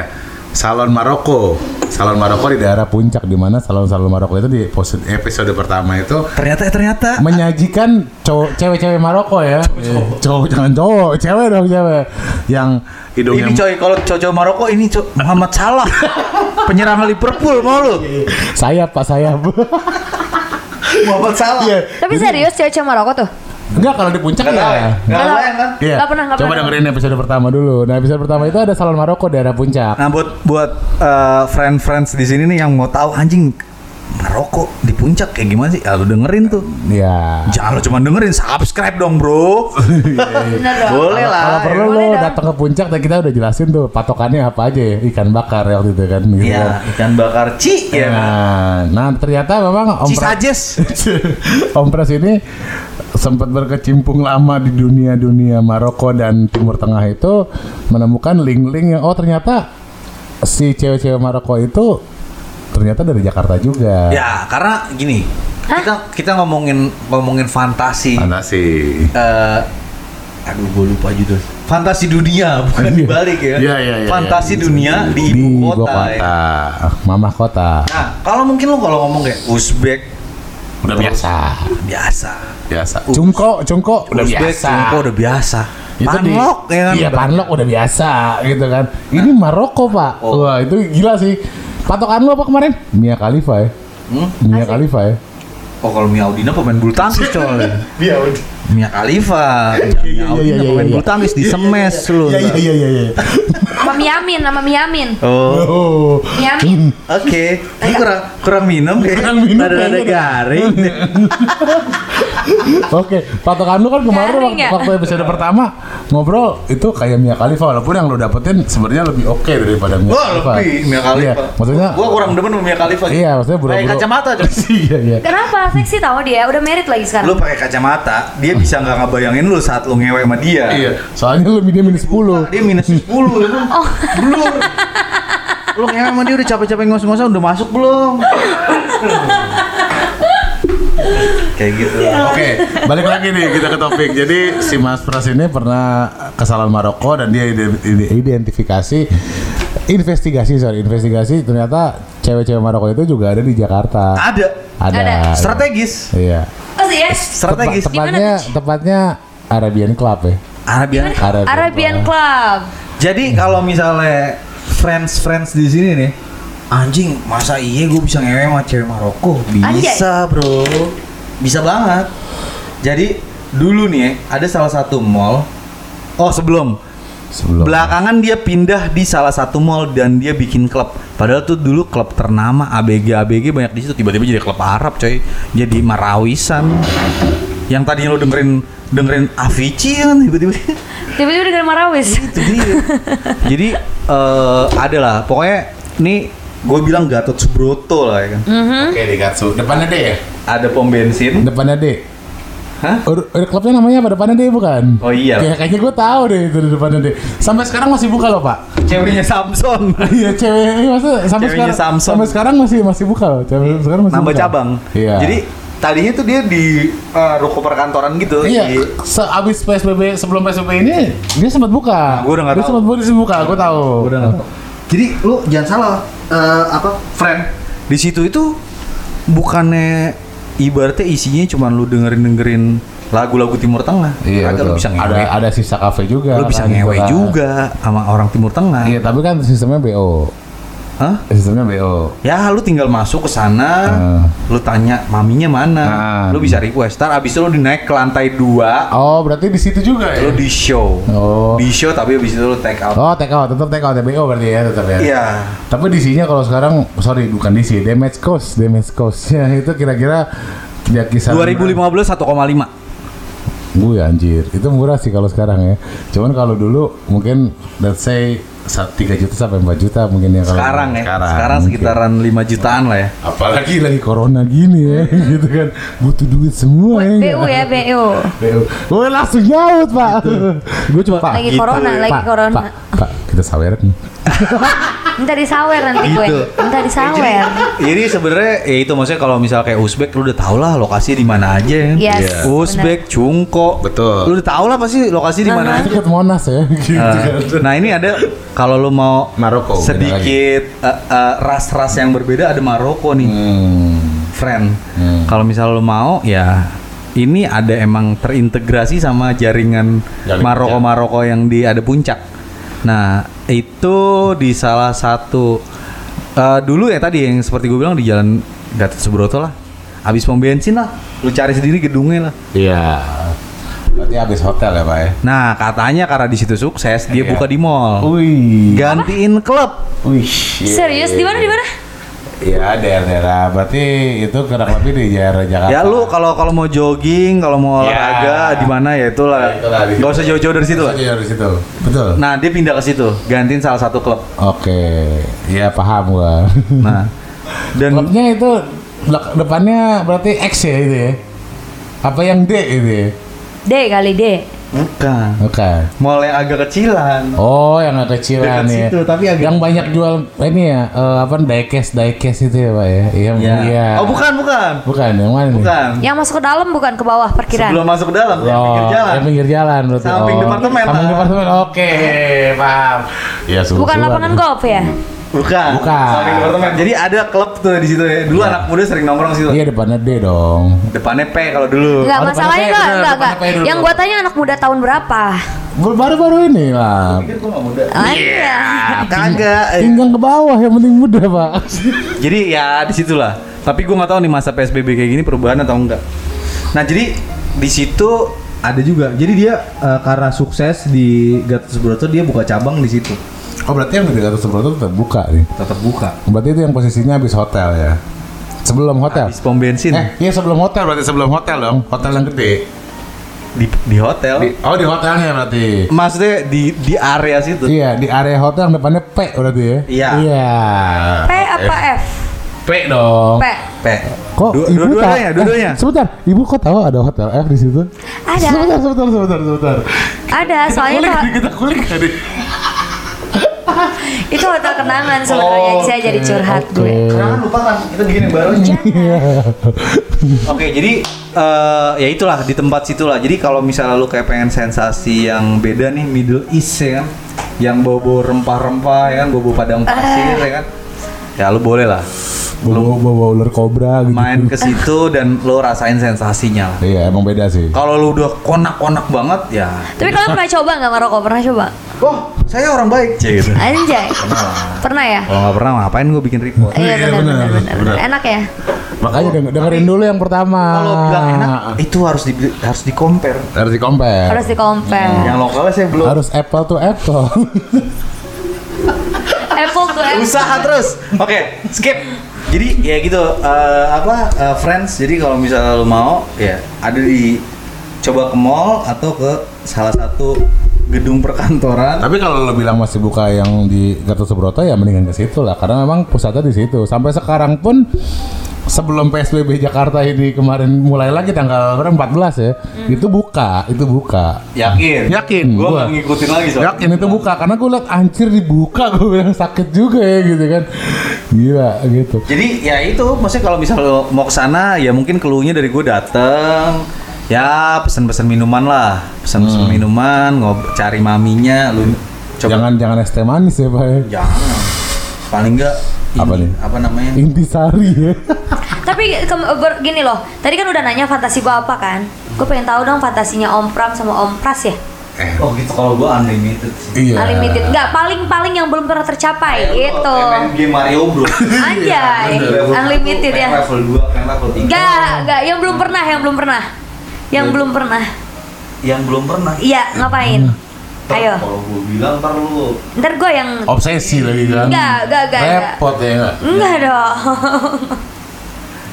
Speaker 8: Salon Maroko. Salon Maroko di daerah
Speaker 5: Daerah puncak di mana salon-salon Maroko itu di pos-
Speaker 8: Maksud episode pertama itu
Speaker 4: ternyata eh, ternyata
Speaker 5: menyajikan cowok cewek-cewek Maroko ya. Eh, Cowok jangan cowok, cewek dong cewek. Yang
Speaker 8: hidungnya
Speaker 4: ini coy kalau cowok Maroko ini coy Muhammad [LAUGHS] Salah penyerang Liverpool mau lu
Speaker 5: sayap Pak sayap.
Speaker 4: Muhammad Salah
Speaker 5: [LAUGHS] Iya.
Speaker 2: Tapi serius cewek-cewek Maroko tuh?
Speaker 5: Enggak kalau di puncak
Speaker 4: nggak tahu ya
Speaker 5: ya.
Speaker 4: nggak
Speaker 2: Nggak
Speaker 4: tahu kan
Speaker 5: Iya.
Speaker 2: Nggak pernah, nggak
Speaker 5: Coba
Speaker 2: pernah.
Speaker 5: dengerin episode pertama dulu. Nah, episode pertama itu ada salon Maroko daerah puncak.
Speaker 4: Nah buat buat eh, friend-friends di sini nih yang mau tahu anjing Maroko di puncak kayak gimana sih? Ya, lu dengerin tuh.
Speaker 5: Iya.
Speaker 4: Jangan lu cuma dengerin, subscribe dong bro.
Speaker 2: Bener dong.
Speaker 4: Boleh
Speaker 5: Kalau
Speaker 4: lah.
Speaker 2: Ah, iya,
Speaker 5: perlu
Speaker 2: boleh
Speaker 5: lo
Speaker 2: dong.
Speaker 5: datang ke puncak dan kita udah jelasin tuh patokannya apa aja ya. Ikan bakar ya waktu itu kan gitu kan.
Speaker 4: Iya, ikan bakar ci
Speaker 2: Iya.
Speaker 4: ya. kan?
Speaker 5: Nah, nah ternyata memang Om
Speaker 4: Ci
Speaker 5: Pras,
Speaker 4: [LAUGHS] sajes.
Speaker 5: Om Pras ini sempat berkecimpung lama di dunia-dunia Maroko dan Timur Tengah itu menemukan link-link yang oh ternyata si cewek-cewek Maroko itu ternyata dari Jakarta juga.
Speaker 4: Ya, karena gini. Kita kita ngomongin ngomongin fantasi
Speaker 8: fantasi.
Speaker 4: eh aduh gue lupa judul. Fantasi dunia [LAUGHS] bukan dibalik ya.
Speaker 8: Iya, iya, iya,
Speaker 4: Fantasi dunia di
Speaker 5: Di ibu
Speaker 4: ibu kota. ya.
Speaker 5: kota, mamah kota.
Speaker 4: Nah, kalau mungkin lu kalau ngomong kayak Uzbek
Speaker 8: Udah biasa.
Speaker 4: biasa.
Speaker 8: Biasa.
Speaker 5: Cungko, cungko
Speaker 4: udah biasa. Cungko udah biasa.
Speaker 5: Oh,
Speaker 4: Panlok
Speaker 5: di,
Speaker 4: ya kan.
Speaker 5: Iya, panlok udah biasa gitu kan. Ini Maroko, Pak.
Speaker 4: Oh.
Speaker 5: Wah, itu gila sih. Patokan lu apa kemarin? Mia Khalifa ya.
Speaker 4: Hmm?
Speaker 5: Mia Khalifa ya.
Speaker 4: Oh kalau Mia Audina pemain bulu
Speaker 5: [LAUGHS]
Speaker 4: tangkis coy. Mia Mia Khalifa. Mia
Speaker 5: iya,
Speaker 4: Audina
Speaker 5: iya,
Speaker 4: pemain
Speaker 5: iya.
Speaker 4: bulu tangkis di semes lu.
Speaker 5: Iya iya iya iya.
Speaker 2: Sama Miamin, sama Miamin.
Speaker 4: Oh.
Speaker 5: Oh.
Speaker 2: Miamin.
Speaker 4: Oke, ini kurang kurang minum kayak.
Speaker 5: Kurang minum
Speaker 4: Rada-rada
Speaker 5: kayaknya.
Speaker 4: garing.
Speaker 5: Oke, patokan lu kan kemarin
Speaker 2: Garing
Speaker 5: waktu,
Speaker 2: ya?
Speaker 5: waktu episode pertama ngobrol itu kayak Mia Khalifa walaupun yang lu dapetin sebenarnya lebih oke daripada Mia
Speaker 4: Wah,
Speaker 5: Khalifa.
Speaker 4: lebih Mia Khalifa.
Speaker 5: Iya, maksudnya
Speaker 4: gua kurang demen sama Mia Khalifa.
Speaker 5: Iya, maksudnya
Speaker 4: Pakai
Speaker 5: buru-buru.
Speaker 4: kacamata coy.
Speaker 5: [LAUGHS] Iya iya.
Speaker 2: Kenapa? Seksi tau dia, udah merit lagi
Speaker 4: Lu
Speaker 2: sekarang.
Speaker 4: pakai kacamata, dia bisa nggak ngebayangin lu saat lu ngewe sama dia.
Speaker 5: Iya.
Speaker 4: Iya.
Speaker 5: Soalnya lu dia minus 10.
Speaker 4: Dia minus 10 ya kan.
Speaker 2: Oh,
Speaker 4: Blur. Lu ngewe sama dia udah capek-capek ngos-ngosan udah masuk belum? Kayak gitu.
Speaker 5: Oke, balik lagi nih kita ke topik. Jadi si Mas Pras ini pernah kesalahan Maroko dan dia ide- ide- identifikasi investigasi sorry investigasi ternyata cewek-cewek Maroko itu juga ada di Jakarta.
Speaker 4: Ada
Speaker 5: Ada.
Speaker 2: Ada.
Speaker 4: strategis.
Speaker 5: Iya.
Speaker 2: Oh sih ya?
Speaker 4: Strategis.
Speaker 5: Tepa- tepatnya tepatnya Arabian Club ya.
Speaker 4: Arabian.
Speaker 5: Arabian,
Speaker 2: Arabian Club.
Speaker 4: Jadi kalau misalnya friends friends di sini nih, anjing masa iya gue bisa ngewe sama cewek Maroko? Bisa bro, bisa banget. Jadi dulu nih ya, ada salah satu mall. Oh sebelum
Speaker 5: Sebelum.
Speaker 4: belakangan dia pindah di salah satu mall dan dia bikin klub. Padahal tuh dulu klub ternama ABG ABG banyak di situ tiba-tiba jadi klub Arab coy. Jadi Marawisan. Yang tadinya lo dengerin dengerin Avicii kan tiba-tiba [LAUGHS]
Speaker 2: Tiba-tiba dengan Marawis.
Speaker 4: jadi jadi eh, ada lah pokoknya ini gue bilang Gatot Subroto lah ya kan
Speaker 5: Oke, di Gatsu. Depannya D ya?
Speaker 4: ada pom bensin
Speaker 5: Depannya D.
Speaker 4: Hah?
Speaker 5: Ur- ur- klubnya namanya apa? Depannya D bukan?
Speaker 4: Oh iya.
Speaker 5: Kayak- kayaknya gue tahu deh itu di depannya D. Sampai sekarang masih buka loh, Pak.
Speaker 4: ceweknya
Speaker 5: [LAUGHS]
Speaker 4: Samson
Speaker 5: Iya cewek ini maksudnya sampai
Speaker 4: Ceweknya
Speaker 5: sekarang
Speaker 4: Samsung.
Speaker 5: sampai sekarang masih masih buka loh. Cewek sekarang masih
Speaker 4: nambah
Speaker 5: buka.
Speaker 4: cabang
Speaker 5: Iya.
Speaker 4: jadi tadinya tuh dia di eh, ruko perkantoran gitu
Speaker 5: iya
Speaker 4: di-
Speaker 5: seabis PSBB sebelum PSBB ini dia sempat buka.
Speaker 4: Nah, gua udah nggak
Speaker 5: Dia
Speaker 4: tahu.
Speaker 5: sempat buka, dia buka, gue tahu.
Speaker 4: Gua udah nggak tahu. Jadi lu jangan salah eh, apa friend di situ itu bukannya ibaratnya isinya cuman lu dengerin dengerin lagu-lagu Timur Tengah.
Speaker 5: Iya,
Speaker 4: Kagak
Speaker 5: betul.
Speaker 4: lu bisa ngewe.
Speaker 5: ada ada sisa kafe juga.
Speaker 4: lu bisa
Speaker 5: kan, gitu
Speaker 4: ngewe
Speaker 5: kan.
Speaker 4: juga sama orang Timur Tengah.
Speaker 5: Iya, tapi kan sistemnya BO.
Speaker 4: Hah?
Speaker 5: Sistemnya BO.
Speaker 4: Ya lu tinggal masuk ke sana,
Speaker 5: Ah.
Speaker 4: lu tanya maminya mana,
Speaker 5: Ah.
Speaker 4: lu bisa request. Ntar abis itu lu dinaik ke lantai dua,
Speaker 5: Oh, berarti di situ juga ya?
Speaker 4: lu di show,
Speaker 5: Oh.
Speaker 4: di show tapi abis itu lu take out.
Speaker 5: Oh, take out, tetap take out ya BO berarti ya tetap ya.
Speaker 4: Iya.
Speaker 5: Tapi DC-nya kalau sekarang sorry bukan DC, damage cost, damage cost. [LAUGHS] Ya itu kira-kira ya kisaran
Speaker 4: 2015 1,5.
Speaker 5: Gue ya, anjir, itu murah sih kalau sekarang ya. Cuman kalau dulu mungkin let's say sa- 3 juta sampai 4 juta mungkin ya kalau
Speaker 4: Sekarang ya, sekarang, sekitaran 5 jutaan lah ya.
Speaker 5: apalagi lagi corona gini ya
Speaker 4: Iya.
Speaker 5: [LAUGHS] gitu kan butuh duit semua ya.
Speaker 2: BU ya, BU.
Speaker 5: BU. Gue langsung nyaut, Pak. Gue cuma Pak.
Speaker 2: Lagi corona, lagi
Speaker 5: Pak,
Speaker 2: corona.
Speaker 5: Pak, Pak, kita saweran.
Speaker 2: Minta disawer nanti gue.
Speaker 4: Gitu.
Speaker 2: Minta disawer.
Speaker 4: Jadi sebenarnya ya itu maksudnya kalau misal kayak Uzbek lu udah tau lah lokasi di mana aja. ya.
Speaker 2: Yes, Iya.
Speaker 4: Uzbek, Cungko.
Speaker 3: Betul.
Speaker 4: Lu udah tau lah pasti lokasi di mana aja.
Speaker 5: Dekat Monas ya [LAUGHS] gitu kan.
Speaker 4: Eh, nah ini ada kalau lu mau
Speaker 3: Maroko, beda
Speaker 4: sedikit eh, eh, ras-ras yang berbeda ada Maroko nih.
Speaker 5: Hmm.
Speaker 4: friend. Kalau misal lo mau ya ini ada emang terintegrasi sama jaringan
Speaker 3: Jaringan
Speaker 4: Maroko-Maroko yang di ada puncak. Nah, itu di salah satu eh, dulu ya tadi yang seperti gue bilang di jalan Gatot Subroto lah. Habis pom bensin lah, lu cari sendiri gedungnya lah.
Speaker 5: Iya. Berarti habis hotel ya, Pak ya.
Speaker 4: Nah, katanya karena di situ sukses, dia
Speaker 5: Iya.
Speaker 4: buka di mall.
Speaker 5: Wih.
Speaker 4: Gantiin klub.
Speaker 5: Wih.
Speaker 2: Serius di mana di mana?
Speaker 5: Iya daerah-daerah. Berarti itu kurang lebih di daerah Jakarta.
Speaker 4: Ya lu kalau kalau mau jogging, kalau mau
Speaker 5: Ya.
Speaker 4: olahraga di mana ya
Speaker 5: Ya,
Speaker 4: itulah.
Speaker 5: itulah, di
Speaker 4: Gak usah
Speaker 5: situ.
Speaker 4: jauh-jauh dari situ lah.
Speaker 5: Iya dari situ. Betul.
Speaker 4: Nah, dia pindah ke situ, gantiin salah satu klub.
Speaker 5: Oke. Iya paham gua.
Speaker 4: Nah, dan
Speaker 5: Klubnya itu belak- depannya berarti X ya itu ya. Apa yang D itu ya?
Speaker 2: D kali D.
Speaker 4: bukan
Speaker 5: Bukan.
Speaker 4: mall yang agak kecilan.
Speaker 5: Oh, yang agak kecilan
Speaker 4: Dekat
Speaker 5: ya.
Speaker 4: situ, tapi agak-
Speaker 5: Yang banyak jual ini ya, eh, apa diecast diecast itu ya, Pak ya. Iya,
Speaker 4: Ya.
Speaker 5: iya.
Speaker 4: Oh, bukan, bukan.
Speaker 5: Bukan, yang mana nih?
Speaker 4: Bukan.
Speaker 2: Yang masuk ke dalam bukan ke bawah perkiraan.
Speaker 4: Hmm. Sebelum masuk ke dalam, yang pinggir
Speaker 5: Oh,
Speaker 4: jalan.
Speaker 5: yang pinggir jalan berarti.
Speaker 4: Samping
Speaker 5: Oh,
Speaker 4: departemen,
Speaker 5: Samping
Speaker 4: Pak.
Speaker 5: departemen. Oke, paham. Iya,
Speaker 2: Bukan lapangan golf ya?
Speaker 4: Bukan.
Speaker 5: Bukan.
Speaker 4: Samping departemen. Jadi ada klub tuh di situ ya. Dulu anak muda sering nongkrong situ.
Speaker 5: Iya depannya D dong.
Speaker 4: Depannya P kalau dulu.
Speaker 2: Enggak
Speaker 5: Oh,
Speaker 2: masalahnya enggak,
Speaker 5: depan apa ya?
Speaker 2: enggak,
Speaker 5: Depan
Speaker 2: enggak.
Speaker 5: apa ya dulu?
Speaker 2: Yang gua tanya anak muda tahun berapa?
Speaker 5: Baru-baru ini lah.
Speaker 4: Pikir gua nggak muda.
Speaker 2: Ah, Iya.
Speaker 4: Kagak. eh.
Speaker 5: Pinggang ke bawah yang penting muda pak.
Speaker 4: Jadi ya di situlah. Tapi gue nggak tahu nih masa PSBB kayak gini perubahan atau enggak. Nah jadi di situ ada juga. Jadi dia eh, karena sukses di Gatot Subroto dia buka cabang di situ.
Speaker 5: [LAUGHS] Oh berarti yang di Gatot Subroto tetap buka nih.
Speaker 4: Tetap buka.
Speaker 5: Berarti itu yang posisinya habis hotel ya. Sebelum hotel.
Speaker 4: Habis pom bensin
Speaker 5: Eh iya sebelum hotel berarti sebelum hotel dong. Hotel yang gede.
Speaker 4: di, di hotel.
Speaker 5: Di- oh di hotelnya berarti.
Speaker 4: Maksudnya di di area situ.
Speaker 5: Iya di area hotel yang depannya P berarti ya.
Speaker 4: Iya.
Speaker 5: Iya. Eh,
Speaker 2: P apa F?
Speaker 5: P dong.
Speaker 2: P.
Speaker 4: P.
Speaker 5: Kok
Speaker 4: Dua-
Speaker 5: ibu tahu?
Speaker 4: Eh, dua-duanya, dua-duanya.
Speaker 5: Eh, sebentar, ibu kok tahu ada hotel F di situ?
Speaker 2: Ada.
Speaker 5: Sebentar, sebentar, sebentar, sebentar.
Speaker 2: Ada soalnya
Speaker 5: kulik,
Speaker 2: kalau-
Speaker 5: kita kulik tadi.
Speaker 2: itu hotel kenangan sebenarnya saya jadi curhat gue
Speaker 4: Karena kan lupa kan, kita bikin yang baru aja. Oke, jadi eh, ya itulah di tempat situlah. Jadi kalau misalnya lu kayak pengen sensasi yang beda nih Middle East ya kan, yang bobo rempah-rempah ya kan, bobo padang pasir ya kan. Ya lu boleh lah
Speaker 5: Bawa bawa ular kobra gitu.
Speaker 4: main ke situ dan lu rasain sensasinya lah.
Speaker 5: Iya emang beda sih.
Speaker 4: Kalau lu udah konak-konak banget ya,
Speaker 2: tapi kalian pernah coba nggak Maroko pernah coba
Speaker 4: wah saya orang baik. Cie, gitu.
Speaker 2: anjay pernah ya
Speaker 4: Kalau nggak pernah ngapain gue bikin report?
Speaker 2: iya
Speaker 9: Iya,
Speaker 2: benar
Speaker 9: benar,
Speaker 2: benar benar, benar
Speaker 9: benar.
Speaker 2: enak ya
Speaker 5: Makanya denger- dengerin dulu yang pertama.
Speaker 4: Kalau bilang enak itu harus di harus di compare.
Speaker 5: Harus di compare.
Speaker 2: harus di compare
Speaker 4: Yang lokalnya saya belum.
Speaker 5: Harus apple to apple.
Speaker 2: Apple tuh Apple
Speaker 4: usaha terus oke skip jadi ya gitu eh, apa eh, friends jadi kalau misalnya lu mau ya ada di coba ke mall atau ke salah satu gedung perkantoran
Speaker 5: [LAUGHS] Tapi kalau lo bilang masih buka yang di Gatot Subroto ya mendingan ke situ lah karena memang pusatnya di situ. Sampai sekarang pun sebelum PSBB Jakarta ini kemarin mulai lagi tanggal berapa 14 ya. Itu buka, itu buka.
Speaker 4: Hmm. yakin
Speaker 5: Yakin,
Speaker 4: gua
Speaker 5: gua.
Speaker 4: nggak ngikutin lagi soalnya
Speaker 5: Yakin itu buka karena gue liat anjir dibuka gue bilang sakit juga ya gitu kan. Gila gitu.
Speaker 4: jadi ya itu maksudnya kalau misalnya lu mau ke sana ya mungkin keluhnya dari gue dateng ya pesan-pesan minuman lah pesan-pesan minuman ngob cari maminya lu coba
Speaker 5: Hmm. Jangan jangan es teh manis ya Pak. ya.
Speaker 4: Jangan. paling enggak
Speaker 5: Apa nih?
Speaker 4: apa namanya
Speaker 5: Intisari ya.
Speaker 2: Tapi ke- ber- gini loh, tadi kan udah nanya fantasi gua apa kan? Gue pengen tahu dong fantasinya Om Pram sama Om Pras ya.
Speaker 4: Oh gitu kalau gua unlimited sih.
Speaker 5: Iya.
Speaker 2: Unlimited, nggak paling-paling yang belum pernah tercapai gitu.
Speaker 4: Game Mario Bros.
Speaker 2: Anjay, unlimited ya.
Speaker 4: Level 2, pengen level 3.
Speaker 2: Nggak, nggak, yang belum pernah, yang belum pernah, yang belum pernah.
Speaker 4: Yang belum pernah.
Speaker 2: Iya, ngapain?
Speaker 4: Ntar
Speaker 2: Ayo,
Speaker 4: Kalau gua bilang ntar lu.
Speaker 2: ntar gue yang
Speaker 10: Obsesi lagi kan.
Speaker 2: nggak, nggak, nggak, nggak.
Speaker 10: Repot ya nggak?
Speaker 2: Enggak dong.
Speaker 4: [LAUGHS]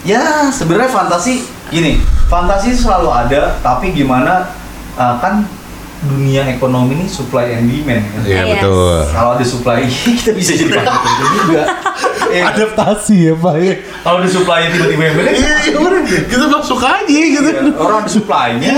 Speaker 4: Ya sebenarnya fantasi gini. Fantasi selalu ada, tapi gimana uh, kan dunia ekonomi ini supply and demand kan.
Speaker 9: Iya
Speaker 2: Yes.
Speaker 9: betul.
Speaker 4: Kalau ada supply [LAUGHS] kita bisa jadi fantasi juga. Eh,
Speaker 5: Adaptasi ya Pak. ya.
Speaker 4: kalau ada supply tiba-tiba yang beda,
Speaker 9: Iya, iya, bener. Kita masuk aja gitu.
Speaker 4: ya, orang ada supply-nya.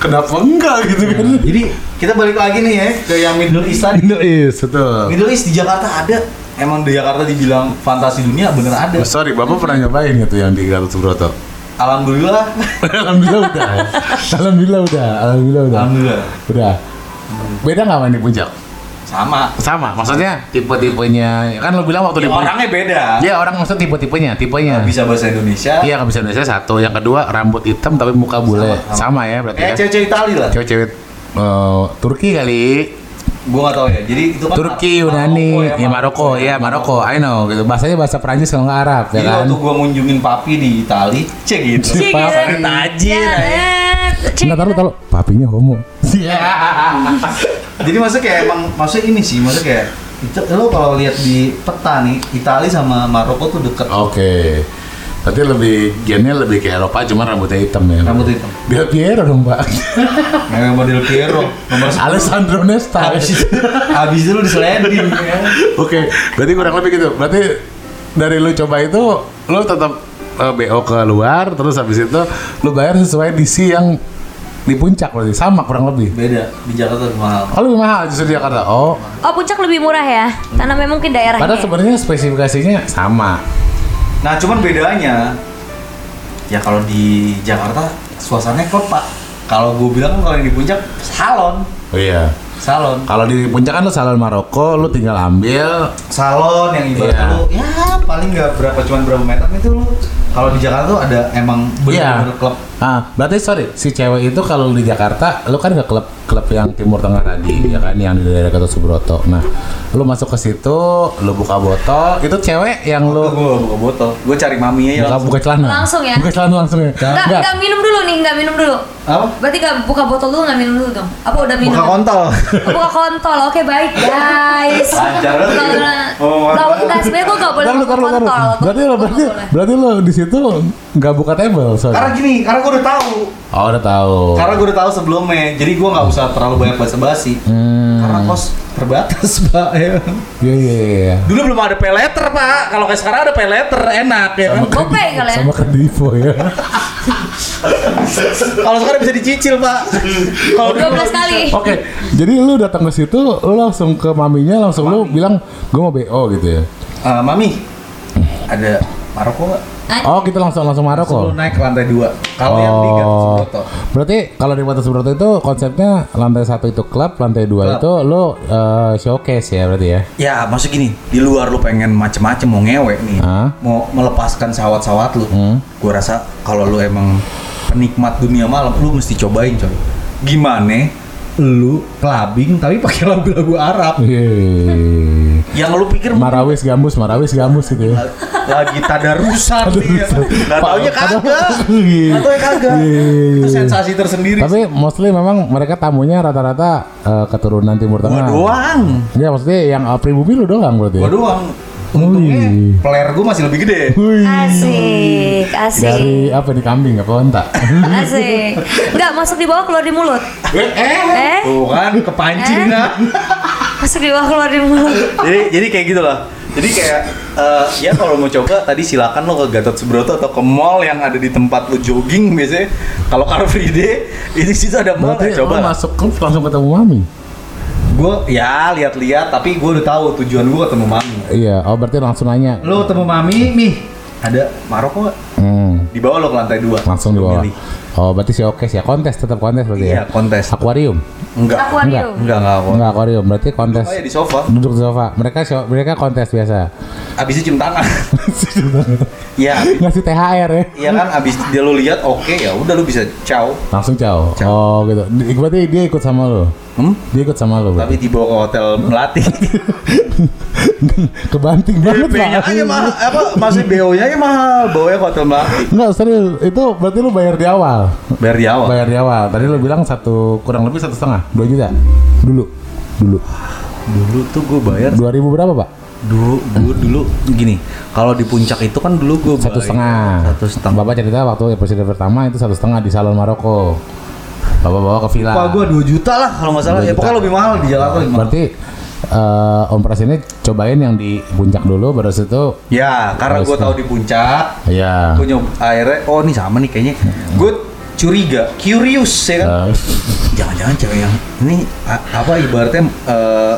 Speaker 9: Kenapa enggak gitu kan?
Speaker 5: Iya.
Speaker 4: Jadi kita balik lagi nih ya ke yang Middle East tadi.
Speaker 9: Middle
Speaker 5: iya,
Speaker 9: East, betul.
Speaker 4: Middle East di Jakarta ada. Emang di Jakarta dibilang fantasi dunia bener ada.
Speaker 9: Oh, Sorry, Bapak pernah nyobain itu
Speaker 5: gitu
Speaker 9: yang di Gatot Subroto?
Speaker 4: Alhamdulillah.
Speaker 5: [LAUGHS] Alhamdulillah udah. Alhamdulillah udah. Alhamdulillah udah.
Speaker 4: Alhamdulillah.
Speaker 5: Udah.
Speaker 10: Beda nggak main di puncak?
Speaker 4: Sama.
Speaker 10: Sama, maksudnya tipe-tipenya kan lo bilang waktu di
Speaker 4: Ya,
Speaker 10: puncak.
Speaker 4: orangnya beda.
Speaker 10: Iya orang maksud tipe-tipenya, tipenya.
Speaker 4: Bisa bahasa Indonesia.
Speaker 10: Iya nggak bisa Indonesia satu, yang kedua rambut hitam tapi muka bule.
Speaker 4: Sama,
Speaker 10: Sama, ya berarti
Speaker 4: Kayak
Speaker 10: ya.
Speaker 4: Eh, cewek-cewek Itali lah.
Speaker 10: Cewek-cewek eh, Turki kali.
Speaker 4: Gua nggak tahu ya. Jadi itu kan
Speaker 10: Turki,
Speaker 4: Mar-
Speaker 10: Yunani,
Speaker 4: Maroko
Speaker 10: ya Maroko, ya Maroko, I know gitu. Bahasanya bahasa Prancis kalau nggak Arab ya
Speaker 4: Jadi
Speaker 10: kan.
Speaker 4: waktu gua ngunjungin papi di Itali, cek gitu.
Speaker 2: Cik,
Speaker 5: Papi
Speaker 4: tajir,
Speaker 2: Iya.
Speaker 10: eh.
Speaker 5: Nah, taruh taruh papinya homo.
Speaker 4: Iya. Jadi maksudnya kayak emang maksudnya ini sih, maksudnya kayak itu lo kalau lihat di peta nih, Itali sama Maroko tuh deket.
Speaker 10: [LAUGHS] Oke.
Speaker 9: Tapi lebih gennya lebih ke Eropa, cuma rambutnya hitam ya.
Speaker 4: Rambut hitam.
Speaker 5: Del Piero dong,
Speaker 4: [LAUGHS]
Speaker 5: Pak.
Speaker 10: Oh.
Speaker 4: Kayak model Piero, nomor
Speaker 10: [LAUGHS]
Speaker 5: Alessandro Nesta.
Speaker 4: habis itu habis itu lu diseledin ya.
Speaker 5: [LAUGHS]
Speaker 9: Oke, berarti kurang lebih gitu. Berarti dari lu coba itu, lu tetap eh, BO ke luar, terus habis itu lu bayar sesuai DC yang
Speaker 5: Di puncak berarti sama kurang lebih.
Speaker 4: beda di Jakarta lebih mahal
Speaker 5: Kalau lebih mahal justru di Jakarta. Oh,
Speaker 2: Oh puncak lebih murah ya, karena memang mungkin daerahnya.
Speaker 5: padahal sebenarnya spesifikasinya sama.
Speaker 4: nah cuman bedanya ya kalau di Jakarta suasananya klub pak kalau gue bilang kan kalau yang di puncak salon
Speaker 5: Oh iya.
Speaker 4: salon
Speaker 5: Kalau di puncak kan lu salon Maroko, lu tinggal ambil.
Speaker 4: salon yang ibaratnya
Speaker 5: Iya.
Speaker 4: lu ya paling nggak berapa cuman berapa meter itu lu kalau di Jakarta tuh ada emang bener-bener
Speaker 5: Iya.
Speaker 4: klub
Speaker 5: Ah, berarti sorry, si cewek itu kalau di Jakarta, lu kan ke klub klub yang Timur Tengah tadi, ya kan, yang di daerah Gatot Subroto. Nah, lu masuk ke situ, lu buka botol, itu cewek yang
Speaker 4: gue
Speaker 5: lu
Speaker 4: buka botol gue cari maminya ya
Speaker 5: buka,
Speaker 4: langsung
Speaker 5: buka celana.
Speaker 2: Langsung ya?
Speaker 5: Buka celana langsung ya.
Speaker 2: Nggak, nggak minum dulu nih, nggak minum dulu.
Speaker 4: apa
Speaker 2: Berarti nggak buka botol dulu, nggak minum dulu dong? Apa udah minum?
Speaker 4: buka [LAUGHS] kontol
Speaker 2: Oh, buka kontol, oke baik guys.
Speaker 4: Lancar banget.
Speaker 2: Buka kontol.
Speaker 4: Oh,
Speaker 2: Nggak,
Speaker 4: mantap.
Speaker 2: nggak, sebenarnya gue nggak boleh
Speaker 5: Taruh,
Speaker 2: buka
Speaker 5: taruh,
Speaker 2: kontol.
Speaker 5: taruh.
Speaker 2: Gua-
Speaker 5: Berarti lo
Speaker 2: gua
Speaker 5: berarti
Speaker 2: nggak boleh.
Speaker 5: berarti lo di situ nggak buka table, sorry.
Speaker 4: karena gini karena gue udah tahu
Speaker 5: Oh, udah tahu.
Speaker 4: karena gue udah tahu sebelumnya jadi gue nggak usah terlalu banyak basa-basi
Speaker 5: Hmm.
Speaker 4: karena kos terbatas [LAUGHS] pak ya.
Speaker 5: Iya, iya, iya.
Speaker 4: Dulu belum ada pay letter, [LAUGHS] Pak. Kalau kayak sekarang ada pay letter, enak ya kan.
Speaker 2: [LAUGHS] Gopay kali ya.
Speaker 5: Sama ke Divo ya.
Speaker 4: Kalau sekarang bisa dicicil, Pak. Kalau dulu
Speaker 2: 12 kali.
Speaker 5: Oke, jadi lu datang ke situ, lu langsung ke maminya, langsung lu bilang gue mau BO gitu ya.
Speaker 4: Eh, Mami, ada Maroko nggak?
Speaker 5: Oh, kita langsung langsung Maroko.
Speaker 4: Sebelum naik ke lantai dua. Kalau yang di Gatot
Speaker 5: Oh,
Speaker 4: Subroto.
Speaker 5: berarti kalau di Kota Subroto itu konsepnya lantai satu itu klub, lantai dua
Speaker 4: Klub.
Speaker 5: itu lu eh, showcase ya berarti ya.
Speaker 4: Ya, maksud gini, di luar lu pengen macem-macem mau ngewe nih,
Speaker 5: Hah?
Speaker 4: mau melepaskan sawat-sawat lu.
Speaker 5: Hmm.
Speaker 4: Gua rasa kalau lu emang penikmat dunia malam, lu mesti cobain, coy. Gimana lu clubbing tapi pakai lagu-lagu
Speaker 5: Hmm.
Speaker 4: Arab?
Speaker 5: Yeay.
Speaker 4: Yang lu pikir
Speaker 5: Marawis gambus, marawis gambus gitu ya.
Speaker 4: lagi tadarusan
Speaker 5: [LAUGHS]
Speaker 4: nih ya. Gak taunya kagak. Gak taunya kagak.
Speaker 5: Iya.
Speaker 4: Itu sensasi tersendiri.
Speaker 5: Tapi mostly memang mereka tamunya rata-rata eh, keturunan Timur
Speaker 4: gua
Speaker 5: Tengah.
Speaker 4: doang.
Speaker 5: Iya maksudnya yang uh, pribumi lu doang berarti. ya?
Speaker 4: Gua doang. Untungnya
Speaker 5: Wih.
Speaker 4: player gua masih lebih gede.
Speaker 5: Wih.
Speaker 2: Asik, asik,
Speaker 5: Dari apa nih kambing apa
Speaker 4: [LAUGHS]
Speaker 5: onta?
Speaker 2: asik. Enggak masuk di bawah keluar di mulut. Eh,
Speaker 4: Tuh kan
Speaker 2: Eh.
Speaker 4: kepancing kan.
Speaker 2: masuk di bawah keluar di mulut.
Speaker 4: jadi jadi kayak gitu lah jadi kayak eh, ya kalau mau coba tadi silakan lo ke Gatot Subroto atau ke mall yang ada di tempat lo jogging biasanya kalau Car Free Day itu situ ada mall
Speaker 5: berarti
Speaker 4: ya coba
Speaker 5: lu
Speaker 4: lah.
Speaker 5: masuk klub langsung ketemu mami.
Speaker 4: gue ya lihat-lihat tapi gue udah tahu tujuan gue ketemu mami
Speaker 5: Iya, oh berarti langsung nanya.
Speaker 4: lo ketemu mami mih ada Maroko nggak?
Speaker 5: Hmm,
Speaker 4: dibawa lo ke lantai dua
Speaker 5: langsung di
Speaker 4: Lo
Speaker 5: bawah.
Speaker 4: milih.
Speaker 5: Oh, berarti showcase ya, kontes tetap kontes berarti ya.
Speaker 4: iya kontes
Speaker 5: Akuarium.
Speaker 4: enggak
Speaker 2: Akuarium.
Speaker 4: enggak enggak aku
Speaker 5: Enggak akuarium, berarti kontes.
Speaker 4: oh ya di sofa
Speaker 5: Duduk di sofa. Mereka show, mereka kontes biasa. [LAUGHS]
Speaker 4: abis itu cium [LAUGHS] tangan ya
Speaker 5: Ngasih THR ya.
Speaker 4: Iya kan abis dia lo lihat oke ya udah lo bisa ciao
Speaker 5: Langsung ciao.
Speaker 4: Ciao.
Speaker 5: Oh, gitu. Di- Berarti dia ikut sama lo.
Speaker 4: hmm?
Speaker 5: Dia ikut sama lo. berarti.
Speaker 4: tapi dibawa ke hotel [LAUGHS] melati
Speaker 5: [LAUGHS] Kebanting banget,
Speaker 4: BP-nya
Speaker 5: Pak.
Speaker 4: aja mahal apa masih BO nya aja mahal bawanya ke hotel melati
Speaker 5: Enggak, serius. Itu berarti lu bayar di awal.
Speaker 4: bayar di awal
Speaker 5: Bayar di awal. Tadi lu bilang satu kurang lebih satu setengah, dua juta. Dulu, dulu.
Speaker 4: dulu tuh gue bayar
Speaker 5: Dua ribu berapa pak?
Speaker 4: dulu gue dulu gini kalau di puncak itu kan dulu gue
Speaker 5: Satu setengah.
Speaker 4: satu setengah
Speaker 5: Bapak cerita waktu episode pertama itu satu setengah di salon Maroko. Bapak bawa ke villa.
Speaker 4: Wah gue 2 juta lah kalau nggak salah
Speaker 5: Dua
Speaker 4: ya
Speaker 5: juta.
Speaker 4: pokoknya lebih mahal di Jakarta lebih mahal
Speaker 5: Berarti eh, Om Pras ini cobain yang di puncak dulu, baru situ
Speaker 4: ya karena gue tahu di puncak
Speaker 5: ya.
Speaker 4: gue nyoba akhirnya oh ini sama nih kayaknya
Speaker 5: Hmm.
Speaker 4: gue curiga curious ya kan
Speaker 5: eh, [LAUGHS]
Speaker 4: jangan-jangan cewek yang ini a- apa ibaratnya eh,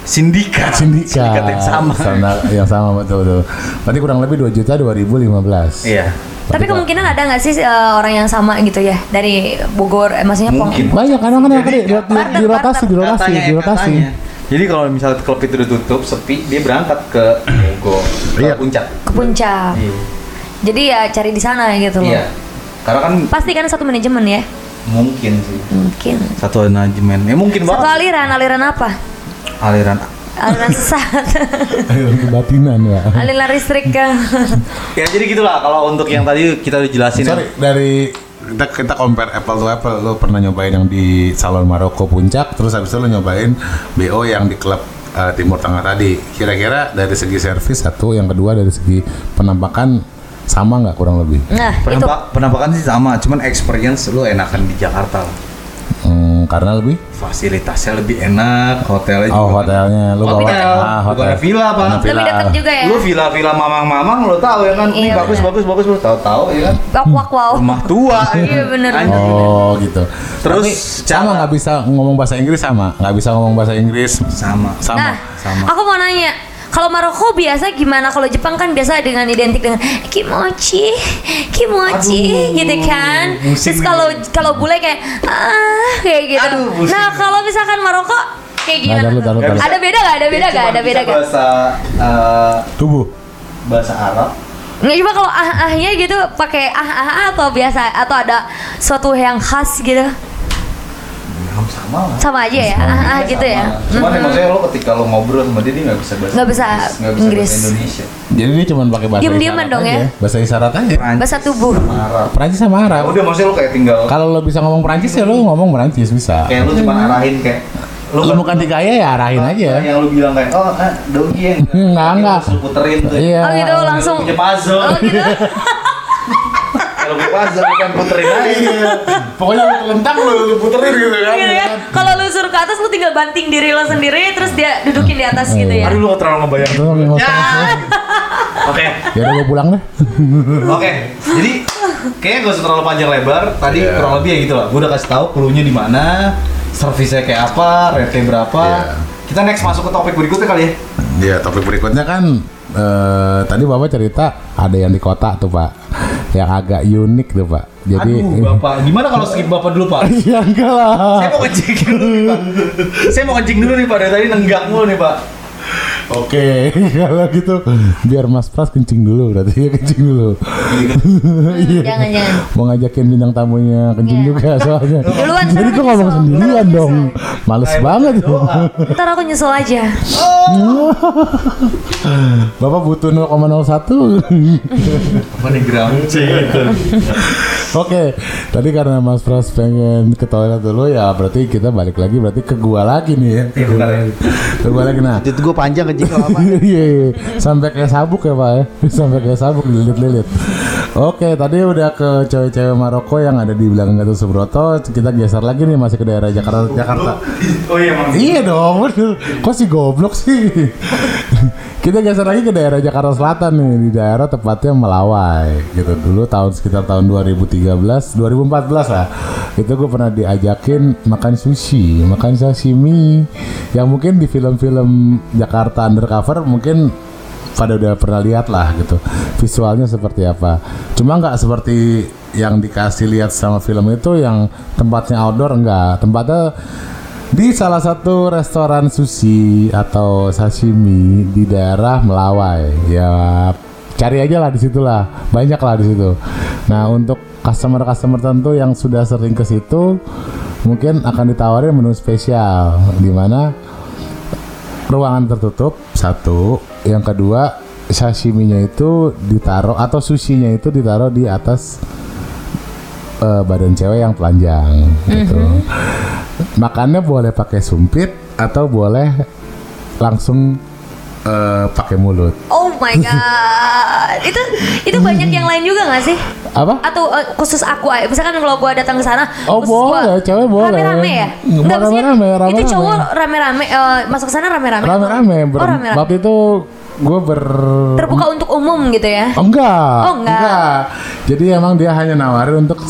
Speaker 4: sindikat
Speaker 5: Sindikat,
Speaker 4: yang sama
Speaker 5: Sama- yang sama betul betul. Berarti kurang lebih dua juta dua ribu lima belas.
Speaker 4: iya
Speaker 2: Tapi kemungkinan ada nggak sih eh, orang yang sama gitu ya dari Bogor, eh, maksudnya Pong-
Speaker 4: Mungkin.
Speaker 5: banyak kan, kadang kadang
Speaker 4: Jadi,
Speaker 5: dirotasi dirotasi
Speaker 4: Katanya,
Speaker 5: dirotasi.
Speaker 4: katanya. Jadi kalau misalnya klub itu udah tutup, sepi, dia berangkat ke Bogor, ke
Speaker 5: Iya.
Speaker 4: puncak.
Speaker 2: ke puncak.
Speaker 4: Iya.
Speaker 2: Jadi ya cari di sana gitu loh.
Speaker 4: Iya. Karena kan
Speaker 2: Pasti kan satu manajemen ya.
Speaker 4: mungkin sih
Speaker 2: Mungkin.
Speaker 4: satu manajemen. Ya mungkin
Speaker 2: Satu
Speaker 4: banget.
Speaker 2: aliran, aliran apa?
Speaker 4: Aliran
Speaker 2: Aliran
Speaker 4: [LAUGHS]
Speaker 2: sesat,
Speaker 5: [LAUGHS] Kebatinan ya.
Speaker 2: aliran listrik.
Speaker 4: Ya jadi gitulah kalau untuk yang tadi kita udah jelasin.
Speaker 5: Eh, Sorry,
Speaker 4: ya.
Speaker 5: dari kita kita compare apple to apple lo pernah nyobain yang di salon Maroko puncak terus habis itu lo nyobain BO yang di klub eh, Timur Tengah tadi kira-kira dari segi servis satu yang kedua dari segi penampakan sama nggak kurang lebih
Speaker 2: Nah, itu
Speaker 4: Penampak, penampakan sih sama, cuman experience lu enakan di Jakarta lah.
Speaker 5: Hmm, karena lebih
Speaker 4: Fasilitasnya lebih enak, hotelnya
Speaker 5: oh
Speaker 4: juga
Speaker 5: hotelnya lo bawa
Speaker 4: Hotel,
Speaker 5: ah,
Speaker 4: kan? bukan villa, Pak.
Speaker 5: Bukan
Speaker 2: lebih dekat juga ya.
Speaker 4: Lu villa-villa mamang-mamang lo tahu ya kan? Ini
Speaker 2: Iya,
Speaker 4: bagus,
Speaker 2: benar.
Speaker 4: bagus, bagus, bagus, tahu-tahu ya kan?
Speaker 2: Wak wak wow.
Speaker 4: Rumah tua.
Speaker 2: [LAUGHS]
Speaker 4: ya
Speaker 2: Iya,
Speaker 4: kan?
Speaker 2: benar.
Speaker 4: Anjing.
Speaker 5: oh gitu
Speaker 4: Terus
Speaker 5: Tapi
Speaker 4: cara-
Speaker 5: sama nggak bisa ngomong bahasa Inggris sama nggak bisa ngomong bahasa Inggris
Speaker 4: Sama.
Speaker 5: sama
Speaker 2: Nah,
Speaker 4: sama.
Speaker 2: aku mau nanya, kalau Maroko biasa gimana? Kalau Jepang kan biasa dengan identik dengan kimochi, kimochi,
Speaker 4: Aduh,
Speaker 2: gitu kan.
Speaker 4: musim
Speaker 2: Terus kalau kalau bule kayak ah kayak gitu.
Speaker 4: Aduh, musim.
Speaker 2: nah, kalau misalkan Maroko kayak
Speaker 5: Nggak,
Speaker 2: gimana?
Speaker 5: taruh, taruh,
Speaker 4: taruh.
Speaker 2: Ada beda gak? Ada beda gak?
Speaker 4: Dia Ya, cuma
Speaker 2: Ada beda
Speaker 4: bisa
Speaker 2: gak?
Speaker 4: Bahasa eh,
Speaker 5: tubuh
Speaker 4: bahasa Arab.
Speaker 2: Nggak cuma kalau ah ahnya gitu pakai ah ah ah atau biasa atau ada suatu yang khas gitu.
Speaker 4: Ham ya, sama lah.
Speaker 2: Sama aja ya. Ah ah gitu
Speaker 4: Sama.
Speaker 2: ya.
Speaker 4: Cuman yang maksudnya lo ketika lo ngobrol sama dia dia nggak bisa bahasa
Speaker 2: Nggak bisa
Speaker 4: nggak bisa
Speaker 2: Inggris.
Speaker 4: bahasa Indonesia.
Speaker 5: jadi dia cuma pakai bahasa
Speaker 2: Diem-dieman
Speaker 5: isyarat
Speaker 2: dong ya.
Speaker 5: aja. bahasa isyarat aja
Speaker 4: Perancis
Speaker 2: Bahasa tubuh.
Speaker 4: sama Arab.
Speaker 5: Perancis sama
Speaker 4: Ya
Speaker 5: Arab
Speaker 4: udah maksudnya lo kayak tinggal
Speaker 5: Kalau lo bisa ngomong Perancis ya lo ngomong Perancis bisa.
Speaker 4: kayak lo cuma arahin kayak
Speaker 5: Lo
Speaker 4: kan-
Speaker 5: bukan tiga ya ya arahin aja.
Speaker 4: Yang lo bilang kayak oh ah, doggy ya.
Speaker 5: [LAUGHS] Nggak,
Speaker 4: Kayak
Speaker 5: nggak.
Speaker 4: Lo puterin tuh.
Speaker 5: Iya.
Speaker 2: Oh gitu langsung.
Speaker 4: Punya puzzle.
Speaker 2: Oh gitu.
Speaker 4: [LAUGHS] Kalau punya puzzle bukan puterin aja.
Speaker 2: Iya.
Speaker 5: Pokoknya lo telentang lo lo puterin gitu kan.
Speaker 2: gitu ya. Kalau lu suruh ke atas lu tinggal banting diri lo sendiri terus dia dudukin di atas gitu ya.
Speaker 4: Aduh lo terlalu ngebayang.
Speaker 5: Lo ngomong-
Speaker 4: Oke.
Speaker 5: [LAUGHS] Ya udah gue pulang deh.
Speaker 4: Oke, jadi kayaknya gak usah terlalu panjang lebar. Tadi
Speaker 11: Iya.
Speaker 4: kurang lebih ya gitu lah. Gue udah kasih tahu clue-nya di mana, servisnya kayak apa, rate-nya berapa.
Speaker 11: Iya.
Speaker 4: Kita next masuk ke topik berikutnya kali ya.
Speaker 5: Ya, topik berikutnya kan eh, tadi Bapak cerita ada yang di kota tuh, Pak. Yang agak unik tuh, Pak. Jadi [LAUGHS]
Speaker 4: Aduh, Bapak, gimana kalau skip Bapak dulu, Pak?
Speaker 5: Iya, enggak lah.
Speaker 4: Saya mau kencing dulu nih, Pak. Saya mau kencing dulu nih, Pak. Dari tadi nenggak mulu nih, Pak.
Speaker 5: Oke, [LAUGHS] kalau gitu biar Mas Pras kencing dulu berarti ya kencing dulu. Iya.
Speaker 2: jangan jangan
Speaker 5: Mau ngajakin bintang tamunya kencing
Speaker 2: Iya. [LAUGHS]
Speaker 5: juga soalnya.
Speaker 2: Duluan,
Speaker 5: Jadi
Speaker 2: ntar
Speaker 5: gua
Speaker 2: aku
Speaker 5: ngomong
Speaker 2: nyesel.
Speaker 5: sendirian
Speaker 2: Ntar aku
Speaker 5: dong. Males banget.
Speaker 4: Doa.
Speaker 2: ntar aku nyusul aja
Speaker 5: Bapak butuh 0,01.
Speaker 4: Apa nih, Iya, Gram?
Speaker 5: [LAUGHS] Oke, tadi karena Mas Pras pengen ke toilet dulu ya berarti kita balik lagi berarti ke gua lagi nih ya. Ke gua lagi. Ke gua lagi nah.
Speaker 12: Itu gue panjang kencing gak apa-apa.
Speaker 5: [LAUGHS] Iya, iya, iya. sampai kayak sabuk ya pak ya, [LAUGHS] sampai kayak sabuk dililit-lilit. Oke, tadi udah ke cewek-cewek Maroko yang ada di belakang Gatot Subroto, kita geser lagi nih masih ke daerah Jakarta. Jakarta.
Speaker 4: Oh iya, Mang.
Speaker 5: Iya dong, bener. Kok si goblok sih? Kita geser lagi ke daerah Jakarta Selatan nih, di daerah tepatnya Melawai. Gitu dulu tahun sekitar tahun 2013, 2014 lah. Itu gue pernah diajakin makan sushi, makan sashimi yang mungkin di film-film Jakarta undercover mungkin pada udah pernah lihat lah gitu visualnya seperti apa cuma nggak seperti yang dikasih lihat sama film itu yang tempatnya outdoor enggak tempatnya di salah satu restoran sushi atau sashimi di daerah Melawai ya cari aja lah di situlah banyak lah di situ nah untuk customer-customer tertentu yang sudah sering ke situ mungkin akan ditawarin menu spesial di mana ruangan tertutup satu yang kedua sashiminya itu ditaruh atau sushinya itu ditaruh di atas eh, badan cewek yang telanjang gitu makannya boleh pakai sumpit atau boleh langsung eh, pakai mulut
Speaker 2: oh my god itu itu banyak yang lain juga nggak sih
Speaker 5: apa
Speaker 2: atau eh, khusus aku aja misalkan kalau gua datang ke sana
Speaker 5: Oh,
Speaker 2: khusus gua-
Speaker 5: boleh, cewek boleh.
Speaker 2: rame-rame ya
Speaker 5: Nggak,
Speaker 2: Nggak, maksudnya
Speaker 5: rame-rame,
Speaker 2: itu
Speaker 5: rame-rame.
Speaker 2: cowok rame-rame eh, masuk ke sana rame-rame
Speaker 5: rame-rame
Speaker 2: oh
Speaker 5: ber-
Speaker 2: rame-rame
Speaker 5: waktu itu gue ber
Speaker 2: terbuka untuk umum gitu ya
Speaker 5: Oh, enggak.
Speaker 2: Oh, enggak.
Speaker 5: Jadi emang dia hanya nawarin untuk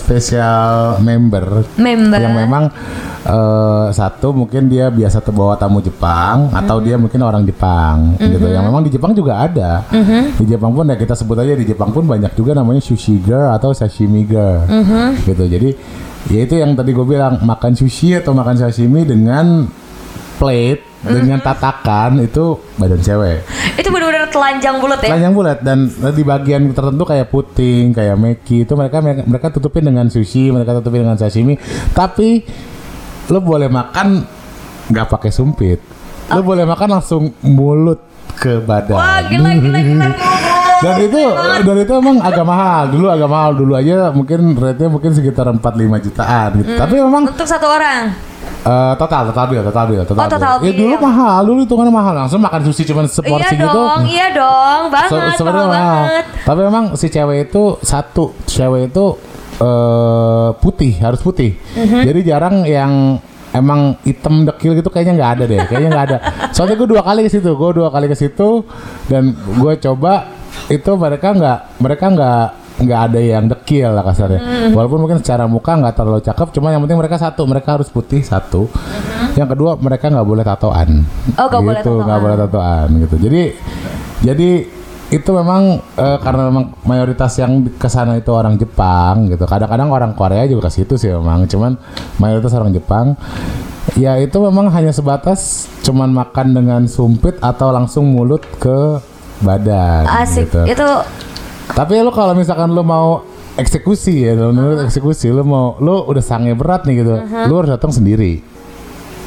Speaker 5: spesial-spesial member.
Speaker 2: Member.
Speaker 5: Yang memang eh, satu mungkin dia biasa terbawa tamu Jepang atau dia mungkin orang Jepang gitu.
Speaker 2: Mhm.
Speaker 5: Yang memang di Jepang juga ada. Di Jepang pun ya kita sebut aja di Jepang pun banyak juga namanya sushi girl atau sashimi girl.
Speaker 2: Mhm.
Speaker 5: Gitu. Jadi ya itu yang tadi gue bilang makan sushi atau makan sashimi dengan plate
Speaker 2: Mhm.
Speaker 5: dengan tatakan itu badan cewek.
Speaker 2: itu benar-benar telanjang bulat ya
Speaker 5: Telanjang bulat dan di bagian tertentu kayak puting, kayak meki itu mereka mereka tutupin dengan sushi, mereka tutupin dengan sashimi. Tapi lo boleh makan nggak pakai sumpit. Lo boleh makan langsung mulut ke badan.
Speaker 2: Ah. wah gila gila gila, gila.
Speaker 5: Dan itu dan itu emang agak mahal. Dulu agak mahal dulu aja mungkin rate-nya mungkin sekitar 4-5 jutaan gitu. Tapi memang
Speaker 2: untuk satu orang
Speaker 5: Eh, total, total bill, total bill,
Speaker 2: Oh,
Speaker 5: total,
Speaker 2: total
Speaker 5: bill. Ya
Speaker 2: bill.
Speaker 5: dulu mahal, dulu hitungannya mahal. Langsung makan sushi cuma
Speaker 2: iya
Speaker 5: seporsi gitu.
Speaker 2: dong iya dong
Speaker 5: Se-
Speaker 2: banget
Speaker 5: sebenarnya
Speaker 2: mahal
Speaker 5: mahal.
Speaker 2: banget
Speaker 5: Tapi memang si cewek itu satu, cewek itu eh putih, harus putih.
Speaker 2: Mhm.
Speaker 5: Jadi jarang yang emang hitam dekil gitu kayaknya nggak ada deh, kayaknya nggak
Speaker 2: [LAUGHS]
Speaker 5: ada. Soalnya gue dua kali ke situ, gue dua kali ke situ dan gue coba itu mereka nggak, mereka nggak nggak ada yang dekil lah kasarnya.
Speaker 2: Mhm.
Speaker 5: Walaupun mungkin secara muka nggak terlalu cakep, cuma yang penting mereka satu, mereka harus putih satu. Yang kedua mereka nggak boleh tatoan.
Speaker 2: Mhm. Oh, nggak boleh
Speaker 5: Gitu, nggak
Speaker 2: tatoan.
Speaker 5: boleh tatoan gitu. Jadi jadi itu memang eh, karena memang mayoritas yang ke sana itu orang Jepang gitu. Kadang-kadang orang Korea juga ke situ sih memang, cuman mayoritas orang Jepang. Ya itu memang hanya sebatas cuman makan dengan sumpit atau langsung mulut ke badan
Speaker 2: asik
Speaker 5: gitu.
Speaker 2: itu
Speaker 5: Tapi lu kalau misalkan lu mau eksekusi ya, lu lu eksekusi, lu mau lu udah sange berat nih gitu. Lu harus datang sendiri.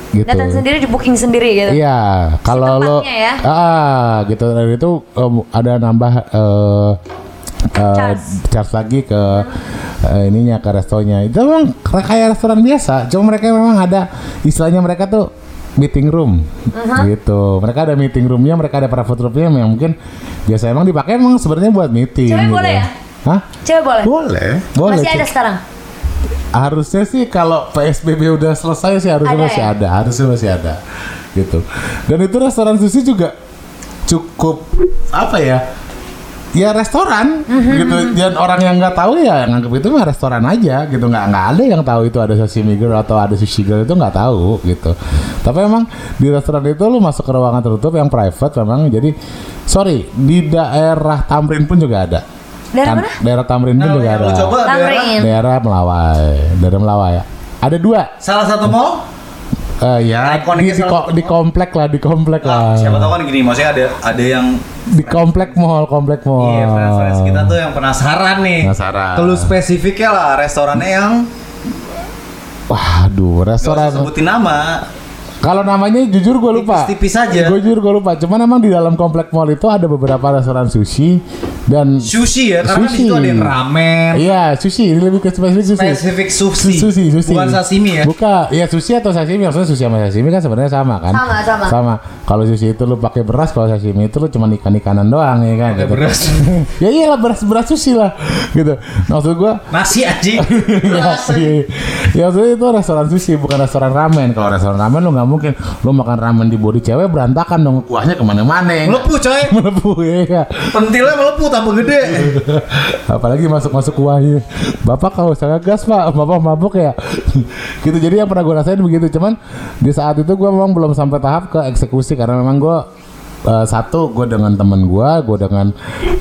Speaker 5: Gitu.
Speaker 2: datang sendiri di booking sendiri gitu
Speaker 5: Iya, kalau lo
Speaker 2: tempatnya ya.
Speaker 5: ah gitu dan itu em, ada nambah eh eh,
Speaker 2: Charge.
Speaker 5: charge lagi ke eh, ininya ke restonya. Itu memang kre- kayak restoran biasa, cuma mereka memang ada istilahnya mereka tuh meeting room
Speaker 2: Uh-huh.
Speaker 5: gitu. Mereka ada meeting roomnya, mereka ada private roomnya yang mungkin biasa emang dipakai emang sebenarnya buat meeting.
Speaker 2: Cewek
Speaker 5: gitu.
Speaker 2: boleh ya?
Speaker 5: Hah?
Speaker 2: cewek boleh
Speaker 11: Boleh.
Speaker 5: Boleh.
Speaker 2: masih ada
Speaker 5: Ci.
Speaker 2: sekarang
Speaker 5: Harusnya sih kalau PSBB udah selesai sih harusnya
Speaker 2: Ada
Speaker 5: masih
Speaker 2: ya?
Speaker 5: ada, harusnya masih ada. Gitu. Dan itu restoran sushi juga cukup apa ya? ya restoran
Speaker 2: Mhm,
Speaker 5: gitu dan orang yang nggak tahu ya nganggep itu mah restoran aja gitu nggak nggak ada yang tahu itu ada sashimi girl atau ada sushi girl itu nggak tahu gitu tapi emang di restoran itu lu masuk ke ruangan tertutup yang private memang jadi sorry di daerah Tamrin pun juga ada
Speaker 2: Daerah
Speaker 5: Tam-
Speaker 2: mana?
Speaker 5: Daerah Tamrin pun
Speaker 4: Nah,
Speaker 5: juga
Speaker 4: yang
Speaker 5: ada
Speaker 4: lu coba daerah
Speaker 2: Tamrin.
Speaker 5: daerah Melawai daerah Melawai ada dua
Speaker 4: salah satu mall
Speaker 5: Eh, ya di,
Speaker 4: Ikoniknya
Speaker 5: di,
Speaker 4: Nah, salah
Speaker 5: ko-
Speaker 4: satu
Speaker 5: di komplek lah di komplek
Speaker 4: Ah,
Speaker 5: lah
Speaker 4: siapa tahu kan gini maksudnya ada ada yang
Speaker 5: di komplek mall komplek mall
Speaker 4: Iya, friends-friends kita tuh yang penasaran nih.
Speaker 5: Oh. Penasaran.
Speaker 4: Kalau spesifiknya lah restorannya yang
Speaker 5: Waduh,
Speaker 4: nggak usah
Speaker 5: restoran.
Speaker 4: sebutin nama.
Speaker 5: Kalau namanya jujur gue lupa.
Speaker 4: Tipis-tipis aja.
Speaker 5: Gue jujur gue lupa. Cuman emang di dalam komplek mall itu ada beberapa restoran sushi dan
Speaker 4: Sushi ya, karena
Speaker 5: Sushi.
Speaker 4: di situ ada yang ramen,
Speaker 5: Iya, sushi. Ini lebih ke spesifik sushi.
Speaker 4: spesifik sushi.
Speaker 5: Sushi, sushi.
Speaker 4: Bukan sashimi ya.
Speaker 5: Buka, ya sushi atau sashimi. Maksudnya sushi sama sashimi kan sebenarnya sama kan?
Speaker 2: Sama, sama.
Speaker 5: Sama. Kalau sushi itu lu pakai beras, kalau sashimi itu lu cuma ikan-ikanan doang ya kan?
Speaker 4: Pakai
Speaker 5: gitu.
Speaker 4: beras.
Speaker 5: [LAUGHS] ya iyalah beras-beras sushi lah. Gitu. Maksud gue
Speaker 4: Nasi aja.
Speaker 5: [LAUGHS] ya, iya, iya. ya maksudnya itu restoran sushi bukan restoran ramen kalau restoran ramen lu nggak mungkin lu makan ramen di body cewek berantakan dong kuahnya kemana-mana [LAUGHS]
Speaker 4: melepuh coy.
Speaker 5: melepuh ya
Speaker 4: Pentilnya melepuh
Speaker 5: [LAUGHS]
Speaker 4: tambah gede.
Speaker 5: apalagi masuk masuk kuahnya bapak kalau saya gas pak bapak mabuk ya [LAUGHS] gitu jadi yang pernah gue rasain begitu cuman di saat itu gue memang belum sampai tahap ke eksekusi karena memang gue eh, satu gue dengan temen gue gue dengan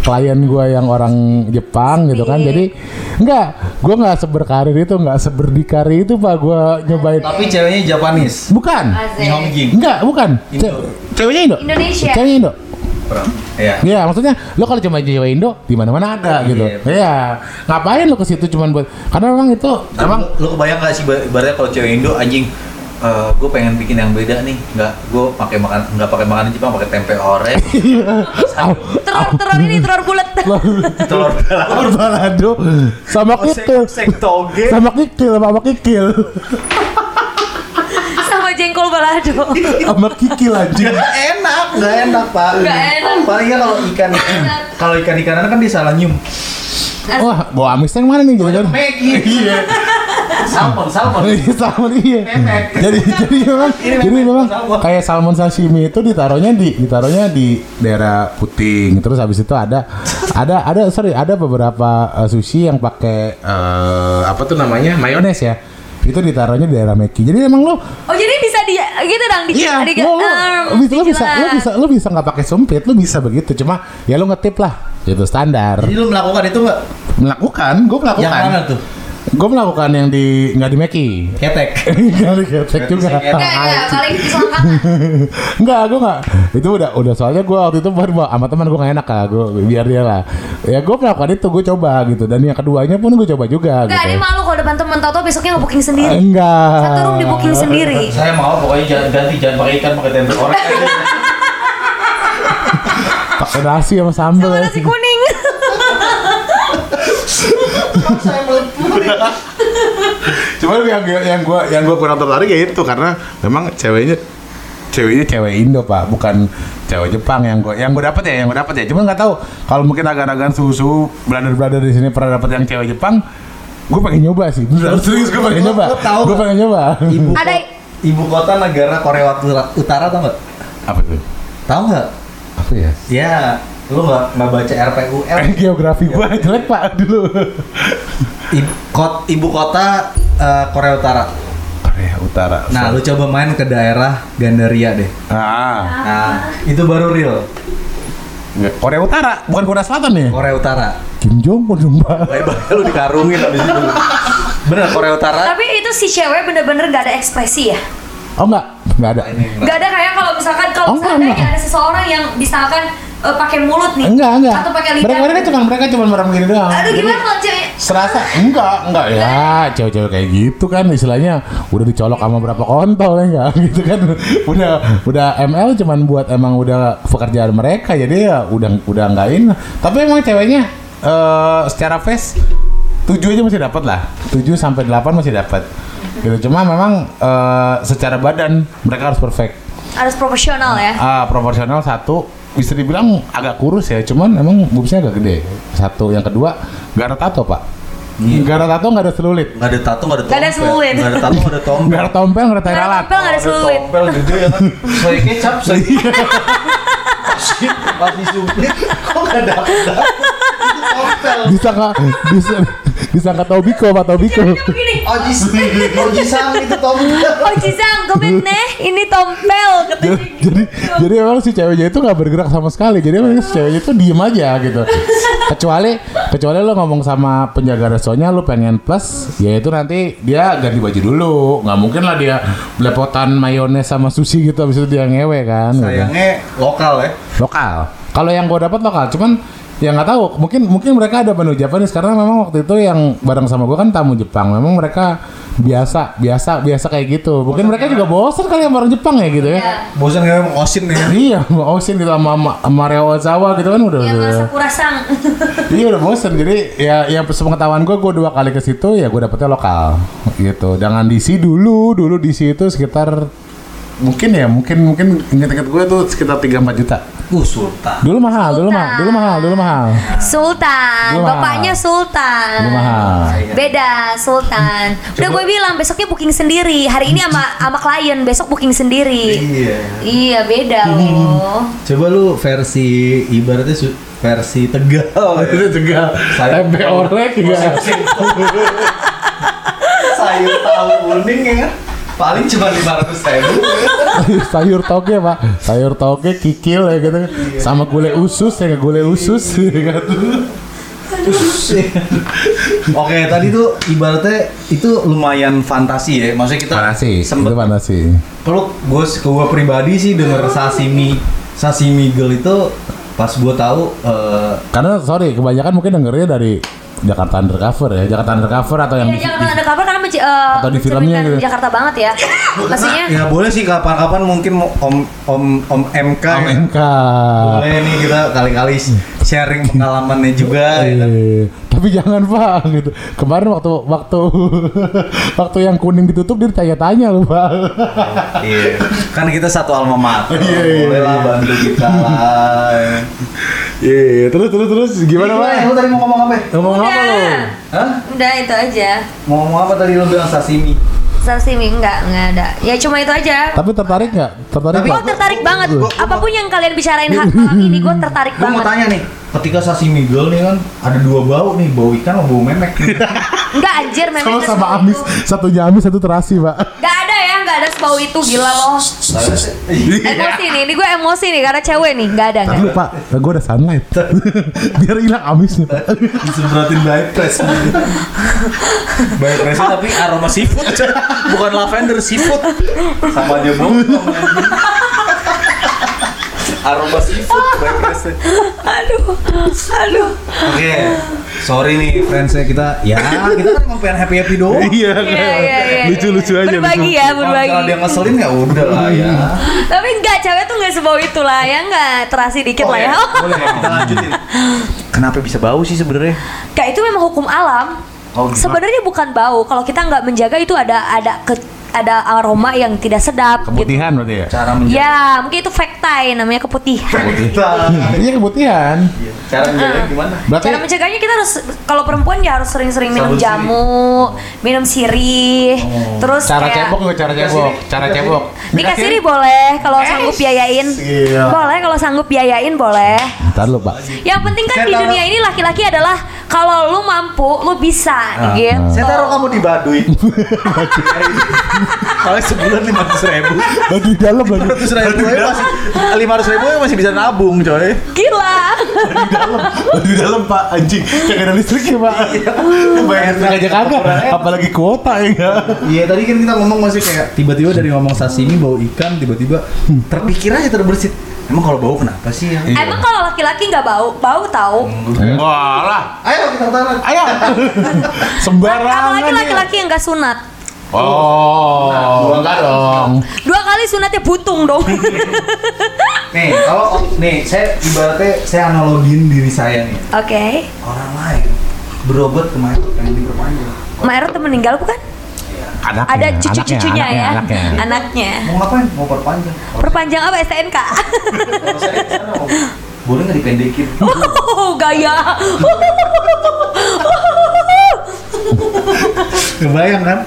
Speaker 5: klien gue yang orang Jepang gitu kan jadi enggak gue nggak seberkarir itu nggak seberdikari itu pak gue nyobain
Speaker 4: Tapi ceweknya Japanis.
Speaker 5: bukan
Speaker 4: Nihongi.
Speaker 5: enggak bukan Ce-
Speaker 4: Indo.
Speaker 5: ceweknya Indo
Speaker 2: Indonesia.
Speaker 5: ceweknya Indo
Speaker 4: Ya.
Speaker 5: Iya, maksudnya lo kalau cuma cewek Indo di mana-mana ada gitu.
Speaker 4: Iya.
Speaker 5: Iya. Ngapain lo ke situ cuman buat karena memang itu
Speaker 4: Emang
Speaker 5: emang
Speaker 4: lu kebayang gak sih ba- ibaratnya kalau cewek Indo anjing gue pengen bikin yang beda nih nggak gue pakai makan nggak pakai makanan Jepang pakai tempe
Speaker 5: [LAUGHS]
Speaker 4: orek
Speaker 5: Iya.
Speaker 2: Telur telur ini telur bulat.
Speaker 4: telur dalam
Speaker 5: telur balado sama kikil.
Speaker 4: seng toge
Speaker 5: Sama kikil, sama kikil.
Speaker 2: sama jengkol balado.
Speaker 5: Sama kikil
Speaker 4: [LAUGHS]
Speaker 5: anjing.
Speaker 4: Nggak enak, nggak enak pak.
Speaker 2: Nggak enak.
Speaker 4: Palingnya kalau ikan, kalau ikan ikanan kan dia salah nyium.
Speaker 5: Wah, bawa amisnya yang mana nih jangan-jangan?
Speaker 4: Maggi. [LAUGHS] Iya. Oh, Salmon, salmon.
Speaker 5: Iya, salmon iya.
Speaker 4: Memek.
Speaker 5: Jadi jadi memang
Speaker 4: Ini
Speaker 5: jadi
Speaker 4: memek,
Speaker 5: memang
Speaker 4: salmon.
Speaker 5: kayak salmon sashimi itu ditaruhnya di ditaruhnya di daerah puting. Terus habis itu ada ada ada sorry ada beberapa eh, sushi yang pakai eh, apa tuh namanya mayones ya. Itu ditaruhnya di daerah Meki. Jadi emang lo
Speaker 2: Oh jadi bisa di gitu dong di
Speaker 5: Iya,
Speaker 2: di-
Speaker 5: lo, lo,
Speaker 4: ah,
Speaker 2: em,
Speaker 5: bisa, lo bisa, lo
Speaker 2: dijelas.
Speaker 5: bisa, lo bisa nggak pakai sumpit, lo bisa begitu. Cuma ya lo ngetip lah, itu standar.
Speaker 4: Jadi lu melakukan itu nggak?
Speaker 5: Melakukan, gue melakukan.
Speaker 4: Yang mana tuh?
Speaker 5: Gue melakukan yang di nggak di Meki.
Speaker 4: Ketek.
Speaker 5: Nggak di Getek ya, juga.
Speaker 4: Berarti saya
Speaker 2: Enggak, enggak,
Speaker 5: [LAUGHS]
Speaker 2: paling disangka.
Speaker 5: Enggak, gue enggak. Itu udah udah soalnya gue waktu itu baru bawa- sama teman gue gak enak lah, gue biar dia lah. Ya gue melakukan itu, gue coba gitu. Dan yang keduanya pun gue coba juga
Speaker 2: Enggak, dia
Speaker 5: gitu.
Speaker 2: malu kalau depan teman tahu besoknya nge-booking sendiri. Kan
Speaker 5: Enggak.
Speaker 2: Satu room di-booking sendiri.
Speaker 4: Saya mau pokoknya jangan ganti jangan pakai ikan pakai tempe gitu. orek.
Speaker 5: Pakai nasi sama sambel.
Speaker 2: Sama nasi kuning. [LAUGHS]
Speaker 13: Cuman yang yang gua yang gua kurang tertarik ya itu karena memang ceweknya ceweknya
Speaker 5: cewek Indo pak bukan cewek Jepang yang gue yang gue dapat ya yang gue dapat ya cuman nggak tahu kalau mungkin agak-agak susu brother brother di sini pernah dapat yang cewek Jepang gue pengen nyoba sih Beneran, serius gue pengen
Speaker 4: Lo-
Speaker 5: nyoba
Speaker 4: lo tahu
Speaker 5: gue
Speaker 4: nggak?
Speaker 5: pengen nyoba
Speaker 4: Ibu
Speaker 2: Ada
Speaker 4: ibu kota negara Korea Utura- Utara tau nggak?
Speaker 5: apa tuh
Speaker 4: Tahu nggak?
Speaker 5: apa ya
Speaker 4: Ya, lu nggak nggak baca RPUL.
Speaker 5: Eh, geografi gue jelek pak dulu
Speaker 4: Ibu, kot- ibu kota eh, Korea Utara.
Speaker 5: Korea Utara
Speaker 4: Nah, lu coba main ke daerah Gandaria deh.
Speaker 5: ah
Speaker 4: Nah, itu baru real.
Speaker 5: nggak. Korea Utara bukan Korea Selatan ya
Speaker 4: Korea Utara.
Speaker 5: Kim Jong Un dong, pak
Speaker 4: Lebarnya lu dikarungin abis itu. Bener Korea Utara.
Speaker 2: Tapi itu si cewek bener-bener gak ada ekspresi ya.
Speaker 5: oh enggak enggak ada
Speaker 2: Gak ada kayak kalau misalkan kalau
Speaker 5: Oh, enggak,
Speaker 2: seandainya
Speaker 5: enggak.
Speaker 2: ada seseorang yang misalkan eh, pakai mulut nih.
Speaker 5: enggak enggak
Speaker 2: Atau pakai lidah.
Speaker 5: mereka mereka cuma mereka cuma merem gini doang
Speaker 2: Aduh
Speaker 5: Jadi-
Speaker 2: gimana kalau cewek?
Speaker 5: Serasa enggak, enggak ya. Cewek-cewek kayak gitu kan istilahnya udah dicolok sama berapa kontol ya [LAUGHS] enggak gitu kan. Udah udah ML cuman buat emang udah pekerjaan mereka jadi ya udah udah enggakin. Tapi emang ceweknya eh secara face 7 aja masih dapat lah. 7 sampai 8 masih dapat. Gitu cuma memang eh, secara badan mereka harus perfect.
Speaker 2: Harus profesional ya.
Speaker 5: Ah, proporsional satu bisa dibilang agak kurus ya, cuman emang boobsnya agak gede. Satu, yang kedua nggak ada tato pak. Nggak ada tato, nggak ada selulit.
Speaker 4: Gak ada tato, gak ada
Speaker 2: Nggak ada selulit.
Speaker 4: Gak ada tato, gak ada
Speaker 5: Nggak
Speaker 4: tombel.
Speaker 5: ada tompel, nggak ada tai
Speaker 2: Nggak ada
Speaker 5: lalat.
Speaker 4: Iya.
Speaker 2: tempel, nggak ada sulit.
Speaker 4: [LAUGHS] Tompel gede ya kan. Soalnya kecap, soalnya. Masih submit kok nggak dapet dapet. Itu hotel.
Speaker 5: Bisa nggak bisa bisa nggak tahu biko apa tahu biko?
Speaker 2: Begini.
Speaker 4: Oji Oji Sang itu tombol.
Speaker 2: Oh Cisang,
Speaker 5: [LAUGHS]
Speaker 2: komen neh, ini tompel katanya gitu.
Speaker 5: jadi jadi emang si ceweknya itu nggak bergerak sama sekali jadi emang si ceweknya itu diem aja gitu kecuali kecuali lo ngomong sama penjaga restonya lo pengen plus ya itu nanti dia ganti baju dulu nggak mungkin lah dia belepotan mayones sama sushi gitu habis itu dia ngewe kan gitu.
Speaker 4: Sayangnya lokal ya.
Speaker 5: lokal kalau yang gue dapat lokal cuman ya nggak tahu mungkin mungkin mereka ada menu Japanese karena memang waktu itu yang bareng sama gue kan tamu Jepang memang mereka biasa biasa biasa kayak gitu mungkin mereka juga bosan kali sama orang Jepang ya gitu ya
Speaker 4: Bosan nggak mau ya. ngosin nih.
Speaker 5: Iya, Mbak Osin gitu sama sama, sama Reo Ozawa gitu kan udah.
Speaker 2: Yang
Speaker 5: udah-
Speaker 2: masa kurasang. [LAUGHS]
Speaker 5: iya udah bosen. Jadi ya ya sepengetahuan gue gue dua kali ke situ ya gue dapetnya lokal gitu. Jangan DC dulu, dulu DC itu sekitar mungkin ya mungkin mungkin inget-inget gue tuh sekitar 3 4 juta.
Speaker 4: Uh Sultan.
Speaker 5: Dulu mahal, dulu mahal, dulu mahal, dulu mahal.
Speaker 2: Sultan,
Speaker 5: Gua mahal.
Speaker 2: bapaknya Sultan.
Speaker 5: Dulu mahal.
Speaker 2: Beda Sultan. Udah gue bilang besoknya booking sendiri. Hari ini sama sama klien, besok booking sendiri.
Speaker 4: Iya.
Speaker 2: Iya, beda
Speaker 5: Hmm.
Speaker 2: loh.
Speaker 4: Coba lu versi ibaratnya su- versi Tegal.
Speaker 5: Oh, Itu juga
Speaker 4: Saya-
Speaker 5: tempe orek juga.
Speaker 4: Sayur tahu kuning ya kan? Paling cuma 500 ribu.
Speaker 5: [LAUGHS] sayur toge pak sayur toge kikil ya gitu sama gulai usus ya gulai usus [LAUGHS] gitu.
Speaker 4: Oke, tadi tuh ibaratnya itu lumayan fantasi ya. Maksudnya kita
Speaker 5: Panasi, itu kan.
Speaker 4: sempet
Speaker 5: panasi.
Speaker 4: peluk gue ke gue pribadi sih denger sashimi sashimi girl itu pas gue tahu eh,
Speaker 5: Karena sorry, kebanyakan mungkin dengernya dari Jakarta Undercover ya, Jakarta Undercover atau yang
Speaker 2: Iya,
Speaker 5: di-
Speaker 2: Jakarta undercover karena menci- eh,
Speaker 5: Atau di filmnya
Speaker 2: mencerminkan
Speaker 5: gitu. Iya.
Speaker 2: Jakarta banget ya. Maksudnya
Speaker 4: ya boleh sih kapan-kapan mungkin mau om om om MK
Speaker 5: di-
Speaker 4: ya.
Speaker 5: MK.
Speaker 4: boleh nih kita kali-kali sharing pengalamannya juga ya kan?
Speaker 5: Eh, tapi jangan pak gitu. Kemarin waktu waktu [LAUGHS] waktu yang kuning ditutup dia tanya-tanya loh pak.
Speaker 4: Iya. kan kita satu alma mater
Speaker 5: Iya, iya,
Speaker 4: boleh lah
Speaker 5: iya.
Speaker 4: bantu kita lah ya.
Speaker 5: Iya, terus terus terus gimana pak?
Speaker 4: lu tadi mau ngomong apa ya?
Speaker 5: Ngomong apa lo?
Speaker 2: Iya. udah,
Speaker 4: Hah?
Speaker 2: udah itu aja.
Speaker 4: mau ngomong apa tadi lu bilang sashimi
Speaker 2: Sashimi enggak, enggak ada. Ya cuma itu aja.
Speaker 5: Tapi tertarik nggak? Tertarik
Speaker 4: Tapi
Speaker 2: Gue
Speaker 5: nggak?
Speaker 2: oh, tertarik banget.
Speaker 5: Gua-
Speaker 2: Apapun yang kalian bicarain ha- malam ini, gue tertarik
Speaker 4: Gue
Speaker 2: banget.
Speaker 4: mau tanya nih, ketika sashimi girl nih kan ada dua bau nih, bau ikan sama bau [LAUGHS] memek.
Speaker 2: Enggak anjir, memang
Speaker 5: Kalau
Speaker 2: itu
Speaker 5: sama
Speaker 2: sebau
Speaker 5: amis,
Speaker 2: itu.
Speaker 5: satunya amis, satu terasi pak.
Speaker 2: Enggak ada ya, enggak ada sebau itu gila loh.
Speaker 4: Iya.
Speaker 2: Emosi nih, ini gue emosi nih karena cewek nih, enggak ada enggak.
Speaker 5: Lu pak, gue ada sunlight. [LAUGHS] Biar hilang amisnya. Pak.
Speaker 4: disemprotin bypass bypass tapi aroma seafood bukan lavender seafood sama aja bau aroma seafood bypass
Speaker 2: Aduh. Aduh.
Speaker 4: oke sorry nih friendsnya kita ya kita kan mau pengen happy happy doang
Speaker 5: Iya,
Speaker 2: Iya, iya, iya.
Speaker 5: lucu-lucu aja.
Speaker 2: Berbagi ya,
Speaker 4: Kalau misalnya dia
Speaker 2: berbagi.
Speaker 4: ngeselin ya udah lah ya
Speaker 2: Tapi enggak, cewek tuh enggak sebau itu lah, ya enggak terasi
Speaker 5: Oh,
Speaker 2: dikit
Speaker 5: iya.
Speaker 2: lah ya.
Speaker 4: boleh kita lanjutin kenapa bisa bau sih sebenarnya
Speaker 2: Kayak itu memang hukum alam.
Speaker 4: Oh, gitu.
Speaker 2: Sebenarnya bukan bau, kalau kita nggak menjaga itu ada ada ke, ada aroma yang tidak sedap gitu.
Speaker 5: Keputihan berarti ya?
Speaker 4: cara menjaga
Speaker 2: Ya, mungkin itu fektai namanya keputihan.
Speaker 5: Iya keputihan.
Speaker 4: cara menjaga
Speaker 2: Eh.
Speaker 4: gimana
Speaker 5: Berarti
Speaker 2: Cara mencegahnya kita harus kalau perempuan ya harus sering-sering minum
Speaker 4: Sabun sirih.
Speaker 2: jamu, minum sirih,
Speaker 4: Oh,
Speaker 2: terus
Speaker 5: cara
Speaker 2: kayak
Speaker 5: cebok juga cara cebok, cara cebok.
Speaker 2: nikah sirih boleh kalau
Speaker 4: Eh,
Speaker 2: sanggup biayain.
Speaker 4: iya.
Speaker 2: Boleh kalau sanggup biayain boleh.
Speaker 5: Bentar lu, Pak.
Speaker 2: Yang penting kan
Speaker 4: Saya
Speaker 2: di
Speaker 4: taruh-
Speaker 2: dunia ini laki-laki adalah kalau lu mampu, lu bisa gitu.
Speaker 4: Ah. Saya taruh kamu di Baduy. [LAUGHS] Kalau sebulan lima ratus ribu,
Speaker 5: Bagi dalam lagi.
Speaker 4: lima ratus ribu aja masih lima ratus ribu aja masih bisa nabung coy.
Speaker 2: Gila.
Speaker 5: Di dalam, Pak, anjing. Kayak ada listrik ya, Pak.
Speaker 4: Bayar
Speaker 5: Sengaja kagak, apalagi kuota ya enggak.
Speaker 4: Iya tadi kan kita ngomong masih kayak tiba-tiba dari ngomong sashimi bau ikan tiba-tiba
Speaker 2: Hmm.
Speaker 4: terpikir aja terbersit. Emang kalau bau kenapa sih? ya?
Speaker 5: Iya.
Speaker 2: Emang kalau laki-laki nggak bau, bau tahu.
Speaker 14: Wah lah.
Speaker 4: Ayo kita taruh.
Speaker 5: Ayo. Sembarangan.
Speaker 2: Apalagi
Speaker 5: ya.
Speaker 2: laki-laki yang nggak sunat.
Speaker 5: Nah,
Speaker 14: Oh, enggak dong.
Speaker 2: Dua kali sunatnya butung
Speaker 5: [LAUGHS]
Speaker 2: dong. Oke.
Speaker 4: Nih kalau nih saya ibaratnya saya analogin diri saya nih orang lain berobat kemarin pengen diperpanjang.
Speaker 2: Maerot tuh meninggal bukan?
Speaker 5: Anaknya,
Speaker 2: Ada cucu-cucunya
Speaker 5: anaknya,
Speaker 2: ya.
Speaker 5: anaknya, anaknya.
Speaker 2: Anaknya.
Speaker 4: Mau ngapain? Mau perpanjang.
Speaker 2: Perpanjang apa STNK?
Speaker 4: Kalau saya ke sana, Om, boleh nggak dipendekin?
Speaker 2: [LAUGHS]
Speaker 4: [LAUGHS]
Speaker 2: Oh, gaya.
Speaker 4: Kebayang kan?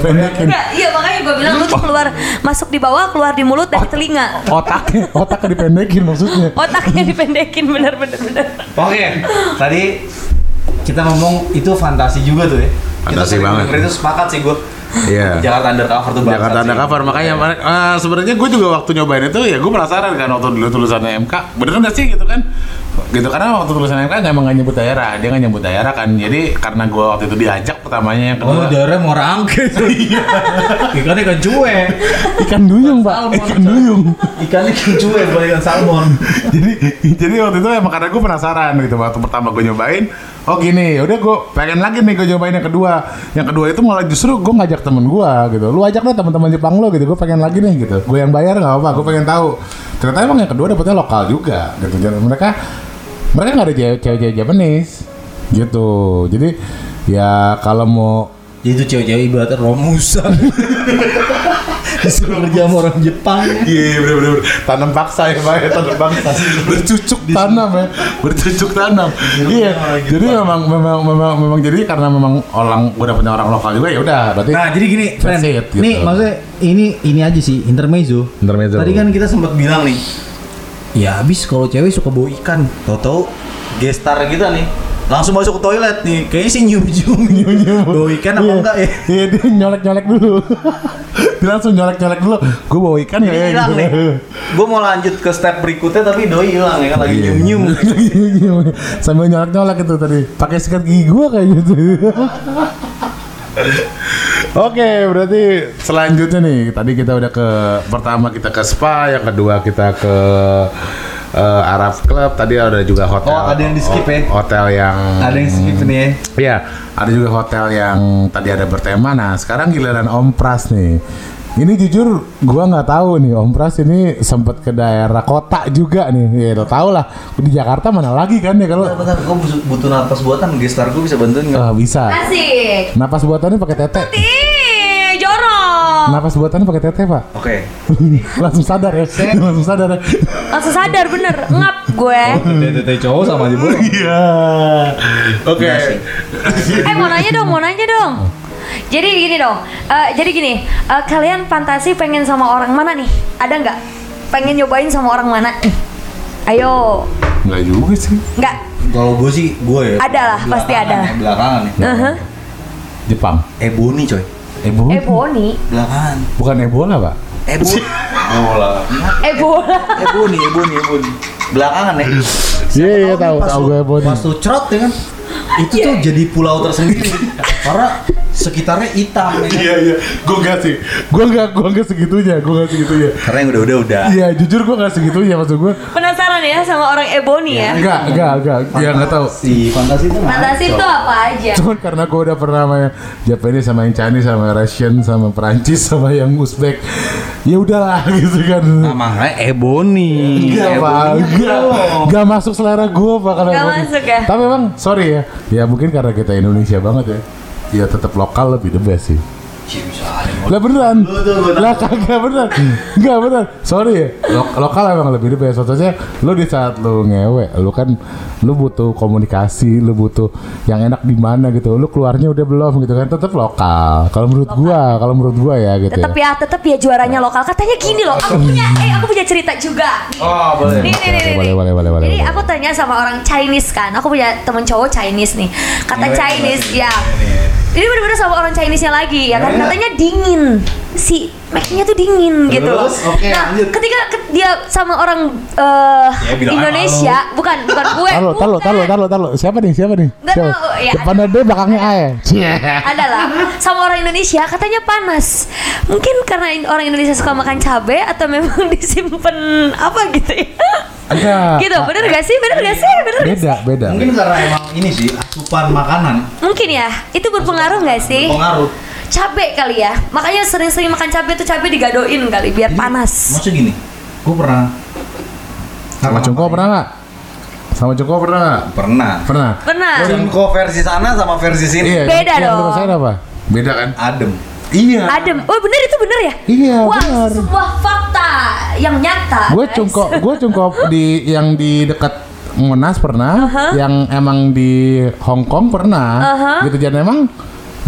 Speaker 5: Pendekin.
Speaker 2: Nggak, iya makanya gue bilang lu
Speaker 5: Oh.
Speaker 2: tuh keluar masuk di bawah, keluar di mulut dari telinga.
Speaker 5: otaknya otaknya dipendekin maksudnya
Speaker 2: Otaknya dipendekin bener-bener bener.
Speaker 4: Oke, tadi kita ngomong itu fantasi juga tuh ya. Kita
Speaker 15: Fantasi
Speaker 4: sering
Speaker 15: banget.
Speaker 4: dengerin Itu sepakat sih gue.
Speaker 15: Iya.
Speaker 4: Jakarta undercover tuh bangsat
Speaker 15: Jakarta
Speaker 4: sih.
Speaker 15: Undercover makanya mana- ah, sebenarnya gue juga waktu nyobain itu ya gue penasaran kan waktu dulu tulisannya MK bener nggak sih gitu kan gitu karena waktu tulisan MK nggak- emang nggak nyebut daerah dia nggak nyebut daerah kan jadi karena gue waktu itu diajak pertamanya yang kedua
Speaker 4: Oh, darah mau
Speaker 15: [LAUGHS]
Speaker 4: rangke tuh. Ikannya ikan cue.
Speaker 5: ikan duyung pak ikan duyung
Speaker 4: Ikannya ikan cue, bukan ikan salmon.
Speaker 15: [LAUGHS] jadi jadi waktu itu emang karena gue penasaran gitu waktu pertama gue nyobain oh gini udah gue pengen lagi nih gue nyobain yang kedua yang kedua itu malah justru gue ngajak temen gue gitu lu ajak deh teman-teman Jepang lo gitu gue pengen lagi nih gitu gue yang bayar nggak apa gue pengen tahu ternyata emang yang kedua dapetnya lokal juga gitu jadi mereka mereka nggak ada cewek- cewek-cewek Japanese gitu jadi ya kalau mau
Speaker 4: Jadi Ya, itu cewek-cewek ibaratnya
Speaker 15: [LAUGHS]
Speaker 4: romusan. Disuruh kerja sama orang Jepang. ya.
Speaker 15: Iya bener bener tanam paksa ya pak ya tanam paksa [LAUGHS] bercucuk tanam ya bercucuk tanam iya jadi memang memang memang memang jadi karena memang orang udah punya orang lokal juga ya udah berarti
Speaker 4: Nah, jadi gini, friend.
Speaker 15: That's it, gitu.
Speaker 4: Nih, maksudnya ini ini aja sih intermezzo.
Speaker 15: Intermezzo.
Speaker 4: Tadi kan kita sempat bilang nih. Ya habis kalau cewek suka bau ikan, tahu-tahu gestar kita nih. Langsung masuk ke toilet nih. Kayaknya sih nyium-nyium bau ikan apa
Speaker 5: Iya.
Speaker 4: enggak ya?
Speaker 5: iya dia nyolek nyolek
Speaker 15: [LAUGHS]
Speaker 5: dulu dia langsung nyolek nyolek dulu gue bawa ikan ya
Speaker 4: Ini
Speaker 5: ya,
Speaker 4: hilang
Speaker 5: gitu.
Speaker 4: nih. Gue mau lanjut ke step berikutnya tapi doi hilang ya
Speaker 15: Iya.
Speaker 4: kan lagi
Speaker 5: Iya.
Speaker 15: [LAUGHS]
Speaker 4: nyium-nyium.
Speaker 5: sambil nyolek nyolek itu tadi pakai sikat gigi gue kayak gitu
Speaker 15: [LAUGHS] Oke, berarti selanjutnya nih. Tadi kita udah ke pertama kita ke spa, yang kedua kita ke eh, Arab Club. Tadi ada juga hotel.
Speaker 4: Oh, ada yang di-skip ya?
Speaker 15: Hotel yang
Speaker 4: Ada yang skip nih ya.
Speaker 15: Iya, ada juga hotel yang tadi ada bertema. Nah, sekarang giliran Om Pras nih.
Speaker 5: ini jujur gue nggak tahu nih Om Pras ini sempet ke daerah kota juga nih ya lo tau lah di Jakarta mana lagi kan ya kalau
Speaker 4: Bentar, gue butuh napas buatan, gestar gue bisa bantuin nggak?
Speaker 5: Ah, bisa
Speaker 2: Asik.
Speaker 5: napas buatannya pakai tete
Speaker 2: Ih, jorok.
Speaker 5: napas buatannya pakai tete pak [LAUGHS]
Speaker 4: Oke.
Speaker 5: langsung sadar ya langsung sadar ya
Speaker 2: Langsung sadar bener ngap gue.
Speaker 4: Tete cowok sama aja bu.
Speaker 15: Iya. Oke.
Speaker 2: Eh mau nanya dong, mau nanya dong. Jadi gini dong, eh, jadi gini, eh, kalian fantasi pengen sama orang mana nih? Ada nggak? Pengen nyobain sama orang mana? Ih, Ayo,
Speaker 15: Enggak juga sih.
Speaker 2: nggak?
Speaker 4: Kalau gue sih, gue ya.
Speaker 2: Ada lah, pasti
Speaker 4: belakangan
Speaker 2: ada.
Speaker 4: ya, Belakangan nih.
Speaker 2: Uh-huh.
Speaker 5: Jepang
Speaker 4: Ebony Eh, coy.
Speaker 5: Ebola
Speaker 2: Eh Boni,
Speaker 4: Belakangan.
Speaker 5: bukan Ebola pak
Speaker 4: Ebony. Oh lah.
Speaker 2: eh Bola.
Speaker 4: Ebony, Ebony, Ebony. eh, Belakangan ya.
Speaker 5: Iya iya tahu
Speaker 4: Pas
Speaker 5: tahu
Speaker 4: lu-
Speaker 5: gue Ebony.
Speaker 4: Pas lu cerot ya kan. Itu tuh jadi pulau tersendiri. Karena sekitarnya hitam ya kan.
Speaker 15: Iya, iya. Gue enggak sih.
Speaker 5: Gue nggak gue nggak segitunya, gue nggak segitunya.
Speaker 4: Karena yang udah-udah udah.
Speaker 5: Iya jujur gue nggak segitunya maksud gue.
Speaker 2: [LAUGHS] Penasaran ya sama orang Ebony ya?
Speaker 5: Enggak enggak enggak. Ya nggak tahu.
Speaker 4: Si fantasi itu
Speaker 2: Fantasi itu apa aja?
Speaker 5: Cuman karena gue udah pernah sama yang Japanese sama yang Chinese sama Russian sama Perancis sama yang Uzbek. Ya udahlah [LAUGHS] gitu kan.
Speaker 4: Namanya Ebony.
Speaker 2: Iya,
Speaker 5: Enggak
Speaker 4: Eh,
Speaker 5: pak, enggak, enggak masuk selera gue pak kalau
Speaker 2: Nggak
Speaker 5: Ebony.
Speaker 2: masuk ya?
Speaker 5: Tapi emang sorry ya, ya mungkin karena kita Indonesia banget ya. Ya tetap lokal lebih the best sih. Lah beneran.
Speaker 4: Lu tuh beneran.
Speaker 5: Lah kagak beneran. Enggak beneran. Sorry ya. lo- lokal emang lebih the best. Contohnya lu di saat lu ngewe, lu kan lu butuh komunikasi, lu butuh yang enak di mana gitu. Lu keluarnya udah belum gitu kan tetap lokal. Kalau menurut gua, kalau menurut gua ya gitu.
Speaker 2: Tetep
Speaker 5: ya.
Speaker 2: ya, tetep ya juaranya lokal. Katanya gini loh, aku punya, eh aku punya cerita juga.
Speaker 4: Oh, boleh.
Speaker 2: Nih, nih, nih, nih,
Speaker 5: Boleh,
Speaker 2: nih.
Speaker 5: boleh, boleh, boleh,
Speaker 2: Jadi
Speaker 5: boleh.
Speaker 2: aku tanya sama orang Chinese kan. Aku punya temen cowok Chinese nih. Kata
Speaker 4: Ngewe,
Speaker 2: Chinese,
Speaker 4: ngewe.
Speaker 2: ya.
Speaker 4: Ngewe.
Speaker 2: Ini bener-bener sama orang Chinese-nya lagi ya kan.
Speaker 4: Ngewe.
Speaker 2: Katanya dingin. Si Mac-nya tuh dingin gitu.
Speaker 4: Iya. Terus, oke,
Speaker 2: nah,
Speaker 4: lanjut.
Speaker 2: ketika ke- dia sama orang eh,
Speaker 4: Ya, bilang
Speaker 2: Indonesia, bukan bukan gue.
Speaker 5: Taruh, taruh,
Speaker 2: bukan.
Speaker 5: taruh, taruh, taruh. Siapa nih? Siapa nih?
Speaker 2: Nggak
Speaker 5: Siapa?
Speaker 2: tahu, ya.
Speaker 5: Depannya D, belakangnya A ya. Cie.
Speaker 2: adalah sama orang Indonesia katanya panas mungkin karena in- orang Indonesia suka makan cabe atau memang [LAUGHS] disimpan apa gitu ya
Speaker 15: Iya.
Speaker 4: Ah,
Speaker 5: Enggak.
Speaker 2: gitu bener gak sih bener gak sih bener nggak
Speaker 5: Nah, Beda, beda.
Speaker 4: Mungkin karena emang ini sih asupan makanan
Speaker 2: sih? mungkin ya itu berpengaruh gak sih
Speaker 4: pengaruh.
Speaker 2: cabe kali ya makanya sering-sering makan cabe tuh cabe digadoin kali biar
Speaker 4: Jadi,
Speaker 2: panas
Speaker 4: Maksudnya gini, gue pernah
Speaker 5: Sama Cungko pernah nggak? Sama Cungko pernah nggak?
Speaker 4: Pernah.
Speaker 5: Pernah.
Speaker 2: benar
Speaker 4: Cungko versi sana sama versi sini
Speaker 5: Iya.
Speaker 2: Beda
Speaker 5: yang- yang
Speaker 2: dong.
Speaker 5: menurut saya apa?
Speaker 15: Beda kan?
Speaker 4: adem.
Speaker 5: Iya.
Speaker 2: adem oh bener itu bener ya
Speaker 5: Iya,
Speaker 2: wah
Speaker 5: bener.
Speaker 2: sebuah fakta yang nyata guys.
Speaker 5: gue
Speaker 2: Iya,
Speaker 5: cungko gue cungko di yang di dekat Monas pernah yang emang di Hong Kong pernah
Speaker 2: Aha.
Speaker 5: gitu jadi emang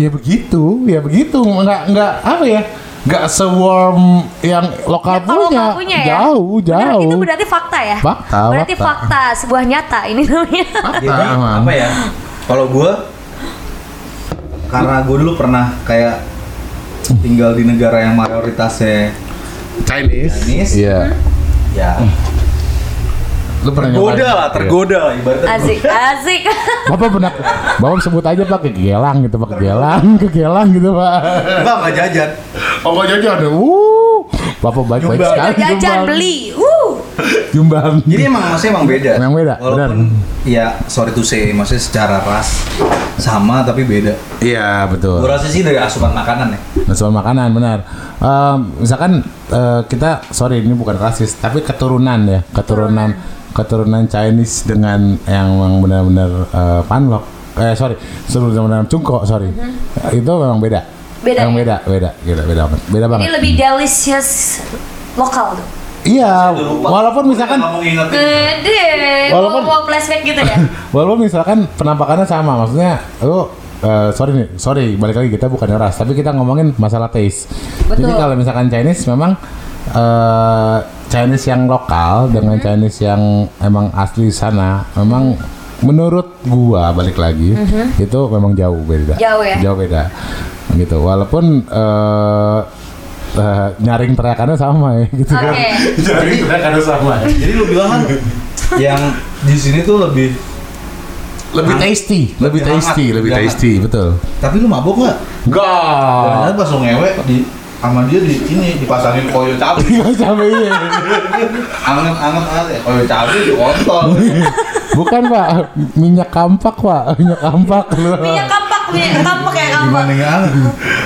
Speaker 5: ya begitu ya begitu nggak nggak apa ya nggak sewarm yang lokal
Speaker 2: kalau
Speaker 5: punya.
Speaker 2: nggak punya ya.
Speaker 5: Jauh,
Speaker 2: Benar,
Speaker 5: jauh.
Speaker 2: itu berarti fakta ya.
Speaker 5: Fakta,
Speaker 2: Berarti fakta, sebuah nyata ini namanya.
Speaker 5: Ah,
Speaker 4: Jadi
Speaker 5: emang.
Speaker 4: apa ya? Kalau gue karena gue dulu pernah kayak tinggal di negara yang mayoritasnya
Speaker 16: Chinese.
Speaker 4: Chinese,
Speaker 5: Iya.
Speaker 2: Hmm.
Speaker 4: ya
Speaker 5: Hmm, Lu pernah
Speaker 4: tergoda
Speaker 5: nyobain? Iya.
Speaker 4: lah, tergoda lah ibaratnya.
Speaker 2: Asik, asik.
Speaker 5: Bapak pernah Bapak sebut aja Pak kegelang gitu Pak kegelang, [LAUGHS] kegelang gitu Pak.
Speaker 4: Enggak, enggak jajan.
Speaker 5: Oh, kok jajan. Uh. Bapak baik-baik
Speaker 4: Nyumbang.
Speaker 5: sekali.
Speaker 2: Jajan
Speaker 5: nyumbang.
Speaker 2: beli. Uh.
Speaker 5: Nyumbang.
Speaker 4: Jadi emang maksudnya emang beda.
Speaker 5: Emang beda,
Speaker 4: Walaupun ya sorry to say, maksudnya secara ras sama tapi beda.
Speaker 5: Iya, betul.
Speaker 4: Gue rasa sih dari asupan makanan ya.
Speaker 5: Nah, soal makanan benar. Em, misalkan eh, kita sorry ini bukan rasis tapi keturunan ya keturunan keturunan Chinese dengan yang memang benar-benar eh, panlok. Eh sorry sebelum benar cungko sorry Eh, itu memang beda.
Speaker 2: Mm-hmm. Beda
Speaker 5: Memang
Speaker 2: ya?
Speaker 5: beda beda beda beda banget beda
Speaker 2: Ini
Speaker 5: banget.
Speaker 2: lebih delicious lokal tuh.
Speaker 5: Iya
Speaker 4: Udah lupa.
Speaker 5: walaupun misalkan
Speaker 4: Udah nggak mau ngingetin. [LAUGHS]
Speaker 2: Gede.
Speaker 5: Walaupun-
Speaker 2: Mau, mau flashback gitu
Speaker 5: [LAUGHS]
Speaker 2: ya.
Speaker 5: Walaupun misalkan penampakannya sama, maksudnya lu eh, sorry nih, sorry balik lagi kita bukan ras, tapi kita ngomongin masalah taste.
Speaker 2: Betul.
Speaker 5: Jadi kalau misalkan Chinese memang eh, Chinese yang lokal dengan
Speaker 2: Mm-hmm.
Speaker 5: Chinese yang emang asli sana, memang menurut gua balik lagi itu memang jauh
Speaker 2: Mm-hmm.
Speaker 5: beda.
Speaker 2: Jauh ya?
Speaker 5: Jauh beda. Gitu. Walaupun eh eh, nyaring teriakannya sama ya gitu
Speaker 2: Oke.
Speaker 5: kan. Nyaring teriakannya sama. ya.
Speaker 4: Jadi lu bilang kan yang di sini tuh lebih
Speaker 5: Lebih tasty, lebih
Speaker 4: Lebih hangat,
Speaker 5: tasty, lebih
Speaker 4: lebih hangat.
Speaker 5: tasty, betul.
Speaker 4: tapi lu mabok nggak?
Speaker 5: Enggak.
Speaker 2: Oh.
Speaker 4: Jangan-jangan pas lu ngewe di sama dia di ini dipasangin koyo cabai
Speaker 5: Iya cabe iya.
Speaker 4: anget-anget anget ya koyo cabai di
Speaker 2: [LAUGHS]
Speaker 4: kontol
Speaker 5: Bukan pak, minyak kampak pak, minyak kampak.
Speaker 2: Minyak kampak, minyak kampak ya kampak.
Speaker 4: nggak anget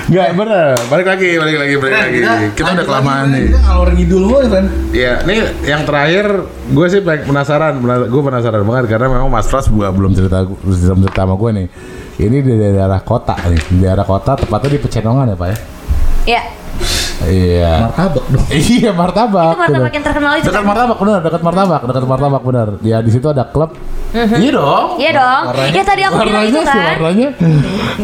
Speaker 5: Enggak bener. Balik lagi, balik lagi,
Speaker 4: Eh,
Speaker 5: balik lagi. Iya, Kita udah kelamaan nih.
Speaker 4: kan kita ngalor ngidul mulu ya friend
Speaker 5: Iya, ini yang terakhir gue sih peng- penasaran, gue penasaran banget karena memang Mas Pras gua belum cerita belum cerita sama gue nih. Ini di daerah kota nih, di daerah kota tepatnya di Pecenongan ya pak ya.
Speaker 2: Ya.
Speaker 5: Iya.
Speaker 4: martabak dong
Speaker 5: [LAUGHS] Iya martabak.
Speaker 2: Itu martabak
Speaker 5: bener.
Speaker 2: yang terkenal itu.
Speaker 5: Dekat
Speaker 2: kan?
Speaker 5: martabak bener, dekat martabak, dekat martabak bener. Ya di situ ada klub. Iya dong.
Speaker 2: Iya dong.
Speaker 4: Warnanya-
Speaker 2: Ya tadi aku bilang itu
Speaker 5: warnanya sih
Speaker 2: kan.
Speaker 5: warnanya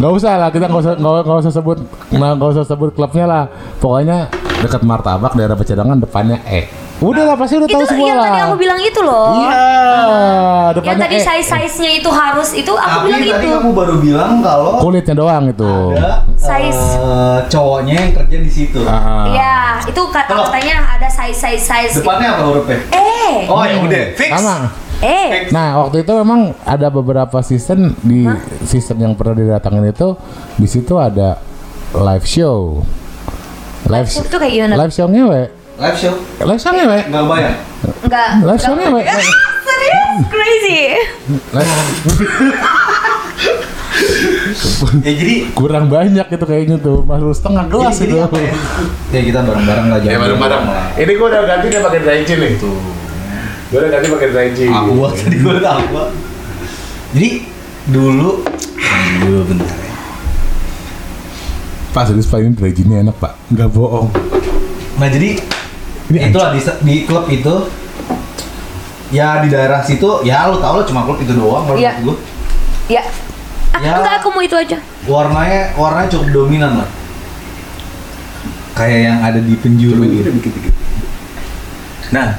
Speaker 5: nggak usah lah kita nggak usah nggak nggak usah sebut nggak nggak usah sebut klubnya lah pokoknya dekat martabak daerah Pecenongan depannya E udah lah pasti udah
Speaker 2: Itu
Speaker 5: tahu semua
Speaker 2: yang
Speaker 5: lah
Speaker 2: tadi aku bilang itu loh.
Speaker 5: iya
Speaker 2: Yang
Speaker 5: depannya
Speaker 2: tadi
Speaker 5: E
Speaker 2: size size-nya itu harus itu aku
Speaker 4: tapi
Speaker 2: bilang gitu.
Speaker 4: tadi
Speaker 2: itu.
Speaker 4: kamu baru bilang kalau
Speaker 5: kulitnya doang itu
Speaker 4: ada
Speaker 2: Size.
Speaker 4: eh, cowoknya yang kerja di situ
Speaker 5: Ah.
Speaker 2: Iya, itu kata
Speaker 4: Kalau-
Speaker 2: katanya ada size size size.
Speaker 4: depannya apa hurufnya?
Speaker 2: Eh,
Speaker 4: oh ya udah fix
Speaker 5: sama
Speaker 2: eh,
Speaker 4: Fix.
Speaker 5: Nah waktu itu memang ada beberapa season di season yang pernah didatangin itu di situ ada live show, live
Speaker 2: show tuh kayak gimana?
Speaker 5: live show ngewe,
Speaker 4: live show
Speaker 5: live show ngewe,
Speaker 4: nggak bayar
Speaker 2: enggak.
Speaker 5: live show ngewe,
Speaker 2: Serius, crazy.
Speaker 5: Live-
Speaker 4: ya jadi
Speaker 5: kurang banyak gitu kayaknya tuh baru setengah gelas
Speaker 4: jadi
Speaker 5: itu
Speaker 2: Iya,
Speaker 4: apa ya? ya kita bareng-bareng lah jangan lah.
Speaker 16: Ini gua udah ganti dia pakai dry nih.
Speaker 4: Tuh.
Speaker 16: Gua udah ganti pakai dry
Speaker 5: Ah,
Speaker 4: Aqua tadi gue udah aqua. Jadi dulu dulu bentar ya.
Speaker 5: pas udah paling ini enak pak nggak bohong
Speaker 4: Nah jadi itulah di, di klub itu ya di daerah situ ya lu tau lah cuma klub itu doang kalau
Speaker 2: Iya.
Speaker 4: menurut gue
Speaker 2: Ya. Ah,
Speaker 4: Ya.
Speaker 2: enggak aku mau itu aja.
Speaker 4: warnanya warnanya cukup dominan lah kayak yang ada di penjuru gitu nah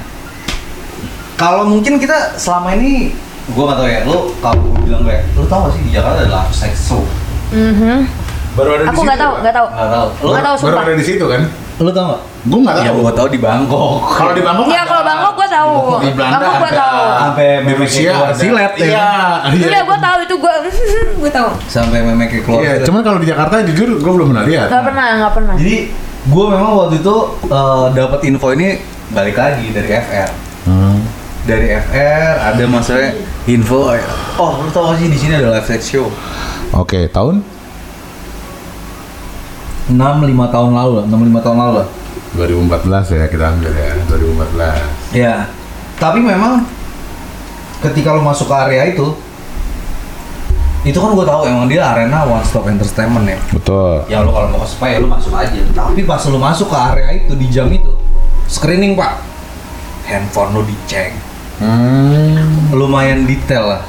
Speaker 4: kalau mungkin kita selama ini gue gak tau ya lu kalau gue bilang kayak lu tau gak sih di Jakarta ada live sex show
Speaker 2: Mhm.
Speaker 16: Baru ada
Speaker 2: Aku nggak tahu, nggak tahu.
Speaker 4: gak tau lu
Speaker 2: Nggak tahu
Speaker 16: Baru
Speaker 2: sumpah.
Speaker 16: ada di situ kan?
Speaker 4: lu tau gak
Speaker 16: Gua enggak
Speaker 4: ya gue tau di Bangkok [LAUGHS]
Speaker 16: Kalau di Bangkok
Speaker 2: Iya, kalau Bangkok gua tahu.
Speaker 16: Di Belanda
Speaker 2: Bangkok gua
Speaker 16: ada.
Speaker 2: tahu.
Speaker 4: sampai
Speaker 16: di
Speaker 4: memeknya
Speaker 16: Rusia
Speaker 4: keluar
Speaker 16: ada.
Speaker 4: silet ya
Speaker 16: Iya,
Speaker 2: Iya, gua tahu itu gua [LAUGHS] gua tahu.
Speaker 4: sampai memeknya keluar
Speaker 16: Iya,
Speaker 4: silet.
Speaker 16: cuman kalau di Jakarta jujur gua belum pernah lihat.
Speaker 2: Enggak pernah, enggak pernah.
Speaker 4: jadi gue memang waktu itu eh, dapat info ini balik lagi dari FR
Speaker 5: Hmm.
Speaker 4: dari FR ada masalah info eh, oh lu tau gak sih di sini ada live sex show
Speaker 5: oke tahun
Speaker 4: 6 5 tahun lalu lah 6 5 tahun lalu lah
Speaker 16: 2014 ya kita ambil ya, 2014.
Speaker 4: ya tapi memang ketika lu masuk ke area itu itu kan gue tahu emang dia arena one stop entertainment ya
Speaker 5: betul
Speaker 4: ya lu kalau mau cosplay ya lu masuk aja tapi pas lu masuk ke area itu di jam itu screening pak handphone lu dicek Hmm. lumayan detail lah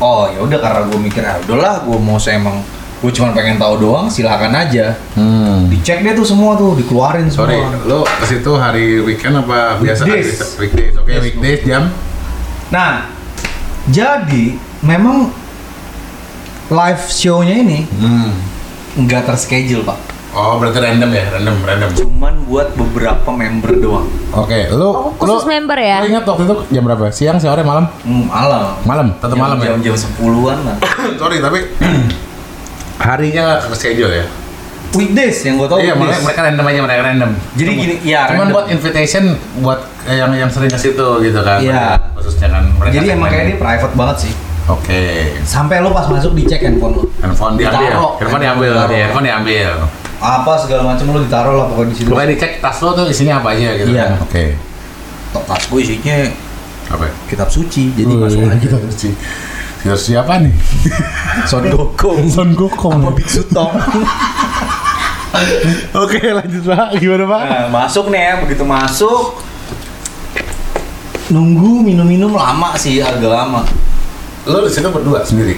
Speaker 4: oh ya udah karena gue mikir ah udahlah gue mau saya emang gue cuma pengen tahu doang silakan aja
Speaker 17: Hmm.
Speaker 4: dicek deh tuh semua tuh dikeluarin semua
Speaker 5: Sorry, lo ke situ hari weekend apa biasa? hari-
Speaker 4: Weekdays.
Speaker 5: Weekdays, oke weekdays jam.
Speaker 4: Nah, jadi memang live show-nya ini nggak terschedule pak.
Speaker 5: Hmm. Oh berarti random ya, random, random.
Speaker 4: Cuman buat beberapa member doang.
Speaker 17: Oke, lu
Speaker 18: Oh, khusus
Speaker 17: lu-
Speaker 18: member ya?
Speaker 17: Lu ingat waktu itu jam berapa? Siang, sore, malam?
Speaker 4: Hmm, malam.
Speaker 17: Malam, tetap malam ya.
Speaker 4: Jam-jam sepuluhan lah.
Speaker 5: Sorry tapi [CLEARS THROAT] harinya nggak ke schedule ya.
Speaker 4: Weekdays yang gue tahu.
Speaker 17: Iya,
Speaker 4: Oh,
Speaker 17: mereka,
Speaker 4: weekdays.
Speaker 17: mereka random aja, mereka random.
Speaker 4: Jadi gini, ya.
Speaker 17: Cuman
Speaker 4: random.
Speaker 17: buat invitation buat eh, yang yang sering ke situ gitu kan.
Speaker 4: Iya.
Speaker 17: Khususnya kan mereka.
Speaker 4: jadi
Speaker 17: random.
Speaker 4: emang
Speaker 5: ya.
Speaker 4: kayaknya ini private banget sih.
Speaker 5: Oke.
Speaker 4: Sampai lo pas masuk dicek handphone lo.
Speaker 5: Handphone diambil, ya?
Speaker 4: Ditaruh.
Speaker 5: handphone diambil,
Speaker 4: Ditaruh.
Speaker 5: handphone diambil.
Speaker 4: Apa segala macam lo ditaruh lah pokoknya di situ.
Speaker 5: Pokoknya dicek tas lo tuh isinya apa aja gitu.
Speaker 4: Iya.
Speaker 5: kan. Oke.
Speaker 4: Tok, Tas gue isinya
Speaker 5: Apa? ya?
Speaker 4: kitab suci. Jadi
Speaker 17: Wih,
Speaker 4: masuk aja.
Speaker 17: kita harus sih. Kita harus siapa nih?
Speaker 4: [LAUGHS] Son Goku.
Speaker 17: Son Gokong.
Speaker 4: Sama Biksu
Speaker 5: [LAUGHS]
Speaker 4: Tom.
Speaker 17: Oke, lanjut Pak. Gimana Pak?
Speaker 4: Nah, masuk nih ya, begitu masuk nunggu minum-minum lama sih agak lama
Speaker 5: Lo di situ berdua sendiri,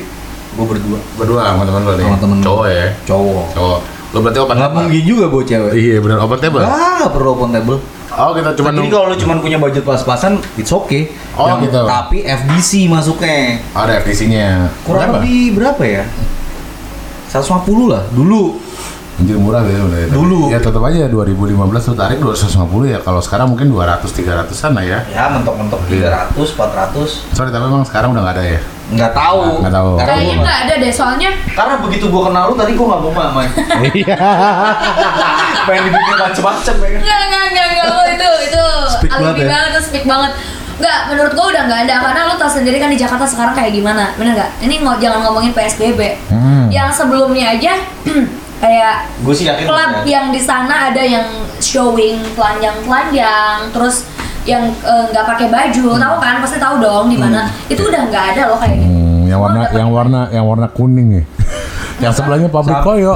Speaker 4: gue berdua
Speaker 5: berdua sama teman lo nih.
Speaker 4: Sama temen.
Speaker 5: Cowok ya.
Speaker 4: cowok
Speaker 5: Cowok. Lo berarti open
Speaker 4: nggak mungkin juga bawa cewek
Speaker 5: Iya benar open table.
Speaker 4: ah nggak perlu open table
Speaker 5: Oh kita cuma
Speaker 4: jadi
Speaker 5: nunggu.
Speaker 4: kalau lu cuma punya budget pas-pasan it's okay
Speaker 5: Oh,
Speaker 4: Yang-
Speaker 5: gitu.
Speaker 4: tapi FDC masuknya
Speaker 5: Ada FTC-nya.
Speaker 4: kurang lebih berapa ya 150 lah dulu
Speaker 5: Anjir murah deh udah ya.
Speaker 4: Dulu.
Speaker 5: Ya tetap aja 2015 lu tarik 250 ya. Kalau sekarang mungkin 200 300-an lah ya.
Speaker 4: ya mentok-mentok
Speaker 5: Iya.
Speaker 4: 300 400
Speaker 5: Sorry tapi emang sekarang udah nggak ada ya.
Speaker 4: nggak tahu
Speaker 5: Nggak tahu.
Speaker 4: karena,
Speaker 2: Kayaknya
Speaker 4: gua-
Speaker 2: nggak ada deh, soalnya
Speaker 4: karena begitu gua kenal lu tadi gua nggak mau main [LAUGHS] pengen dibikin macem-macem ya kan
Speaker 2: nggak nggak nggak nggak lo Oh, itu itu
Speaker 4: Speak
Speaker 2: alibi
Speaker 4: banget ya.
Speaker 2: banget, speak banget. Nggak, menurut gua udah nggak ada karena lo tau sendiri kan di Jakarta sekarang kayak gimana, bener nggak? Ini nggak jangan ngomongin PSBB,
Speaker 4: Hmm.
Speaker 2: yang sebelumnya aja [CLEARS THROAT] kayak
Speaker 4: gue sih yakin
Speaker 2: klub
Speaker 4: ya.
Speaker 2: yang di sana ada yang showing telanjang-telanjang terus yang eh, nggak pakai baju
Speaker 4: Hmm.
Speaker 2: tahu kan pasti tahu dong di mana itu udah nggak ada loh kayak gitu
Speaker 17: Hmm, yang
Speaker 2: Semua
Speaker 17: warna
Speaker 2: udah
Speaker 17: yang
Speaker 2: pakai-
Speaker 17: warna yang warna kuning ya. [LAUGHS] yang sebelahnya pabrik
Speaker 4: Sama.
Speaker 17: koyo.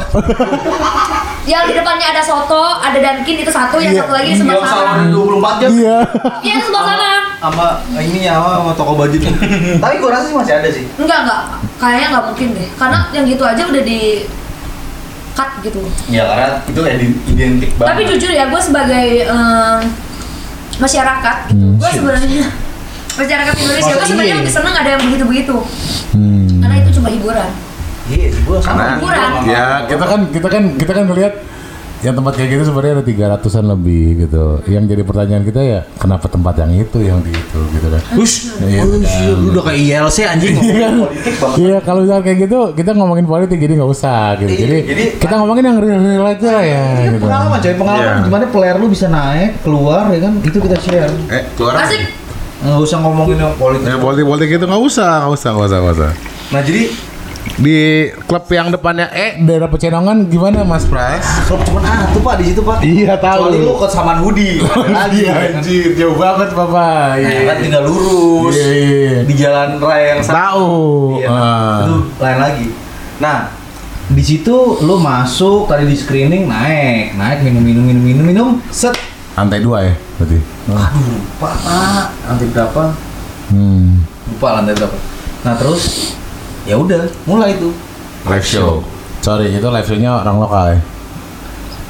Speaker 2: yang di depannya ada soto ada dankin itu satu yang
Speaker 17: Iya,
Speaker 2: satu lagi
Speaker 4: Yang
Speaker 2: sebelah
Speaker 4: sama
Speaker 2: sana
Speaker 4: 24 jam
Speaker 17: Iya.
Speaker 2: iya itu sebelah sana
Speaker 4: sama ini ya sama, sama toko [LAUGHS] baju tuh. tapi gue rasa sih masih ada sih
Speaker 2: enggak enggak kayaknya nggak mungkin deh karena yang gitu aja udah di cut gitu
Speaker 4: ya karena itu kayak di- identik banget
Speaker 2: tapi jujur ya gue sebagai em, masyarakat gitu, gue sebenarnya masyarakat Indonesia gue
Speaker 4: Masa
Speaker 2: sebenarnya
Speaker 4: iya?
Speaker 2: lebih seneng ada yang begitu begitu
Speaker 17: Hmm.
Speaker 2: karena itu cuma hiburan
Speaker 4: iya sih gue
Speaker 5: Karena
Speaker 4: sama
Speaker 2: Kurang.
Speaker 5: ya
Speaker 17: Kita kan kita kan kita kan ngelihat yang tempat kayak gitu sebenarnya ada 300-an lebih gitu. Yang jadi pertanyaan kita ya kenapa tempat yang itu yang di itu gitu kan.
Speaker 4: Ush,
Speaker 17: Iya,
Speaker 4: ush, lu udah kayak ILC anjing ngomongin
Speaker 5: kan?
Speaker 4: politik banget
Speaker 17: Iya kalau misalnya kayak gitu kita ngomongin politik jadi nggak usah gitu.
Speaker 4: Iya,
Speaker 17: Jadi,
Speaker 4: jadi-
Speaker 17: kita ngomongin yang real-real aja lah ya.
Speaker 4: Ini kan
Speaker 17: Gitu.
Speaker 4: pengalaman coy, pengalaman
Speaker 5: Iya.
Speaker 4: gimana player lu bisa naik, keluar ya kan, itu kita share
Speaker 5: Eh, keluar.
Speaker 2: asik
Speaker 4: Nggak usah ngomongin yang politik
Speaker 17: Iya.
Speaker 5: Ya politik-politik itu nggak usah, nggak usah, nggak usah, nggak usah.
Speaker 4: Nah jadi,
Speaker 5: Di klub yang depannya E,
Speaker 17: Eh daerah Pecenongan gimana Mas Pras?
Speaker 4: klub cuman ah tuh pak di situ pak
Speaker 17: Iya, tahu.
Speaker 4: Kecuali lu ke Saman
Speaker 17: [LAUGHS]
Speaker 4: Hudi
Speaker 17: Ya, anjir jauh banget Bapak.
Speaker 4: Nah,
Speaker 17: Iya.
Speaker 4: kan tinggal lurus
Speaker 17: Iya, iya, iya.
Speaker 4: di jalan raya yang sama.
Speaker 17: Tahu.
Speaker 4: Iya,
Speaker 17: Ah.
Speaker 4: itu lain lagi. Nah, di situ lu masuk tadi di screening naik, naik minum minum minum minum minum set.
Speaker 17: Lantai dua ya berarti.
Speaker 4: Aduh, lupa Pak. Nanti berapa?
Speaker 17: Hmm.
Speaker 4: Lupa lantai berapa. Nah, terus ya udah, mulai tuh.
Speaker 5: live show.
Speaker 17: Sorry, itu live show-nya orang lokal ya.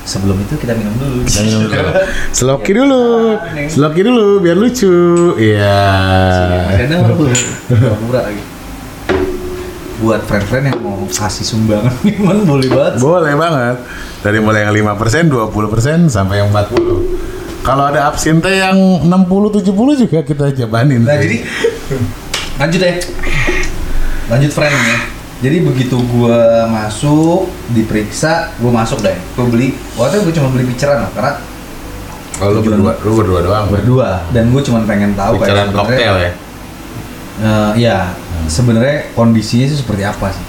Speaker 4: Sebelum itu kita minum dulu. Iya.
Speaker 17: Kita minum dulu.
Speaker 5: [LAUGHS] Seloki dulu, seloki dulu biar lucu. Iya.
Speaker 17: Ah.
Speaker 4: Kadang lu murah lagi. Buat friend-friend yang mau kasih sumbangan [LAUGHS] minuman boleh banget.
Speaker 5: Boleh banget. Dari mulai yang 5%, 20% sampai yang 40. Kalau ada absinte yang 60 70 juga kita jabanin.
Speaker 4: Nah jadi lanjut ya, lanjut friend ya. Jadi begitu gua masuk diperiksa, gua masuk deh. Gua beli, waktu itu gua cuma beli piceran lah karena
Speaker 5: Kalau lu berdua, lu berdua doang. kan?
Speaker 4: berdua dan gua cuma pengen tahu
Speaker 5: Bicaraan koktail ya.
Speaker 4: Eh, ya
Speaker 17: Hmm.
Speaker 4: sebenarnya kondisinya sih seperti apa sih.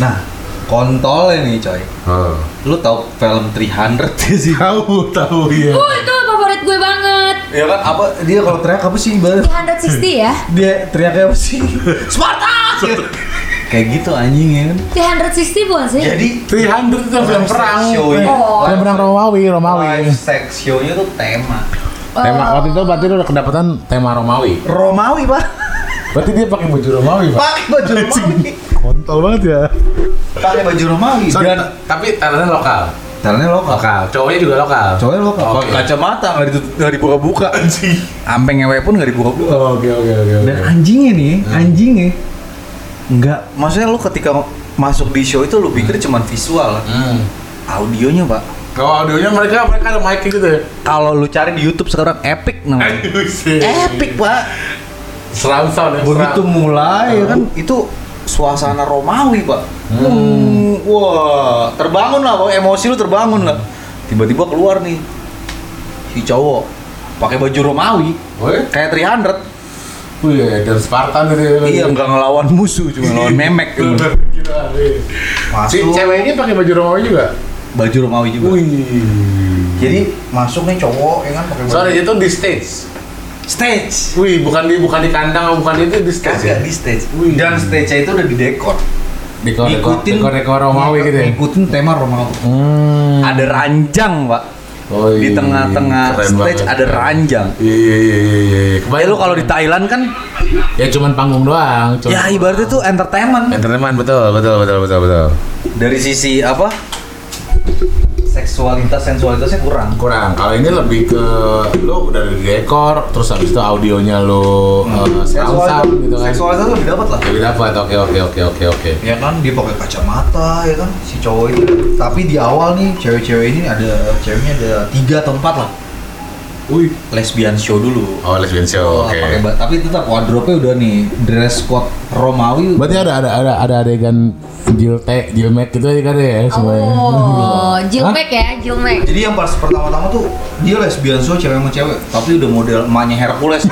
Speaker 4: Nah kontolnya nih coy,
Speaker 5: Oh.
Speaker 4: lu tahu film 300 ya sih?
Speaker 5: Tahu, tahu iya.
Speaker 2: oh itu favorit gue banget
Speaker 4: Ya kan apa dia kalau teriak apa sih ibarat
Speaker 2: 360 ya
Speaker 4: dia teriaknya apa [LAUGHS] sih? Sparta! gitu. Kayak gitu anjing ya kan.
Speaker 2: 360 bukan sih
Speaker 4: Jadi
Speaker 17: 300 itu film perang.
Speaker 5: ya.
Speaker 4: Show-nya.
Speaker 2: Oh.
Speaker 17: Film perang Romawi,
Speaker 4: Live
Speaker 17: Romawi.
Speaker 4: sex show-nya tuh tema.
Speaker 17: Tema waktu itu berarti lu udah kedapatan tema Romawi.
Speaker 4: Romawi, Pak.
Speaker 17: Berarti dia pakai baju Romawi, Pak.
Speaker 4: Pak, baju Romawi.
Speaker 19: kontol banget ya
Speaker 4: pakai baju Romawi
Speaker 5: Sorry,
Speaker 4: dan
Speaker 5: ta- tapi talentnya lokal.
Speaker 4: jalannya lokal
Speaker 5: Lokal. Cowoknya juga lokal.
Speaker 4: cowoknya lokal
Speaker 5: Oke.
Speaker 4: Oh, kacamata nggak ditut- nggak dibuka-buka anjing ampeng ngewe pun nggak dibuka-buka
Speaker 5: Oke oke oke.
Speaker 4: dan anjingnya nih anjingnya nggak Hmm. maksudnya lu ketika masuk di show itu lu pikir cuman visual
Speaker 5: Hmm.
Speaker 4: audionya pak
Speaker 5: Kalau audionya mereka mereka ada mic gitu ya.
Speaker 4: kalau lu cari di YouTube sekarang epic
Speaker 5: Hmm. [LAUGHS]
Speaker 4: namanya epic pak
Speaker 5: Seram sound ya.
Speaker 4: begitu
Speaker 5: surround.
Speaker 4: mulai ya kan itu suasana Romawi pak Hmm, wah terbangun lah Pak. emosi lu terbangun lah tiba-tiba keluar nih si cowok pakai baju Romawi
Speaker 5: Woi.
Speaker 4: kayak 300
Speaker 5: Wih, dan Spartan gitu ya.
Speaker 4: iya nggak ngelawan musuh cuma ngelawan memek cuma.
Speaker 5: Gila, wih. Si
Speaker 4: masuk
Speaker 5: cewek ini pakai baju Romawi juga.
Speaker 4: baju Romawi juga Jadi masuk nih cowok ya kan pakai baju.
Speaker 5: Sorry, itu di stage.
Speaker 4: stage.
Speaker 5: Wih, bukan di bukan di kandang, bukan itu di stage ya.
Speaker 4: Kagak di stage.
Speaker 5: Wih.
Speaker 4: Dan stage-nya itu udah didekor.
Speaker 5: Dekor dekor Romawi gitu ya. Hmm.
Speaker 4: Ngikutin tema Romawi. Ada ranjang, Pak.
Speaker 5: Oh,
Speaker 4: Di
Speaker 5: iya.
Speaker 4: tengah-tengah
Speaker 5: Keren
Speaker 4: stage
Speaker 5: banget.
Speaker 4: ada ranjang.
Speaker 5: Iya iya iya iya. iya.
Speaker 4: Kayak
Speaker 5: Kebayang
Speaker 4: Eh, lu kalau di Thailand kan
Speaker 5: ya cuman panggung doang. Cuman
Speaker 4: ya ibaratnya tuh entertainment
Speaker 5: Entertainment betul betul betul betul betul.
Speaker 4: dari sisi apa? Seksualitas sensualitasnya kurang.
Speaker 5: kurang kalau ini lebih ke lu dari dekor terus habis itu audionya lu eh,
Speaker 4: Hmm.
Speaker 5: sound sound gitu kan
Speaker 4: Seksualitas lebih dapat lah.
Speaker 5: lebih dapat oke oke oke oke oke
Speaker 4: ya kan dia pakai kacamata ya kan si cowok itu tapi di awal nih cewek-cewek ini ada ceweknya ada tiga atau empat lah Wih, lesbian show dulu.
Speaker 5: oh lesbian show
Speaker 4: Oh,
Speaker 5: oke
Speaker 4: pakai ba- tapi tetap wardrobe-nya udah nih dress code Romawi.
Speaker 19: berarti ada ada ada ada adegan jilte jilmek gitu ya kan ya
Speaker 5: Iya,
Speaker 19: semuanya
Speaker 20: Oh, jilmek ya, jilmek.
Speaker 4: Jadi yang pas pertama-tama tuh dia lesbian show cewek sama cewek, tapi udah model emaknya Hercules.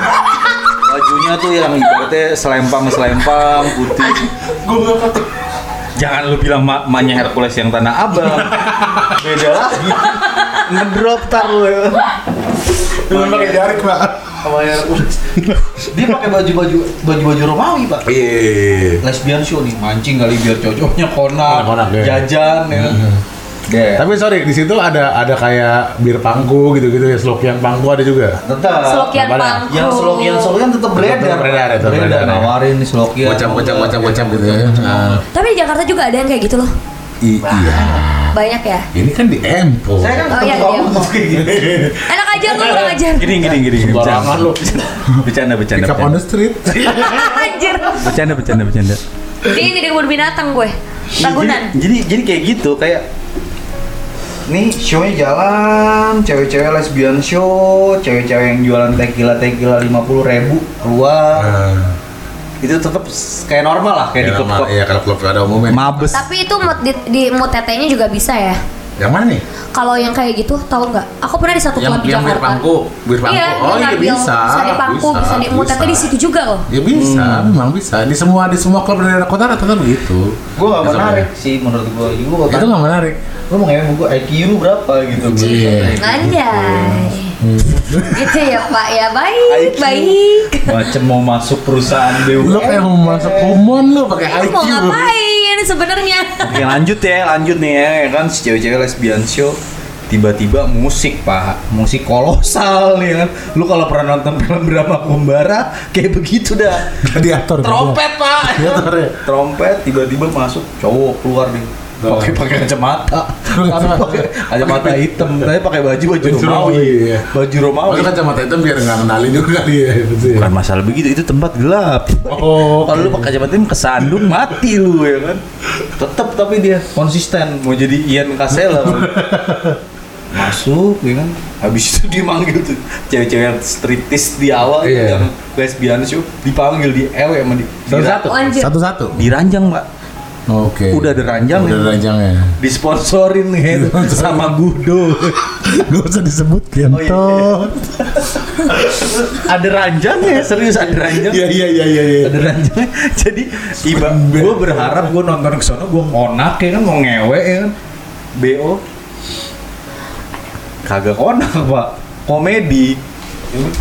Speaker 4: Bajunya tuh yang ibaratnya selempang-selempang putih. Jangan lu bilang ma- emaknya Hercules yang tanah abang. Beda lagi. Ngedrop tar lu.
Speaker 5: cuma pakai jarik pak
Speaker 4: Emaknya Hercules. Dia pakai baju-baju baju-baju Romawi, Pak.
Speaker 5: iya
Speaker 4: Lesbian show nih, mancing kali biar cocoknya konak,
Speaker 5: Konak-konak, ya.
Speaker 4: jajan ya. Deh.
Speaker 19: tapi sorry di situ ada ada kayak bir pangku gitu gitu ya slokian pangku ada juga
Speaker 4: tetap
Speaker 20: Slokian
Speaker 5: Apa dah?
Speaker 20: pangku.
Speaker 4: yang slokian slokian tetap beredar
Speaker 5: beredar, tetap
Speaker 4: beredar,
Speaker 5: beredar, ya.
Speaker 4: nawarin nih slokian
Speaker 5: bocam bocam bocam bocam gitu
Speaker 19: Iya.
Speaker 5: ya Ah,
Speaker 2: Tapi di Jakarta juga ada yang kayak gitu loh.
Speaker 5: i- iya
Speaker 2: Banyak ya.
Speaker 5: ini kan di Empo
Speaker 4: saya kan
Speaker 2: Oh,
Speaker 4: ketemu
Speaker 2: iya,
Speaker 4: kamu
Speaker 2: iya.
Speaker 4: terus kayak gini
Speaker 2: Enak aja lu kurang ajar. [LAUGHS]
Speaker 4: gini gini gini gini
Speaker 5: Sembarangan lu.
Speaker 4: bercanda bercanda
Speaker 19: pick up on the
Speaker 5: [LAUGHS]
Speaker 19: street
Speaker 5: Iya.
Speaker 2: Anjir.
Speaker 4: bercanda bercanda bercanda
Speaker 2: Di ini di kebun binatang gue. Ragunan.
Speaker 4: jadi, jadi jadi kayak gitu kayak nih shownya jalan cewek-cewek lesbian show cewek-cewek yang jualan tequila tequila lima puluh ribu keluar
Speaker 5: Ah,
Speaker 4: itu tetap kayak normal iya. lah Eh. kayak di
Speaker 5: ya,
Speaker 4: klub
Speaker 5: ma- ya kalau klub ada umumnya
Speaker 4: mabes
Speaker 2: Tapi itu mood di, di mood tetenya juga bisa ya.
Speaker 5: yang mana nih
Speaker 2: Kalau yang kayak gitu tahu nggak? Aku pernah di satu
Speaker 5: yang
Speaker 2: klub di
Speaker 5: yang
Speaker 2: Jakarta.
Speaker 5: bir pangku bir pangku
Speaker 2: Iya,
Speaker 5: oh iya
Speaker 2: ngambil
Speaker 5: bisa
Speaker 2: Bisa di pangku, bisa di mood tetenya di situ juga loh.
Speaker 5: Ya bisa,
Speaker 4: Hmm.
Speaker 5: memang bisa. Di semua di semua klub di daerah kota rata-rata begitu.
Speaker 4: gue gak
Speaker 5: Ya, sama
Speaker 4: menarik sih menurut gue gue
Speaker 5: ya. Itu nggak menarik.
Speaker 4: lu mau ngewe buku IQ lu berapa gitu
Speaker 5: Iya.
Speaker 2: Anjay. Gitu ya Pak ya baik
Speaker 4: IQ.
Speaker 2: baik.
Speaker 4: macam mau masuk perusahaan
Speaker 19: lu
Speaker 4: BUMN
Speaker 19: kayak mau masuk kumon lu
Speaker 2: Ini
Speaker 19: pakai IQ
Speaker 2: mau ngapain
Speaker 5: [LAUGHS]
Speaker 2: sebenarnya?
Speaker 4: Oke lanjut ya lanjut nih ya, ya kan si cewek-cewek lesbian show tiba-tiba musik pak musik kolosal nih kan lu kalau pernah nonton film drama Kumbara kayak begitu dah
Speaker 19: gladiator
Speaker 4: trompet pak
Speaker 19: Gladiator, ya.
Speaker 4: trompet tiba-tiba masuk cowok keluar nih pakai pakai kacamata tapi pakai kacamata hitam tapi pakai baju baju
Speaker 19: Baju Romawi,
Speaker 4: Romawi
Speaker 19: iya.
Speaker 4: baju Romawi
Speaker 5: Maksudnya kacamata hitam biar nggak kenalin juga kali ya. gitu ya.
Speaker 4: Oh, bukan masalah begitu itu tempat gelap
Speaker 19: Oh,
Speaker 4: kalau lu pakai kacamata ini kesandung mati lu ya kan tetap tapi dia konsisten mau jadi Ian Kasela masuk ya kan habis itu dia manggil tuh cewek-cewek yang striptis di awal tuh
Speaker 5: Iya.
Speaker 4: yang lesbian show dipanggil di ewe sama di, di,
Speaker 5: Satu-satu.
Speaker 2: Anjir.
Speaker 19: satu-satu.
Speaker 4: di ranjang pak
Speaker 19: Oke.
Speaker 4: udah ada ranjang
Speaker 19: Udah
Speaker 4: ya.
Speaker 19: ranjangnya.
Speaker 4: disponsorin nih sama Gudo
Speaker 19: Gak usah disebut
Speaker 4: Oh.
Speaker 19: kentut.
Speaker 4: ada ranjangnya ya, serius ada ranjang
Speaker 19: Iya iya iya iya. iya.
Speaker 4: ada ranjangnya jadi iba gue berharap gue nonton ke sana gue konak ya kan mau ngewe ya kan bo kagak konak [LAUGHS] pak komedi Ya kan?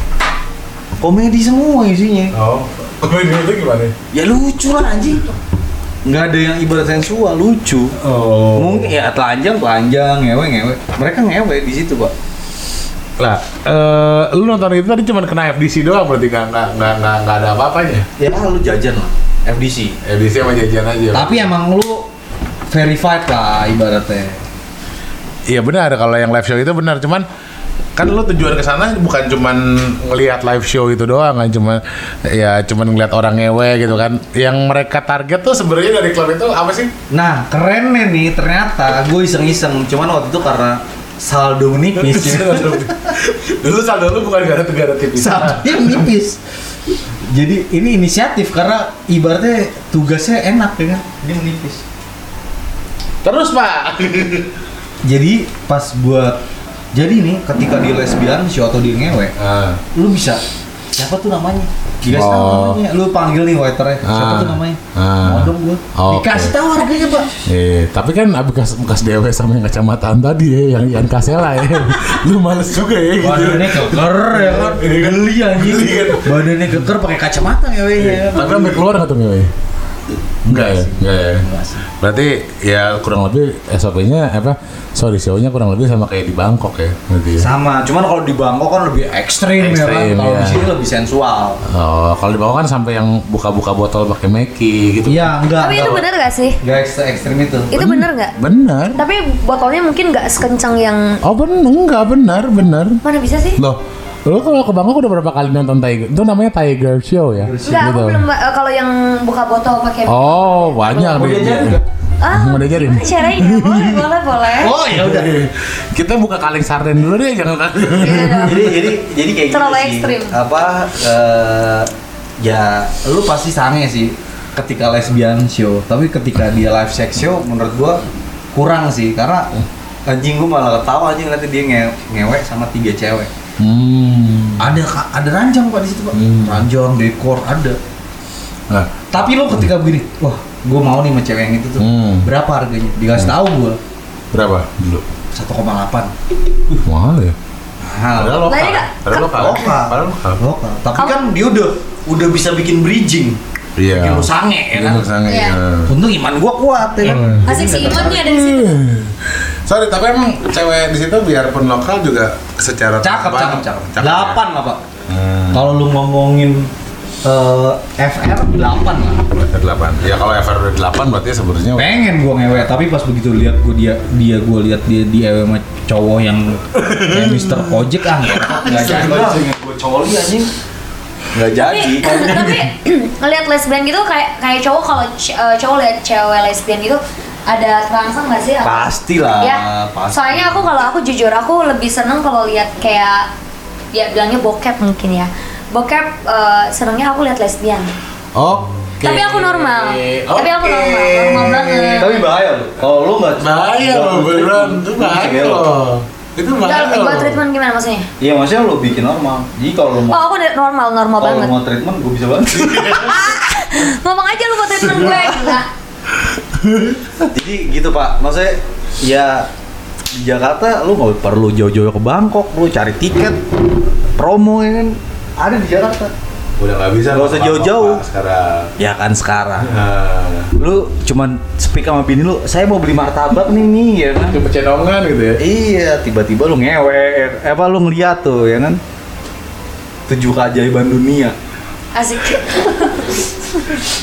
Speaker 4: komedi semua isinya
Speaker 5: Oh. Komedi itu gimana?
Speaker 4: ya lucu lah anjing nggak ada yang ibarat sensual lucu
Speaker 5: Oh.
Speaker 4: mungkin ya telanjang telanjang ngewe ngewe mereka ngewe di situ pak
Speaker 5: Lah, eh, lu nonton itu tadi cuma kena FDC doang berarti nggak nggak nggak nggak nggak ada apa-apanya.
Speaker 4: ya lu jajan lah FDC.
Speaker 21: FDC sama jajan aja.
Speaker 4: Tapi emang lu verified lah ibaratnya.
Speaker 5: Iya benar kalau yang live show itu benar cuman kan lo tujuan ke sana bukan cuman ngelihat live show itu doang kan cuman ya cuman ngelihat orang ngewe gitu kan yang mereka target tuh sebenarnya dari klub itu apa sih
Speaker 4: Nah, kerennya nih ternyata gue iseng-iseng. Cuman waktu itu karena saldo
Speaker 21: [LAUGHS]
Speaker 4: menipis.
Speaker 5: [LAUGHS]
Speaker 4: gitu.
Speaker 5: dulu saldo lu bukan gara gara tipis
Speaker 4: saldonya menipis. Jadi ini inisiatif karena ibaratnya tugasnya enak ya kan. Dia menipis.
Speaker 5: [LAUGHS] terus pak
Speaker 4: Jadi pas buat jadi nih ketika di lesbian show atau di ngewe,
Speaker 21: Ah.
Speaker 4: lu bisa siapa tuh namanya dikasih tahu
Speaker 21: Oh.
Speaker 4: namanya lu panggil nih waiternya siapa
Speaker 21: Ah.
Speaker 4: tuh namanya
Speaker 21: Ah.
Speaker 4: mau dong gua
Speaker 21: Oke.
Speaker 4: dikasih tahu harganya pak
Speaker 5: eh tapi kan bekas bekas dewe sama yang kacamataan tadi ya yang Ian Kasela ya [LAUGHS] lu males juga ya gitu
Speaker 4: badannya keker ya kan geli kan? anjing badannya keker pakai kacamata ya weh ya
Speaker 5: tapi sampai keluar nggak tuh ngewe enggak ya enggak ya
Speaker 4: Enggak sih.
Speaker 5: berarti ya kurang lebih SOP-nya apa sorry show-nya kurang lebih sama kayak di Bangkok ya berarti ya.
Speaker 4: sama cuman kalau di Bangkok kan lebih ekstrim, ya kan
Speaker 5: Ekstrim,
Speaker 4: kalau di
Speaker 5: ya.
Speaker 4: sini lebih sensual
Speaker 5: Oh, kalau di bawah kan sampai yang buka-buka botol pakai meki gitu.
Speaker 4: iya enggak
Speaker 2: Tapi itu
Speaker 4: enggak.
Speaker 2: benar gak sih?
Speaker 4: enggak ekstra ekstrim itu
Speaker 2: Itu
Speaker 5: Hmm?
Speaker 2: benar nggak?
Speaker 5: Bener.
Speaker 2: Tapi botolnya mungkin nggak sekencang yang
Speaker 5: Oh bener, enggak bener, bener.
Speaker 2: mana bisa sih?
Speaker 5: Loh, lu kalau ke Bangkok udah berapa kali nonton Tiger? Itu namanya Tiger Show ya?
Speaker 2: Enggak, aku belum eh, kalau yang buka botol pakai
Speaker 5: Oh, banyak.
Speaker 4: Mau
Speaker 5: nih.
Speaker 4: diajarin nggak?
Speaker 2: Ah,
Speaker 5: Mau diajarin?
Speaker 2: Caranya boleh, boleh, boleh.
Speaker 4: oh ya udah
Speaker 5: Kita buka kaleng sarden dulu deh,
Speaker 2: Iya
Speaker 5: jangan
Speaker 2: dong.
Speaker 4: jadi jadi jadi kayak gitu
Speaker 2: Terlalu
Speaker 4: sih.
Speaker 2: ekstrim.
Speaker 4: apa eh, ya lu pasti sange sih ketika lesbian show tapi ketika dia live sex show menurut gua kurang sih karena anjing gua malah ketawa anjing nanti dia nge ngewek sama tiga cewek
Speaker 5: Hmm.
Speaker 4: ada Kak, ada ranjang pak di situ pak ranjang dekor ada
Speaker 5: Nah,
Speaker 4: tapi lu ketika begini wah gua mau nih sama cewek yang itu tuh
Speaker 5: Hmm.
Speaker 4: berapa harganya dikasih tahu gua
Speaker 5: berapa dulu?
Speaker 4: 1,8
Speaker 5: Mahal ya?
Speaker 4: mahal
Speaker 5: Padahal lokal.
Speaker 2: Nah, ini nggak-
Speaker 5: Padahal lokal.
Speaker 4: lokal.
Speaker 5: Padahal lokal.
Speaker 21: Iya.
Speaker 4: lokal tapi
Speaker 2: Kamu-
Speaker 4: kan dia udah udah bisa bikin bridging
Speaker 5: Iya.
Speaker 4: Bikin lu sange ya
Speaker 5: Ilmu
Speaker 4: kan
Speaker 5: sange,
Speaker 22: Iya.
Speaker 5: iya.
Speaker 4: untung iman gua kuat ya kan
Speaker 22: Asik sih imannya ada di situ.
Speaker 21: Sorry, tapi emang cewek di situ biarpun lokal juga secara
Speaker 4: cakep
Speaker 21: tampan-
Speaker 4: cakep cakep
Speaker 21: ya?
Speaker 4: delapan lah pak
Speaker 5: Hmm.
Speaker 4: kalau lu ngomongin eh, FR delapan lah
Speaker 21: Udah Delapan. Ya kalau FR udah delapan berarti sebenarnya
Speaker 4: pengen gua ngewe tapi pas begitu lihat gua dia dia gua lihat dia di ewe sama cowok yang kayak Mister Kojek ah
Speaker 5: [LAUGHS]
Speaker 4: nggak jadi lah gua cowok li anjing nggak jadi
Speaker 2: [LAUGHS] tapi Nah, tapi [CLEARS THROAT] ngelihat lesbian gitu kayak kayak cowok kalau c- eh, cowok lihat cewek lesbian gitu ada terangsang nggak sih? Apa-
Speaker 4: pastilah
Speaker 2: ya.
Speaker 4: pasti.
Speaker 2: Soalnya aku kalau aku jujur aku lebih seneng kalau lihat kayak ya bilangnya bokep mungkin ya. Bokep eh, senengnya aku lihat lesbian.
Speaker 5: Oke.
Speaker 2: Tapi aku normal. Tapi aku normal, normal banget.
Speaker 4: tapi bahaya lu kalau lu nggak
Speaker 5: Oh, Bahaya loh, beneran. Itu bahaya loh. Itu bahaya
Speaker 2: Enggak, buat
Speaker 5: loh.
Speaker 2: treatment gimana maksudnya?
Speaker 4: Iya maksudnya lo bikin normal. Jadi kalau lo
Speaker 2: Oh,
Speaker 4: mau
Speaker 2: aku udah normal, normal
Speaker 4: kalau lo
Speaker 2: banget.
Speaker 4: mau treatment gue bisa
Speaker 5: [LAUGHS]
Speaker 4: bantu.
Speaker 2: Ngomong aja lu buat treatment gue, gila.
Speaker 4: Jadi gitu pak. Maksudnya ya di Jakarta lo nggak perlu jauh-jauh ke Bangkok, lo cari tiket promo ya kan ada di Jakarta.
Speaker 21: udah nggak bisa.
Speaker 4: Nggak usah
Speaker 21: lokal-lokal
Speaker 4: jauh-jauh.
Speaker 21: Sekarang.
Speaker 4: Ya kan sekarang.
Speaker 21: Nah,
Speaker 4: Lu cuman speak sama bini lu, saya mau beli martabak nih nih ya kan.
Speaker 21: itu pecenongan gitu ya.
Speaker 4: Iya, tiba-tiba lu ngewe, eh, apa lu ngeliat tuh ya kan? Tujuh keajaiban dunia.
Speaker 2: Asik.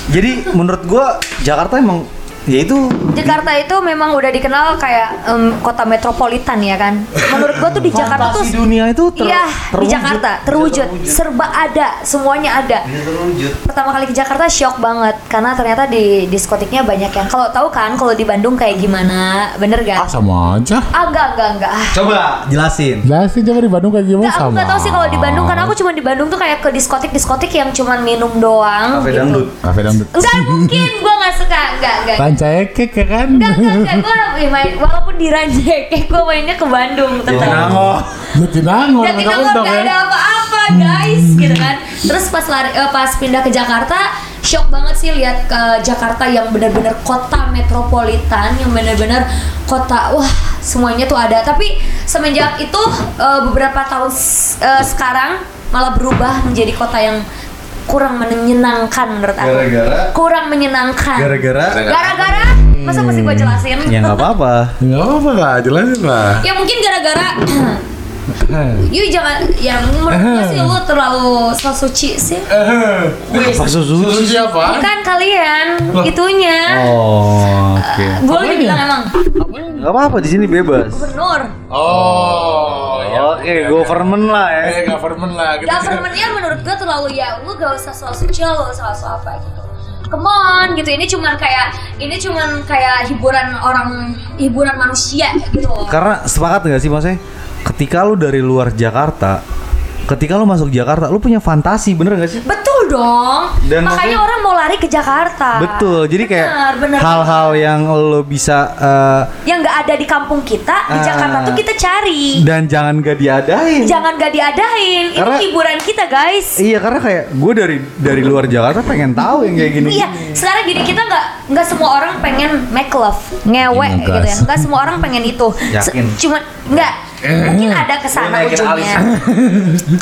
Speaker 4: Jadi menurut gua Jakarta emang ya itu
Speaker 2: Jakarta itu memang udah dikenal kayak em, kota metropolitan ya kan. Menurut gua tuh di Jakarta tuh
Speaker 4: Fantasi dunia itu ter-
Speaker 2: Iya, di
Speaker 4: terwujud.
Speaker 2: Jakarta terwujud, serba ada, semuanya ada.
Speaker 4: Bisa terwujud.
Speaker 2: Pertama kali ke Jakarta shock banget karena ternyata di diskotiknya banyak yang kalau tahu kan kalau di Bandung kayak gimana, bener
Speaker 5: Ah,
Speaker 2: gak?
Speaker 5: sama aja.
Speaker 2: Ah, enggak, enggak, enggak. Ah,
Speaker 4: Coba jelasin.
Speaker 5: Lah sih coba di Bandung kayak gimana
Speaker 2: Enggak, aku
Speaker 5: Oh, sama.
Speaker 2: nggak tahu sih kalau di Bandung karena aku cuma di Bandung tuh kayak ke diskotik-diskotik yang cuman minum doang.
Speaker 4: Kafe
Speaker 2: gitu.
Speaker 4: dangdut.
Speaker 5: Kafe dangdut.
Speaker 2: Enggak mungkin, gua nggak suka, enggak, enggak.
Speaker 5: Rancaekek ya kan?
Speaker 2: Enggak, enggak, enggak. Gua lebih main walaupun di Ranjekek gua mainnya ke Bandung
Speaker 4: Iya.
Speaker 2: tetap.
Speaker 5: Jatinangor.
Speaker 2: Jadi
Speaker 5: kamu
Speaker 2: Jatinangor
Speaker 5: dong
Speaker 2: gak
Speaker 5: ya.
Speaker 2: ada apa-apa guys gitu kan terus pas lari eh, pas pindah ke Jakarta shock banget sih lihat ke Jakarta yang benar-benar kota metropolitan yang benar-benar kota wah semuanya tuh ada tapi semenjak itu eh, beberapa tahun s- eh, sekarang malah berubah menjadi kota yang kurang menyenangkan menurut aku
Speaker 4: Gara-gara?
Speaker 2: kurang menyenangkan
Speaker 4: Gara-gara
Speaker 2: gara-gara masa mesti gue jelasin [LAUGHS]
Speaker 4: ya nggak apa-apa.
Speaker 5: Ya nggak apa-apa lah, jelasin lah.
Speaker 4: [COUGHS]
Speaker 2: ya mungkin gara-gara
Speaker 20: Yuk jangan, ya menurut gue sih lu terlalu so suci sih. Kan
Speaker 4: Apa
Speaker 5: Susu
Speaker 4: Suzuki?
Speaker 5: siapa?
Speaker 2: Bukan kalian, itunya.
Speaker 4: Oh, oke.
Speaker 2: Gue lagi bilang emang,
Speaker 4: Gak apa-apa di sini bebas.
Speaker 20: Gubernur.
Speaker 5: Oh,
Speaker 2: Iya.
Speaker 5: ya.
Speaker 4: Oke, government lah ya.
Speaker 5: Eh, government lah gitu.
Speaker 20: Governmentnya menurut gue terlalu ya, lu gak usah soal suci lo soal soal apa gitu. Come on gitu, ini cuman kayak ini cuman kayak hiburan orang hiburan manusia gitu. loh.
Speaker 4: Karena sepakat nggak sih maksudnya? Ketika lu dari luar Jakarta, ketika lu masuk Jakarta, lu punya fantasi bener nggak sih?
Speaker 2: betul dong. Makanya
Speaker 4: Dan maksudnya-
Speaker 2: orang mau lari ke Jakarta.
Speaker 4: Betul. Jadi kayak
Speaker 2: Bener, bener.
Speaker 4: hal-hal yang lo bisa eh,
Speaker 2: yang nggak ada di kampung kita di
Speaker 4: Ah.
Speaker 2: Jakarta tuh kita cari.
Speaker 4: dan jangan gak diadain.
Speaker 2: Jangan gak diadain. Ini
Speaker 4: Karena-
Speaker 2: hiburan kita guys.
Speaker 4: Iya karena kayak gue dari dari luar Jakarta pengen tahu yang kayak gini.
Speaker 2: Iya, sekarang gini kita nggak nggak semua orang pengen make love, ngewe
Speaker 4: Iya,
Speaker 2: gitu ya.
Speaker 4: gas.
Speaker 2: Nggak semua orang pengen itu. Se-
Speaker 4: Yakin.
Speaker 2: Cuman nggak mungkin ada kesana
Speaker 4: Lu naikin
Speaker 2: ujungnya.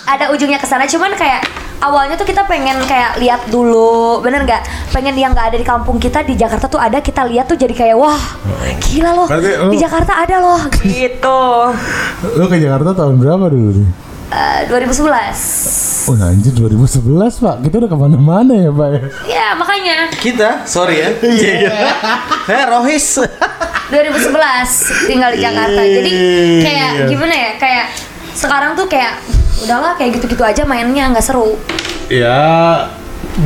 Speaker 2: ada ujungnya kesana, cuman kayak awalnya tuh kita pengen kayak lihat dulu, bener nggak? Pengen yang nggak ada di kampung kita di Jakarta tuh ada kita lihat tuh jadi kayak wah gila loh
Speaker 3: Berarti
Speaker 4: oh."
Speaker 3: lu-
Speaker 2: di Jakarta ada loh gitu.
Speaker 3: Lu ke Jakarta tahun berapa dulu nih?
Speaker 2: Eh, 2011.
Speaker 3: Oh anjir 2011 pak, kita udah kemana-mana ya pak ya
Speaker 2: Ya makanya
Speaker 4: Kita, sorry ya. [LAUGHS] Iya. Eh Rohis.
Speaker 2: 2011 tinggal di Jakarta. Jadi
Speaker 5: Iya.
Speaker 2: kayak gimana ya? Kayak sekarang tuh kayak udahlah kayak gitu-gitu aja mainnya nggak seru.
Speaker 5: Ya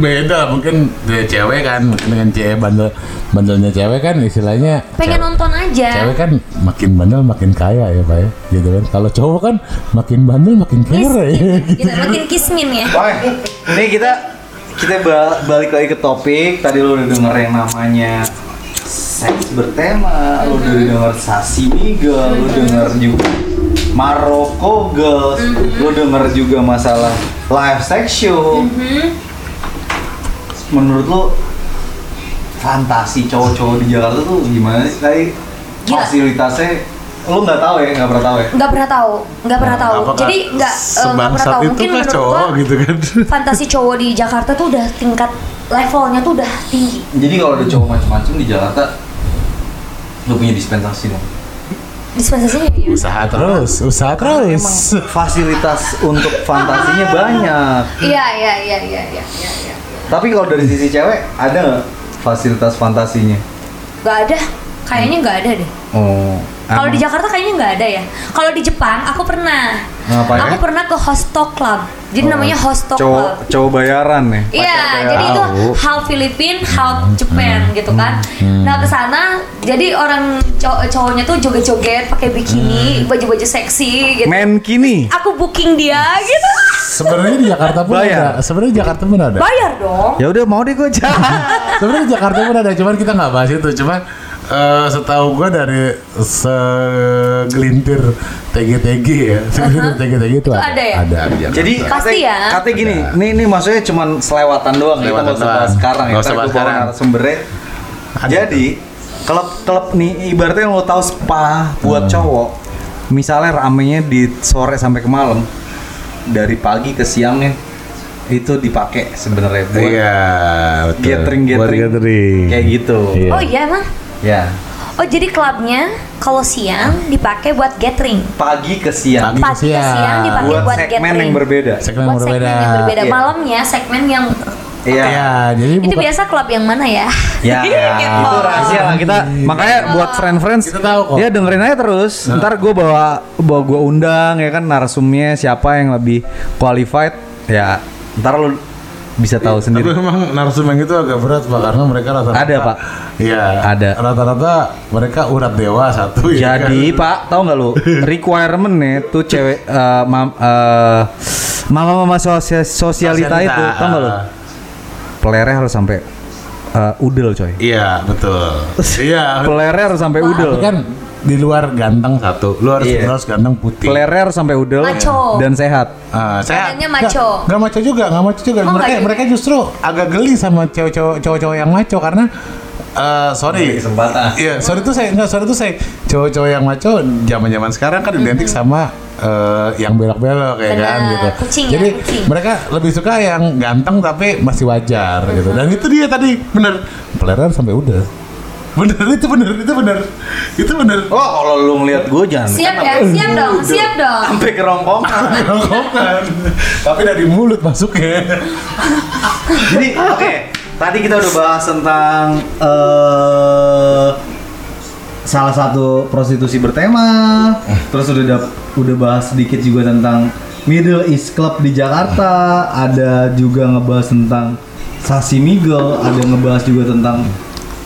Speaker 5: beda mungkin dia cewek kan mungkin dengan cewek bandel
Speaker 19: Bandelnya cewek kan istilahnya
Speaker 2: Pengen ya? nonton aja.
Speaker 19: cewek kan makin bandel makin kaya ya pak ya gitu kan kalau cowok kan makin bandel makin kere ya
Speaker 2: Gitu, makin kismin ya.
Speaker 4: Oke, ini kita kita ba- balik lagi ke topik. Tadi lu udah denger yang namanya seks bertema, lu udah denger sashimi girl, lu denger juga Maroko girls, lu denger juga masalah live sex show. Menurut lu fantasi cowok-cowok di Jakarta tuh gimana sih? Tadi
Speaker 2: Gila.
Speaker 4: fasilitasnya lu nggak tahu ya, nggak pernah tahu ya.
Speaker 2: Nggak pernah tahu, nggak pernah tahu.
Speaker 5: Nah, apakah
Speaker 2: Jadi nggak eh, nggak pernah
Speaker 5: sebangsat
Speaker 2: tahu.
Speaker 5: itu
Speaker 2: Mungkin
Speaker 5: kah
Speaker 2: menurut
Speaker 5: cowok
Speaker 2: gua
Speaker 5: gitu
Speaker 2: [LAUGHS]
Speaker 5: kan
Speaker 2: fantasi cowok di Jakarta tuh udah tingkat levelnya tuh udah tinggi.
Speaker 4: Jadi kalau ada cowok macam-macam di Jakarta, lu punya dispensasi dong.
Speaker 2: Dispensasinya ya.
Speaker 5: usaha terus
Speaker 3: Terus, usaha terus
Speaker 4: Fasilitas untuk fantasinya banyak.
Speaker 2: Iya iya iya iya iya. iya, iya.
Speaker 4: Tapi kalau dari sisi cewek ada nggak fasilitas fantasinya?
Speaker 2: Nggak ada. Kayaknya nggak ada deh.
Speaker 4: Oh.
Speaker 2: Kalau di Jakarta kayaknya nggak ada ya. Kalau di Jepang aku pernah.
Speaker 4: Ngapain? Oh,
Speaker 2: Aku pernah ke Hosto Club. Jadi namanya Hosto Club.
Speaker 4: Cowok cowok bayaran ya? nih.
Speaker 2: Iya, jadi itu half Filipin, half
Speaker 4: Hmm,
Speaker 2: Japan gitu kan. Nah, ke sana jadi orang cow- cowoknya tuh joget-joget pakai bikini,
Speaker 4: Hmm.
Speaker 2: baju-baju seksi gitu.
Speaker 4: Men kini.
Speaker 2: Aku booking dia gitu.
Speaker 3: Sebenarnya di Jakarta pun
Speaker 4: Bayar.
Speaker 3: ada Sebenarnya di Jakarta pun ada
Speaker 2: Bayar dong.
Speaker 4: Ya udah mau deh gue
Speaker 2: [LAUGHS]
Speaker 3: Sebenarnya di Jakarta pun ada, cuman kita nggak bahas itu. Cuman eh, setahu gua dari segelintir TG-TG ya, segelintir TG-TG itu ada.
Speaker 2: ada ya?
Speaker 3: Ada di Jakarta.
Speaker 4: Jadi
Speaker 2: Pasti
Speaker 4: katanya-
Speaker 2: ya.
Speaker 4: Katanya gini, nih nih maksudnya cuman selewatan doang kita
Speaker 5: Selewatan
Speaker 4: nggak usah
Speaker 5: doang.
Speaker 4: bahas sekarang ya.
Speaker 5: Nggak usah bahas
Speaker 4: Ntar gue bawa
Speaker 5: sekarang.
Speaker 4: narasumbernya. Jadi klub-klub nih ibaratnya yang lo tahu spa buat
Speaker 5: Hmm.
Speaker 4: cowok, misalnya ramenya di sore sampai ke malam, dari pagi ke siangnya itu dipakai sebenarnya buat
Speaker 5: iya betul
Speaker 4: gathering gathering, kayak gitu.
Speaker 5: Iya.
Speaker 2: Oh iya, emang.
Speaker 4: Ya
Speaker 2: Oh, jadi klubnya kalau siang dipakai buat gathering.
Speaker 4: pagi ke siang
Speaker 3: Pagi ke
Speaker 2: Pagi ke siang
Speaker 3: siang.
Speaker 2: dipakai
Speaker 4: buat
Speaker 2: buat
Speaker 4: segmen yang
Speaker 2: gathering.
Speaker 4: berbeda.
Speaker 3: Segmen yang
Speaker 2: Buat segmen
Speaker 3: berbeda.
Speaker 2: yang berbeda.
Speaker 4: Iya.
Speaker 2: Malamnya segmen yang
Speaker 4: Iya.
Speaker 3: Ya, jadi
Speaker 2: itu
Speaker 3: bukan
Speaker 2: biasa klub yang mana ya? [LAUGHS]
Speaker 4: Ya, itu rahasia lah kita. Makanya buat friend friends,
Speaker 3: Kita tahu kok. Nah.
Speaker 4: Ya dengerin aja terus. Ntar gue bawa bawa gue undang ya kan narsumnya siapa yang lebih qualified. Ya, ntar lu bisa tahu
Speaker 3: Tapi
Speaker 4: sendiri.
Speaker 3: memang narsum yang itu agak berat pak karena mereka rata-rata
Speaker 4: Ada, Pak.
Speaker 3: Iya.
Speaker 4: Ada.
Speaker 3: Rata-rata mereka urat dewa satu. ya
Speaker 4: Jadi
Speaker 3: kan?
Speaker 4: Pak, tahu nggak
Speaker 3: [LAUGHS]
Speaker 4: lu requirement nya tuh cewek eh, mam- eh, mama-mama sosia- sosialita itu, tahu nggak lu?
Speaker 3: ah.
Speaker 4: Pelernya harus sampai eh, udel coy.
Speaker 3: Iya betul. Iya.
Speaker 4: Pelernya harus sampai udel.
Speaker 3: Tapi kan di luar ganteng satu, lu harus
Speaker 4: Iya.
Speaker 3: lu harus ganteng putih.
Speaker 4: Pelernya harus sampai udel
Speaker 2: Maco.
Speaker 4: dan sehat.
Speaker 3: Ah, saya
Speaker 2: Badannya maco.
Speaker 3: Nggak- nggak maco juga, nggak maco juga.
Speaker 2: Oh,
Speaker 3: mereka
Speaker 2: nggak juga.
Speaker 3: mereka justru agak geli sama cowok-cowok cowok-cowok yang maco karena eh sorry,
Speaker 4: Kesempatan.
Speaker 3: Iya, sorry tuh saya nggak sorry tuh saya cowok-cowok yang maco zaman-zaman sekarang kan identik sama eh, yang belok-belok ya
Speaker 2: Benar,
Speaker 3: kan gitu.
Speaker 2: kucing ya,
Speaker 3: Jadi
Speaker 2: kucing.
Speaker 3: mereka lebih suka yang ganteng tapi masih wajar gitu. Dan itu dia tadi bener peleran sampai udah. bener itu bener itu bener itu bener
Speaker 4: Oh, kalau lu ngeliat gue jangan
Speaker 20: Siap ya, siap dong, siap dong.
Speaker 4: sampai kerongkongan.
Speaker 3: Rongkongan. kan. tapi dari mulut masuknya
Speaker 4: Jadi oke, tadi kita udah bahas tentang eh salah satu prostitusi bertema, terus udah dap- udah bahas sedikit juga tentang Middle East Club di Jakarta, ada juga ngebahas tentang Sashimi Girl, ada ngebahas juga tentang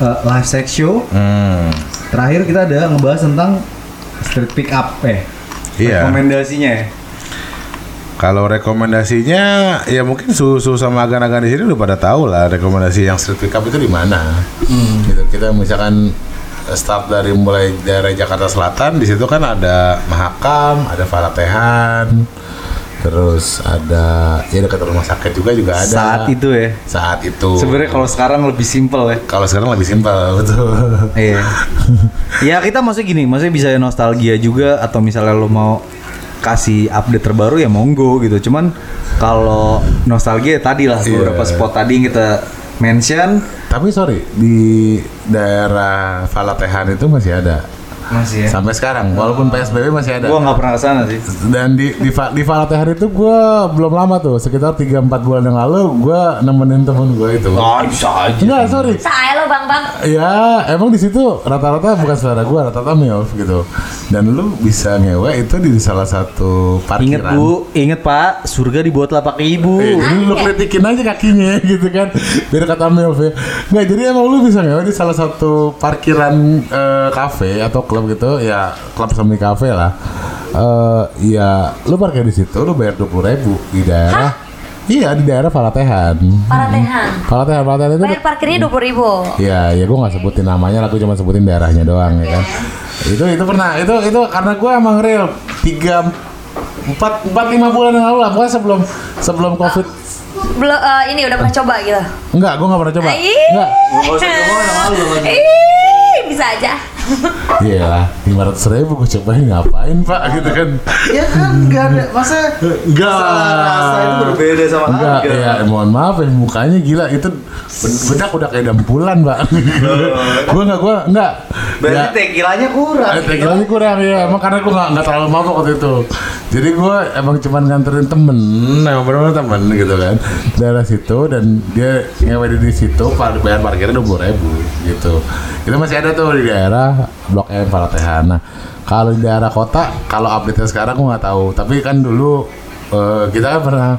Speaker 4: eh, live sex show.
Speaker 5: Hmm.
Speaker 4: Terakhir kita ada ngebahas tentang street pick up eh
Speaker 5: Iya.
Speaker 4: rekomendasinya ya.
Speaker 5: Kalau rekomendasinya ya mungkin susu sama agan-agan di sini udah pada tahu lah rekomendasi yang street pickup itu di mana.
Speaker 4: Hmm.
Speaker 5: Gitu. Kita misalkan start dari mulai daerah Jakarta Selatan di situ kan ada Mahakam, ada Falatehan, terus ada ya dekat rumah sakit juga juga ada.
Speaker 4: Saat itu ya.
Speaker 5: Saat itu.
Speaker 4: Sebenarnya kalau sekarang lebih simpel ya.
Speaker 5: kalau sekarang lebih simpel [LAUGHS] betul.
Speaker 4: Iya. ya kita maksudnya gini, maksudnya bisa nostalgia juga atau misalnya lo mau kasih update terbaru ya monggo gitu. Cuman kalau nostalgia ya tadi
Speaker 5: Iya.
Speaker 4: lah beberapa spot tadi yang kita mention
Speaker 5: Tapi sorry di daerah Falatehan itu masih ada
Speaker 4: masih
Speaker 5: sampai sekarang walaupun PSBB masih ada.
Speaker 4: Gua nggak pernah kesana sih.
Speaker 5: dan di di, Fa- di Valate hari itu gue belum lama tuh sekitar 3-4 bulan yang lalu gue nemenin temen gue itu
Speaker 4: Ah, bisa aja.
Speaker 5: enggak sorry
Speaker 20: Saya lo bang bang.
Speaker 5: ya emang di situ rata-rata bukan selera gue rata-rata milf gitu dan lu bisa ngewe itu di salah satu
Speaker 4: Ingat
Speaker 5: parkiran
Speaker 4: Bu, ingat Pak, surga dibuat lapak ibu.
Speaker 5: Eh, jadi lu kritikin aja kakinya [LAUGHS] gitu kan biar kata milf ya nggak jadi emang lu bisa ngewe di salah satu parkiran eh, kafe atau klub gitu ya klub semi kafe lah Eh, ya lu parkir di situ lu bayar dua ribu di daerah iya di daerah Falatehan
Speaker 4: Hmm.
Speaker 2: Paratehan.
Speaker 5: Falatehan Falatehan itu
Speaker 2: Bayar parkirnya dua puluh ribu.
Speaker 5: ya ya gue nggak sebutin namanya lah gue cuma sebutin daerahnya doang ya kan itu itu pernah itu itu karena gue emang real tiga empat empat lima bulan yang lalu lah pokoknya sebelum sebelum covid
Speaker 2: Belum eh, ini udah pernah coba gitu.
Speaker 4: Oh,
Speaker 5: enggak gue nggak pernah coba
Speaker 20: Ih.
Speaker 5: enggak
Speaker 2: [LAUGHS]
Speaker 20: Ih, bisa aja.
Speaker 5: Iya, lima ratus ribu gue cobain ngapain pak gitu kan?
Speaker 4: Ya kan, enggak ada masa
Speaker 5: Enggak.
Speaker 4: rasa itu berbeda sama
Speaker 5: Enggak,
Speaker 4: harga.
Speaker 5: ya mohon maaf ya mukanya gila itu ben- bedak udah kayak dampulan pak. gue nggak gue nggak.
Speaker 4: Oh.
Speaker 5: Ya.
Speaker 4: Berarti tekilanya kurang.
Speaker 5: Eh, tequila ini kurang ya, emang karena gue gak, nggak terlalu mabok waktu itu Jadi gue emang cuman nganterin temen, emang bener-bener temen gitu kan Daerah situ dan dia ngewe di situ, par- bayar parkirnya 20 ribu gitu Itu masih ada tuh di daerah Blok M, Falatehan Nah, kalau di daerah kota, kalau update-nya sekarang gue gak tahu Tapi kan dulu eh, kita kan pernah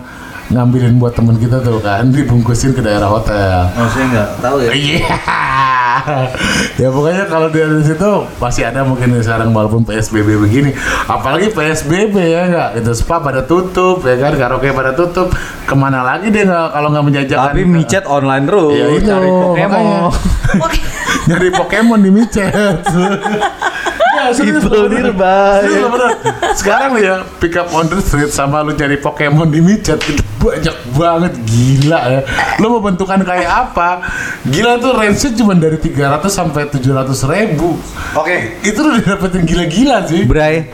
Speaker 5: ngambilin buat temen kita tuh kan [LAUGHS] Dibungkusin ke daerah hotel
Speaker 4: Maksudnya enggak tahu ya.
Speaker 5: Iya. [LAUGHS] ya pokoknya kalau dia di situ pasti ada mungkin sekarang walaupun PSBB begini. Apalagi PSBB ya enggak. Itu spa pada tutup ya kan, karaoke pada tutup. Kemana lagi dia nggak kalau nggak menjajakan?
Speaker 4: Tapi micet online terus.
Speaker 5: Iya, itu,
Speaker 4: cari
Speaker 5: makanya.
Speaker 4: Pokemon.
Speaker 5: [LAUGHS] nyari Pokemon di micet.
Speaker 4: [LAUGHS]
Speaker 5: Ya, serius,
Speaker 4: People
Speaker 5: bener-bener.
Speaker 4: nearby.
Speaker 5: Serius, bener. Sekarang nih ya pick up on the street sama lu cari Pokemon di micet itu banyak banget gila ya. Lu mau bentukan kayak apa? Gila tuh range-nya cuma dari 300 sampai 700 ribu.
Speaker 4: Oke.
Speaker 5: Itu udah dapetin gila-gila sih.
Speaker 4: Bray,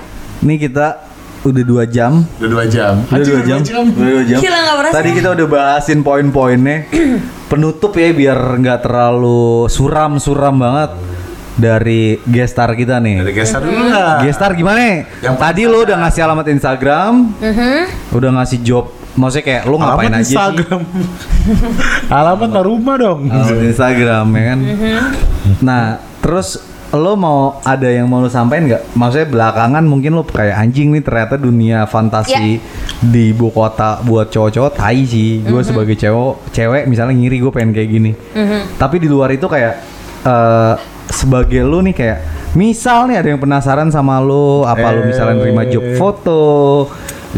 Speaker 4: ini kita udah dua jam.
Speaker 5: Udah 2 jam.
Speaker 4: Udah
Speaker 5: Anjir,
Speaker 4: dua jam. Udah dua jam.
Speaker 2: Gila, nggak berasa.
Speaker 4: Tadi kita udah bahasin
Speaker 2: [CLEARS THROAT]
Speaker 4: poin-poinnya. Penutup ya biar nggak terlalu suram-suram banget dari gestar kita
Speaker 5: Dari
Speaker 4: nih.
Speaker 5: geser dulu lah.
Speaker 4: Gestar gimana?
Speaker 5: Yang
Speaker 4: Tadi lo udah ngasih alamat Instagram, udah ngasih job. Maksudnya kayak lo ngapain
Speaker 3: Alamat
Speaker 4: aja sih?
Speaker 3: Instagram.
Speaker 5: [LAUGHS]
Speaker 3: Alamat rumah dong.
Speaker 4: Alamat Instagram ya kan. Nah, terus lo mau ada yang mau lo sampaikan nggak? Maksudnya belakangan mungkin lo kayak anjing nih ternyata dunia fantasi di ibu kota buat cowok-cowok tai sih. Gue sebagai cowok, cewek misalnya ngiri gue pengen kayak gini. Tapi di luar itu kayak eh sebagai lo nih kayak misal nih ada yang penasaran sama lo apa lo misalnya terima job foto,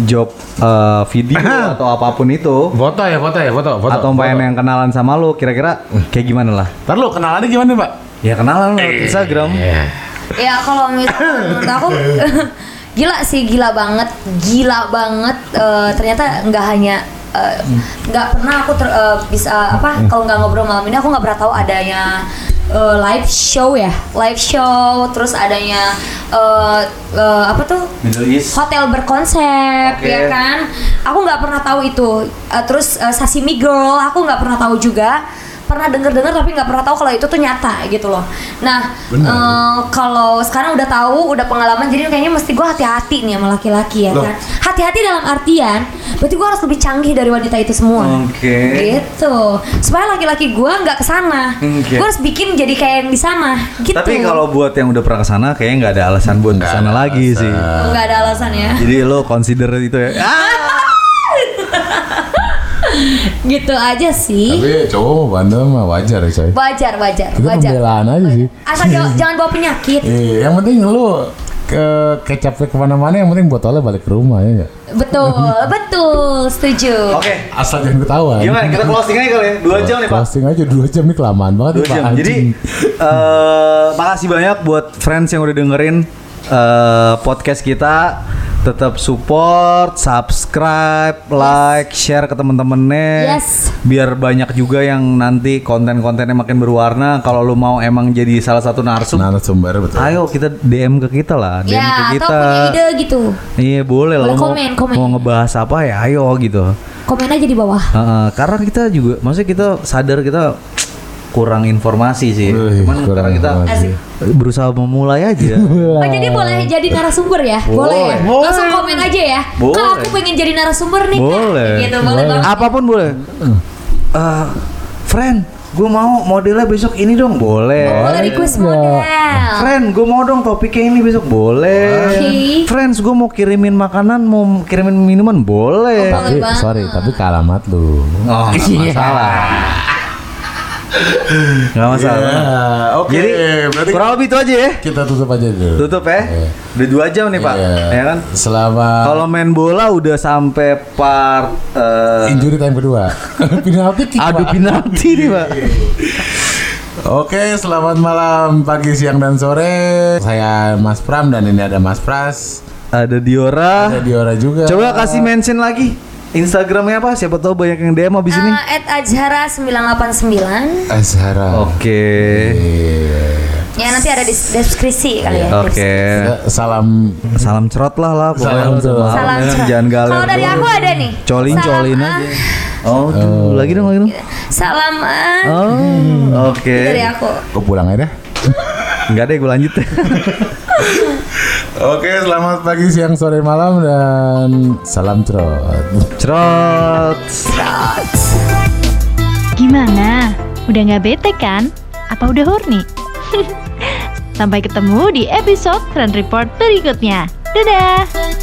Speaker 4: job eh, video atau apapun itu
Speaker 5: Foto ya, foto ya, foto, foto.
Speaker 4: atau pengen yang kenalan sama lo kira-kira kayak gimana lah?
Speaker 5: Ntar lu kenalannya gimana, Pak?
Speaker 4: Ya kenalan lewat Instagram.
Speaker 2: Ya kalau misalnya menurut aku [COUGHS] gila sih gila banget, gila banget. eh, ternyata nggak hanya eh, nggak pernah aku ter- eh, bisa apa kalau nggak ngobrol malam ini aku nggak pernah tahu adanya eh, live show ya, live show. Terus adanya eh, eh, apa tuh
Speaker 4: Middle East.
Speaker 2: hotel berkonsep
Speaker 4: Oke.
Speaker 2: ya kan aku nggak pernah tahu itu Eh, terus eh, sashimi girl aku nggak pernah tahu juga pernah denger-dengar tapi nggak pernah tahu kalau itu tuh nyata gitu loh. Nah, eh, kalau sekarang udah tahu, udah pengalaman, jadi kayaknya mesti gua hati-hati nih sama laki-laki ya
Speaker 23: Loh.
Speaker 2: kan. Hati-hati dalam artian, berarti gua harus lebih canggih dari wanita itu semua.
Speaker 4: Oke.
Speaker 2: Gitu. Supaya laki-laki gua nggak kesana.
Speaker 4: Oke.
Speaker 2: Gua harus bikin jadi kayak yang di sana. Gitu.
Speaker 4: Tapi kalau buat yang udah pernah kesana, kayaknya nggak ada alasan buat kesana lagi sih.
Speaker 2: nggak ada alasan ya.
Speaker 4: Jadi lo consider itu ya.
Speaker 2: Gitu aja sih.
Speaker 5: Tapi cowok mau bandel mah wajar ya coy.
Speaker 2: Wajar, wajar,
Speaker 5: Kita
Speaker 2: wajar.
Speaker 5: pembelaan aja sih.
Speaker 2: Asal [LAUGHS] jangan, jangan bawa penyakit.
Speaker 5: Iya, yang penting lu ke kecapnya kemana-mana yang penting botolnya balik ke rumah ya nggak?
Speaker 2: [LAUGHS] Betul, betul, setuju.
Speaker 4: Oke.
Speaker 5: asal jangan ketahuan
Speaker 4: Gimana? Kita closing aja kali ya. Dua jam nih pak.
Speaker 5: Closing aja dua jam nih kelamaan banget
Speaker 4: Dua
Speaker 5: nih, Pak.
Speaker 4: jam. Jadi
Speaker 5: Anjing.
Speaker 4: eh makasih banyak buat friends yang udah dengerin eh, podcast kita. Tetap support, subscribe, like, share ke temen-temennya.
Speaker 2: Yes.
Speaker 4: Biar banyak juga yang nanti konten-kontennya makin berwarna. Kalau lu mau emang jadi salah satu narsum,
Speaker 5: Nah, narasumber betul.
Speaker 4: Nah, ayo kita DM ke kita lah, DM ke
Speaker 2: Ya, atau
Speaker 4: kita.
Speaker 2: punya ide gitu.
Speaker 4: Iya boleh lah
Speaker 2: Boleh
Speaker 4: lo mau,
Speaker 2: komen, komen.
Speaker 4: mau ngebahas apa ya ayo gitu
Speaker 2: Komen aja di bawah.
Speaker 4: Heeh, Karena kita juga Maksudnya kita sadar kita kurang informasi sih
Speaker 5: Wih,
Speaker 4: Cuman
Speaker 5: kurang
Speaker 4: karena kita
Speaker 5: informasi.
Speaker 4: berusaha memulai
Speaker 5: [LAUGHS]
Speaker 4: aja
Speaker 2: Oh, jadi boleh jadi narasumber ya? Boleh.
Speaker 4: Boleh.
Speaker 2: Langsung komen aja ya.
Speaker 4: Boleh.
Speaker 2: Kalau aku pengen jadi narasumber nih. Kak.
Speaker 4: Boleh.
Speaker 2: Gitu, boleh, banget.
Speaker 4: Apapun boleh Eh, Friend gue mau modelnya besok ini dong Boleh
Speaker 2: Boleh request model.
Speaker 4: Friend, gue mau dong topiknya ini besok boleh.
Speaker 2: Oke.
Speaker 4: Friends, gue mau kirimin makanan, mau kirimin minuman boleh.
Speaker 2: Oh,
Speaker 5: tapi
Speaker 2: boleh banget.
Speaker 5: sorry tapi ke alamat lu
Speaker 4: Oh, nggak
Speaker 5: iya.
Speaker 4: masalah. Nggak masalah.
Speaker 23: oke.
Speaker 4: Jadi
Speaker 23: berarti
Speaker 4: kurang lebih itu aja ya.
Speaker 5: Iya, kita tutup aja dulu
Speaker 4: Tutup ya. Udah dua jam nih pak.
Speaker 5: Iya.
Speaker 4: Ya kan.
Speaker 5: selama
Speaker 4: Kalau main bola udah sampai part eh,
Speaker 5: injury time kedua [LAUGHS] penalti kick,
Speaker 4: adu
Speaker 5: Pak.
Speaker 4: penalti nih pak.
Speaker 5: Oke, selamat malam, pagi, siang, dan sore. Saya Mas Pram dan ini ada Mas Pras.
Speaker 4: Ada Diora.
Speaker 5: Ada Diora juga.
Speaker 4: Coba kasih mention lagi. Instagramnya apa? Siapa tahu banyak yang DM abis ini.
Speaker 2: Eh, At Azhara 989
Speaker 5: Azhara.
Speaker 4: Oke.
Speaker 5: Eh, Iya.
Speaker 2: Ya nanti ada di deskripsi kali ya
Speaker 4: Oke.
Speaker 5: Eh. Salam
Speaker 4: Salam cerot lah lah. pokoknya.
Speaker 5: Salam cerot.
Speaker 2: Salam
Speaker 4: Ya kan,
Speaker 2: cerot.
Speaker 4: Jangan galer.
Speaker 2: Kalau dari
Speaker 4: dulu.
Speaker 2: aku ada nih.
Speaker 4: Colin
Speaker 2: Salam,
Speaker 4: colin
Speaker 2: ah.
Speaker 4: aja. Oh, tuh. lagi dong lagi dong.
Speaker 2: Salam ah.
Speaker 4: Oh, oke.
Speaker 2: Dari aku
Speaker 5: Gue pulang aja dah.
Speaker 4: Enggak deh, gue lanjut. [LAUGHS]
Speaker 5: Oke, selamat pagi, siang, sore, malam, dan salam trot.
Speaker 4: Cerot.
Speaker 1: Gimana? Udah nggak bete kan? Apa udah horny? [LAUGHS] Sampai ketemu di episode Trend Report berikutnya. Dadah!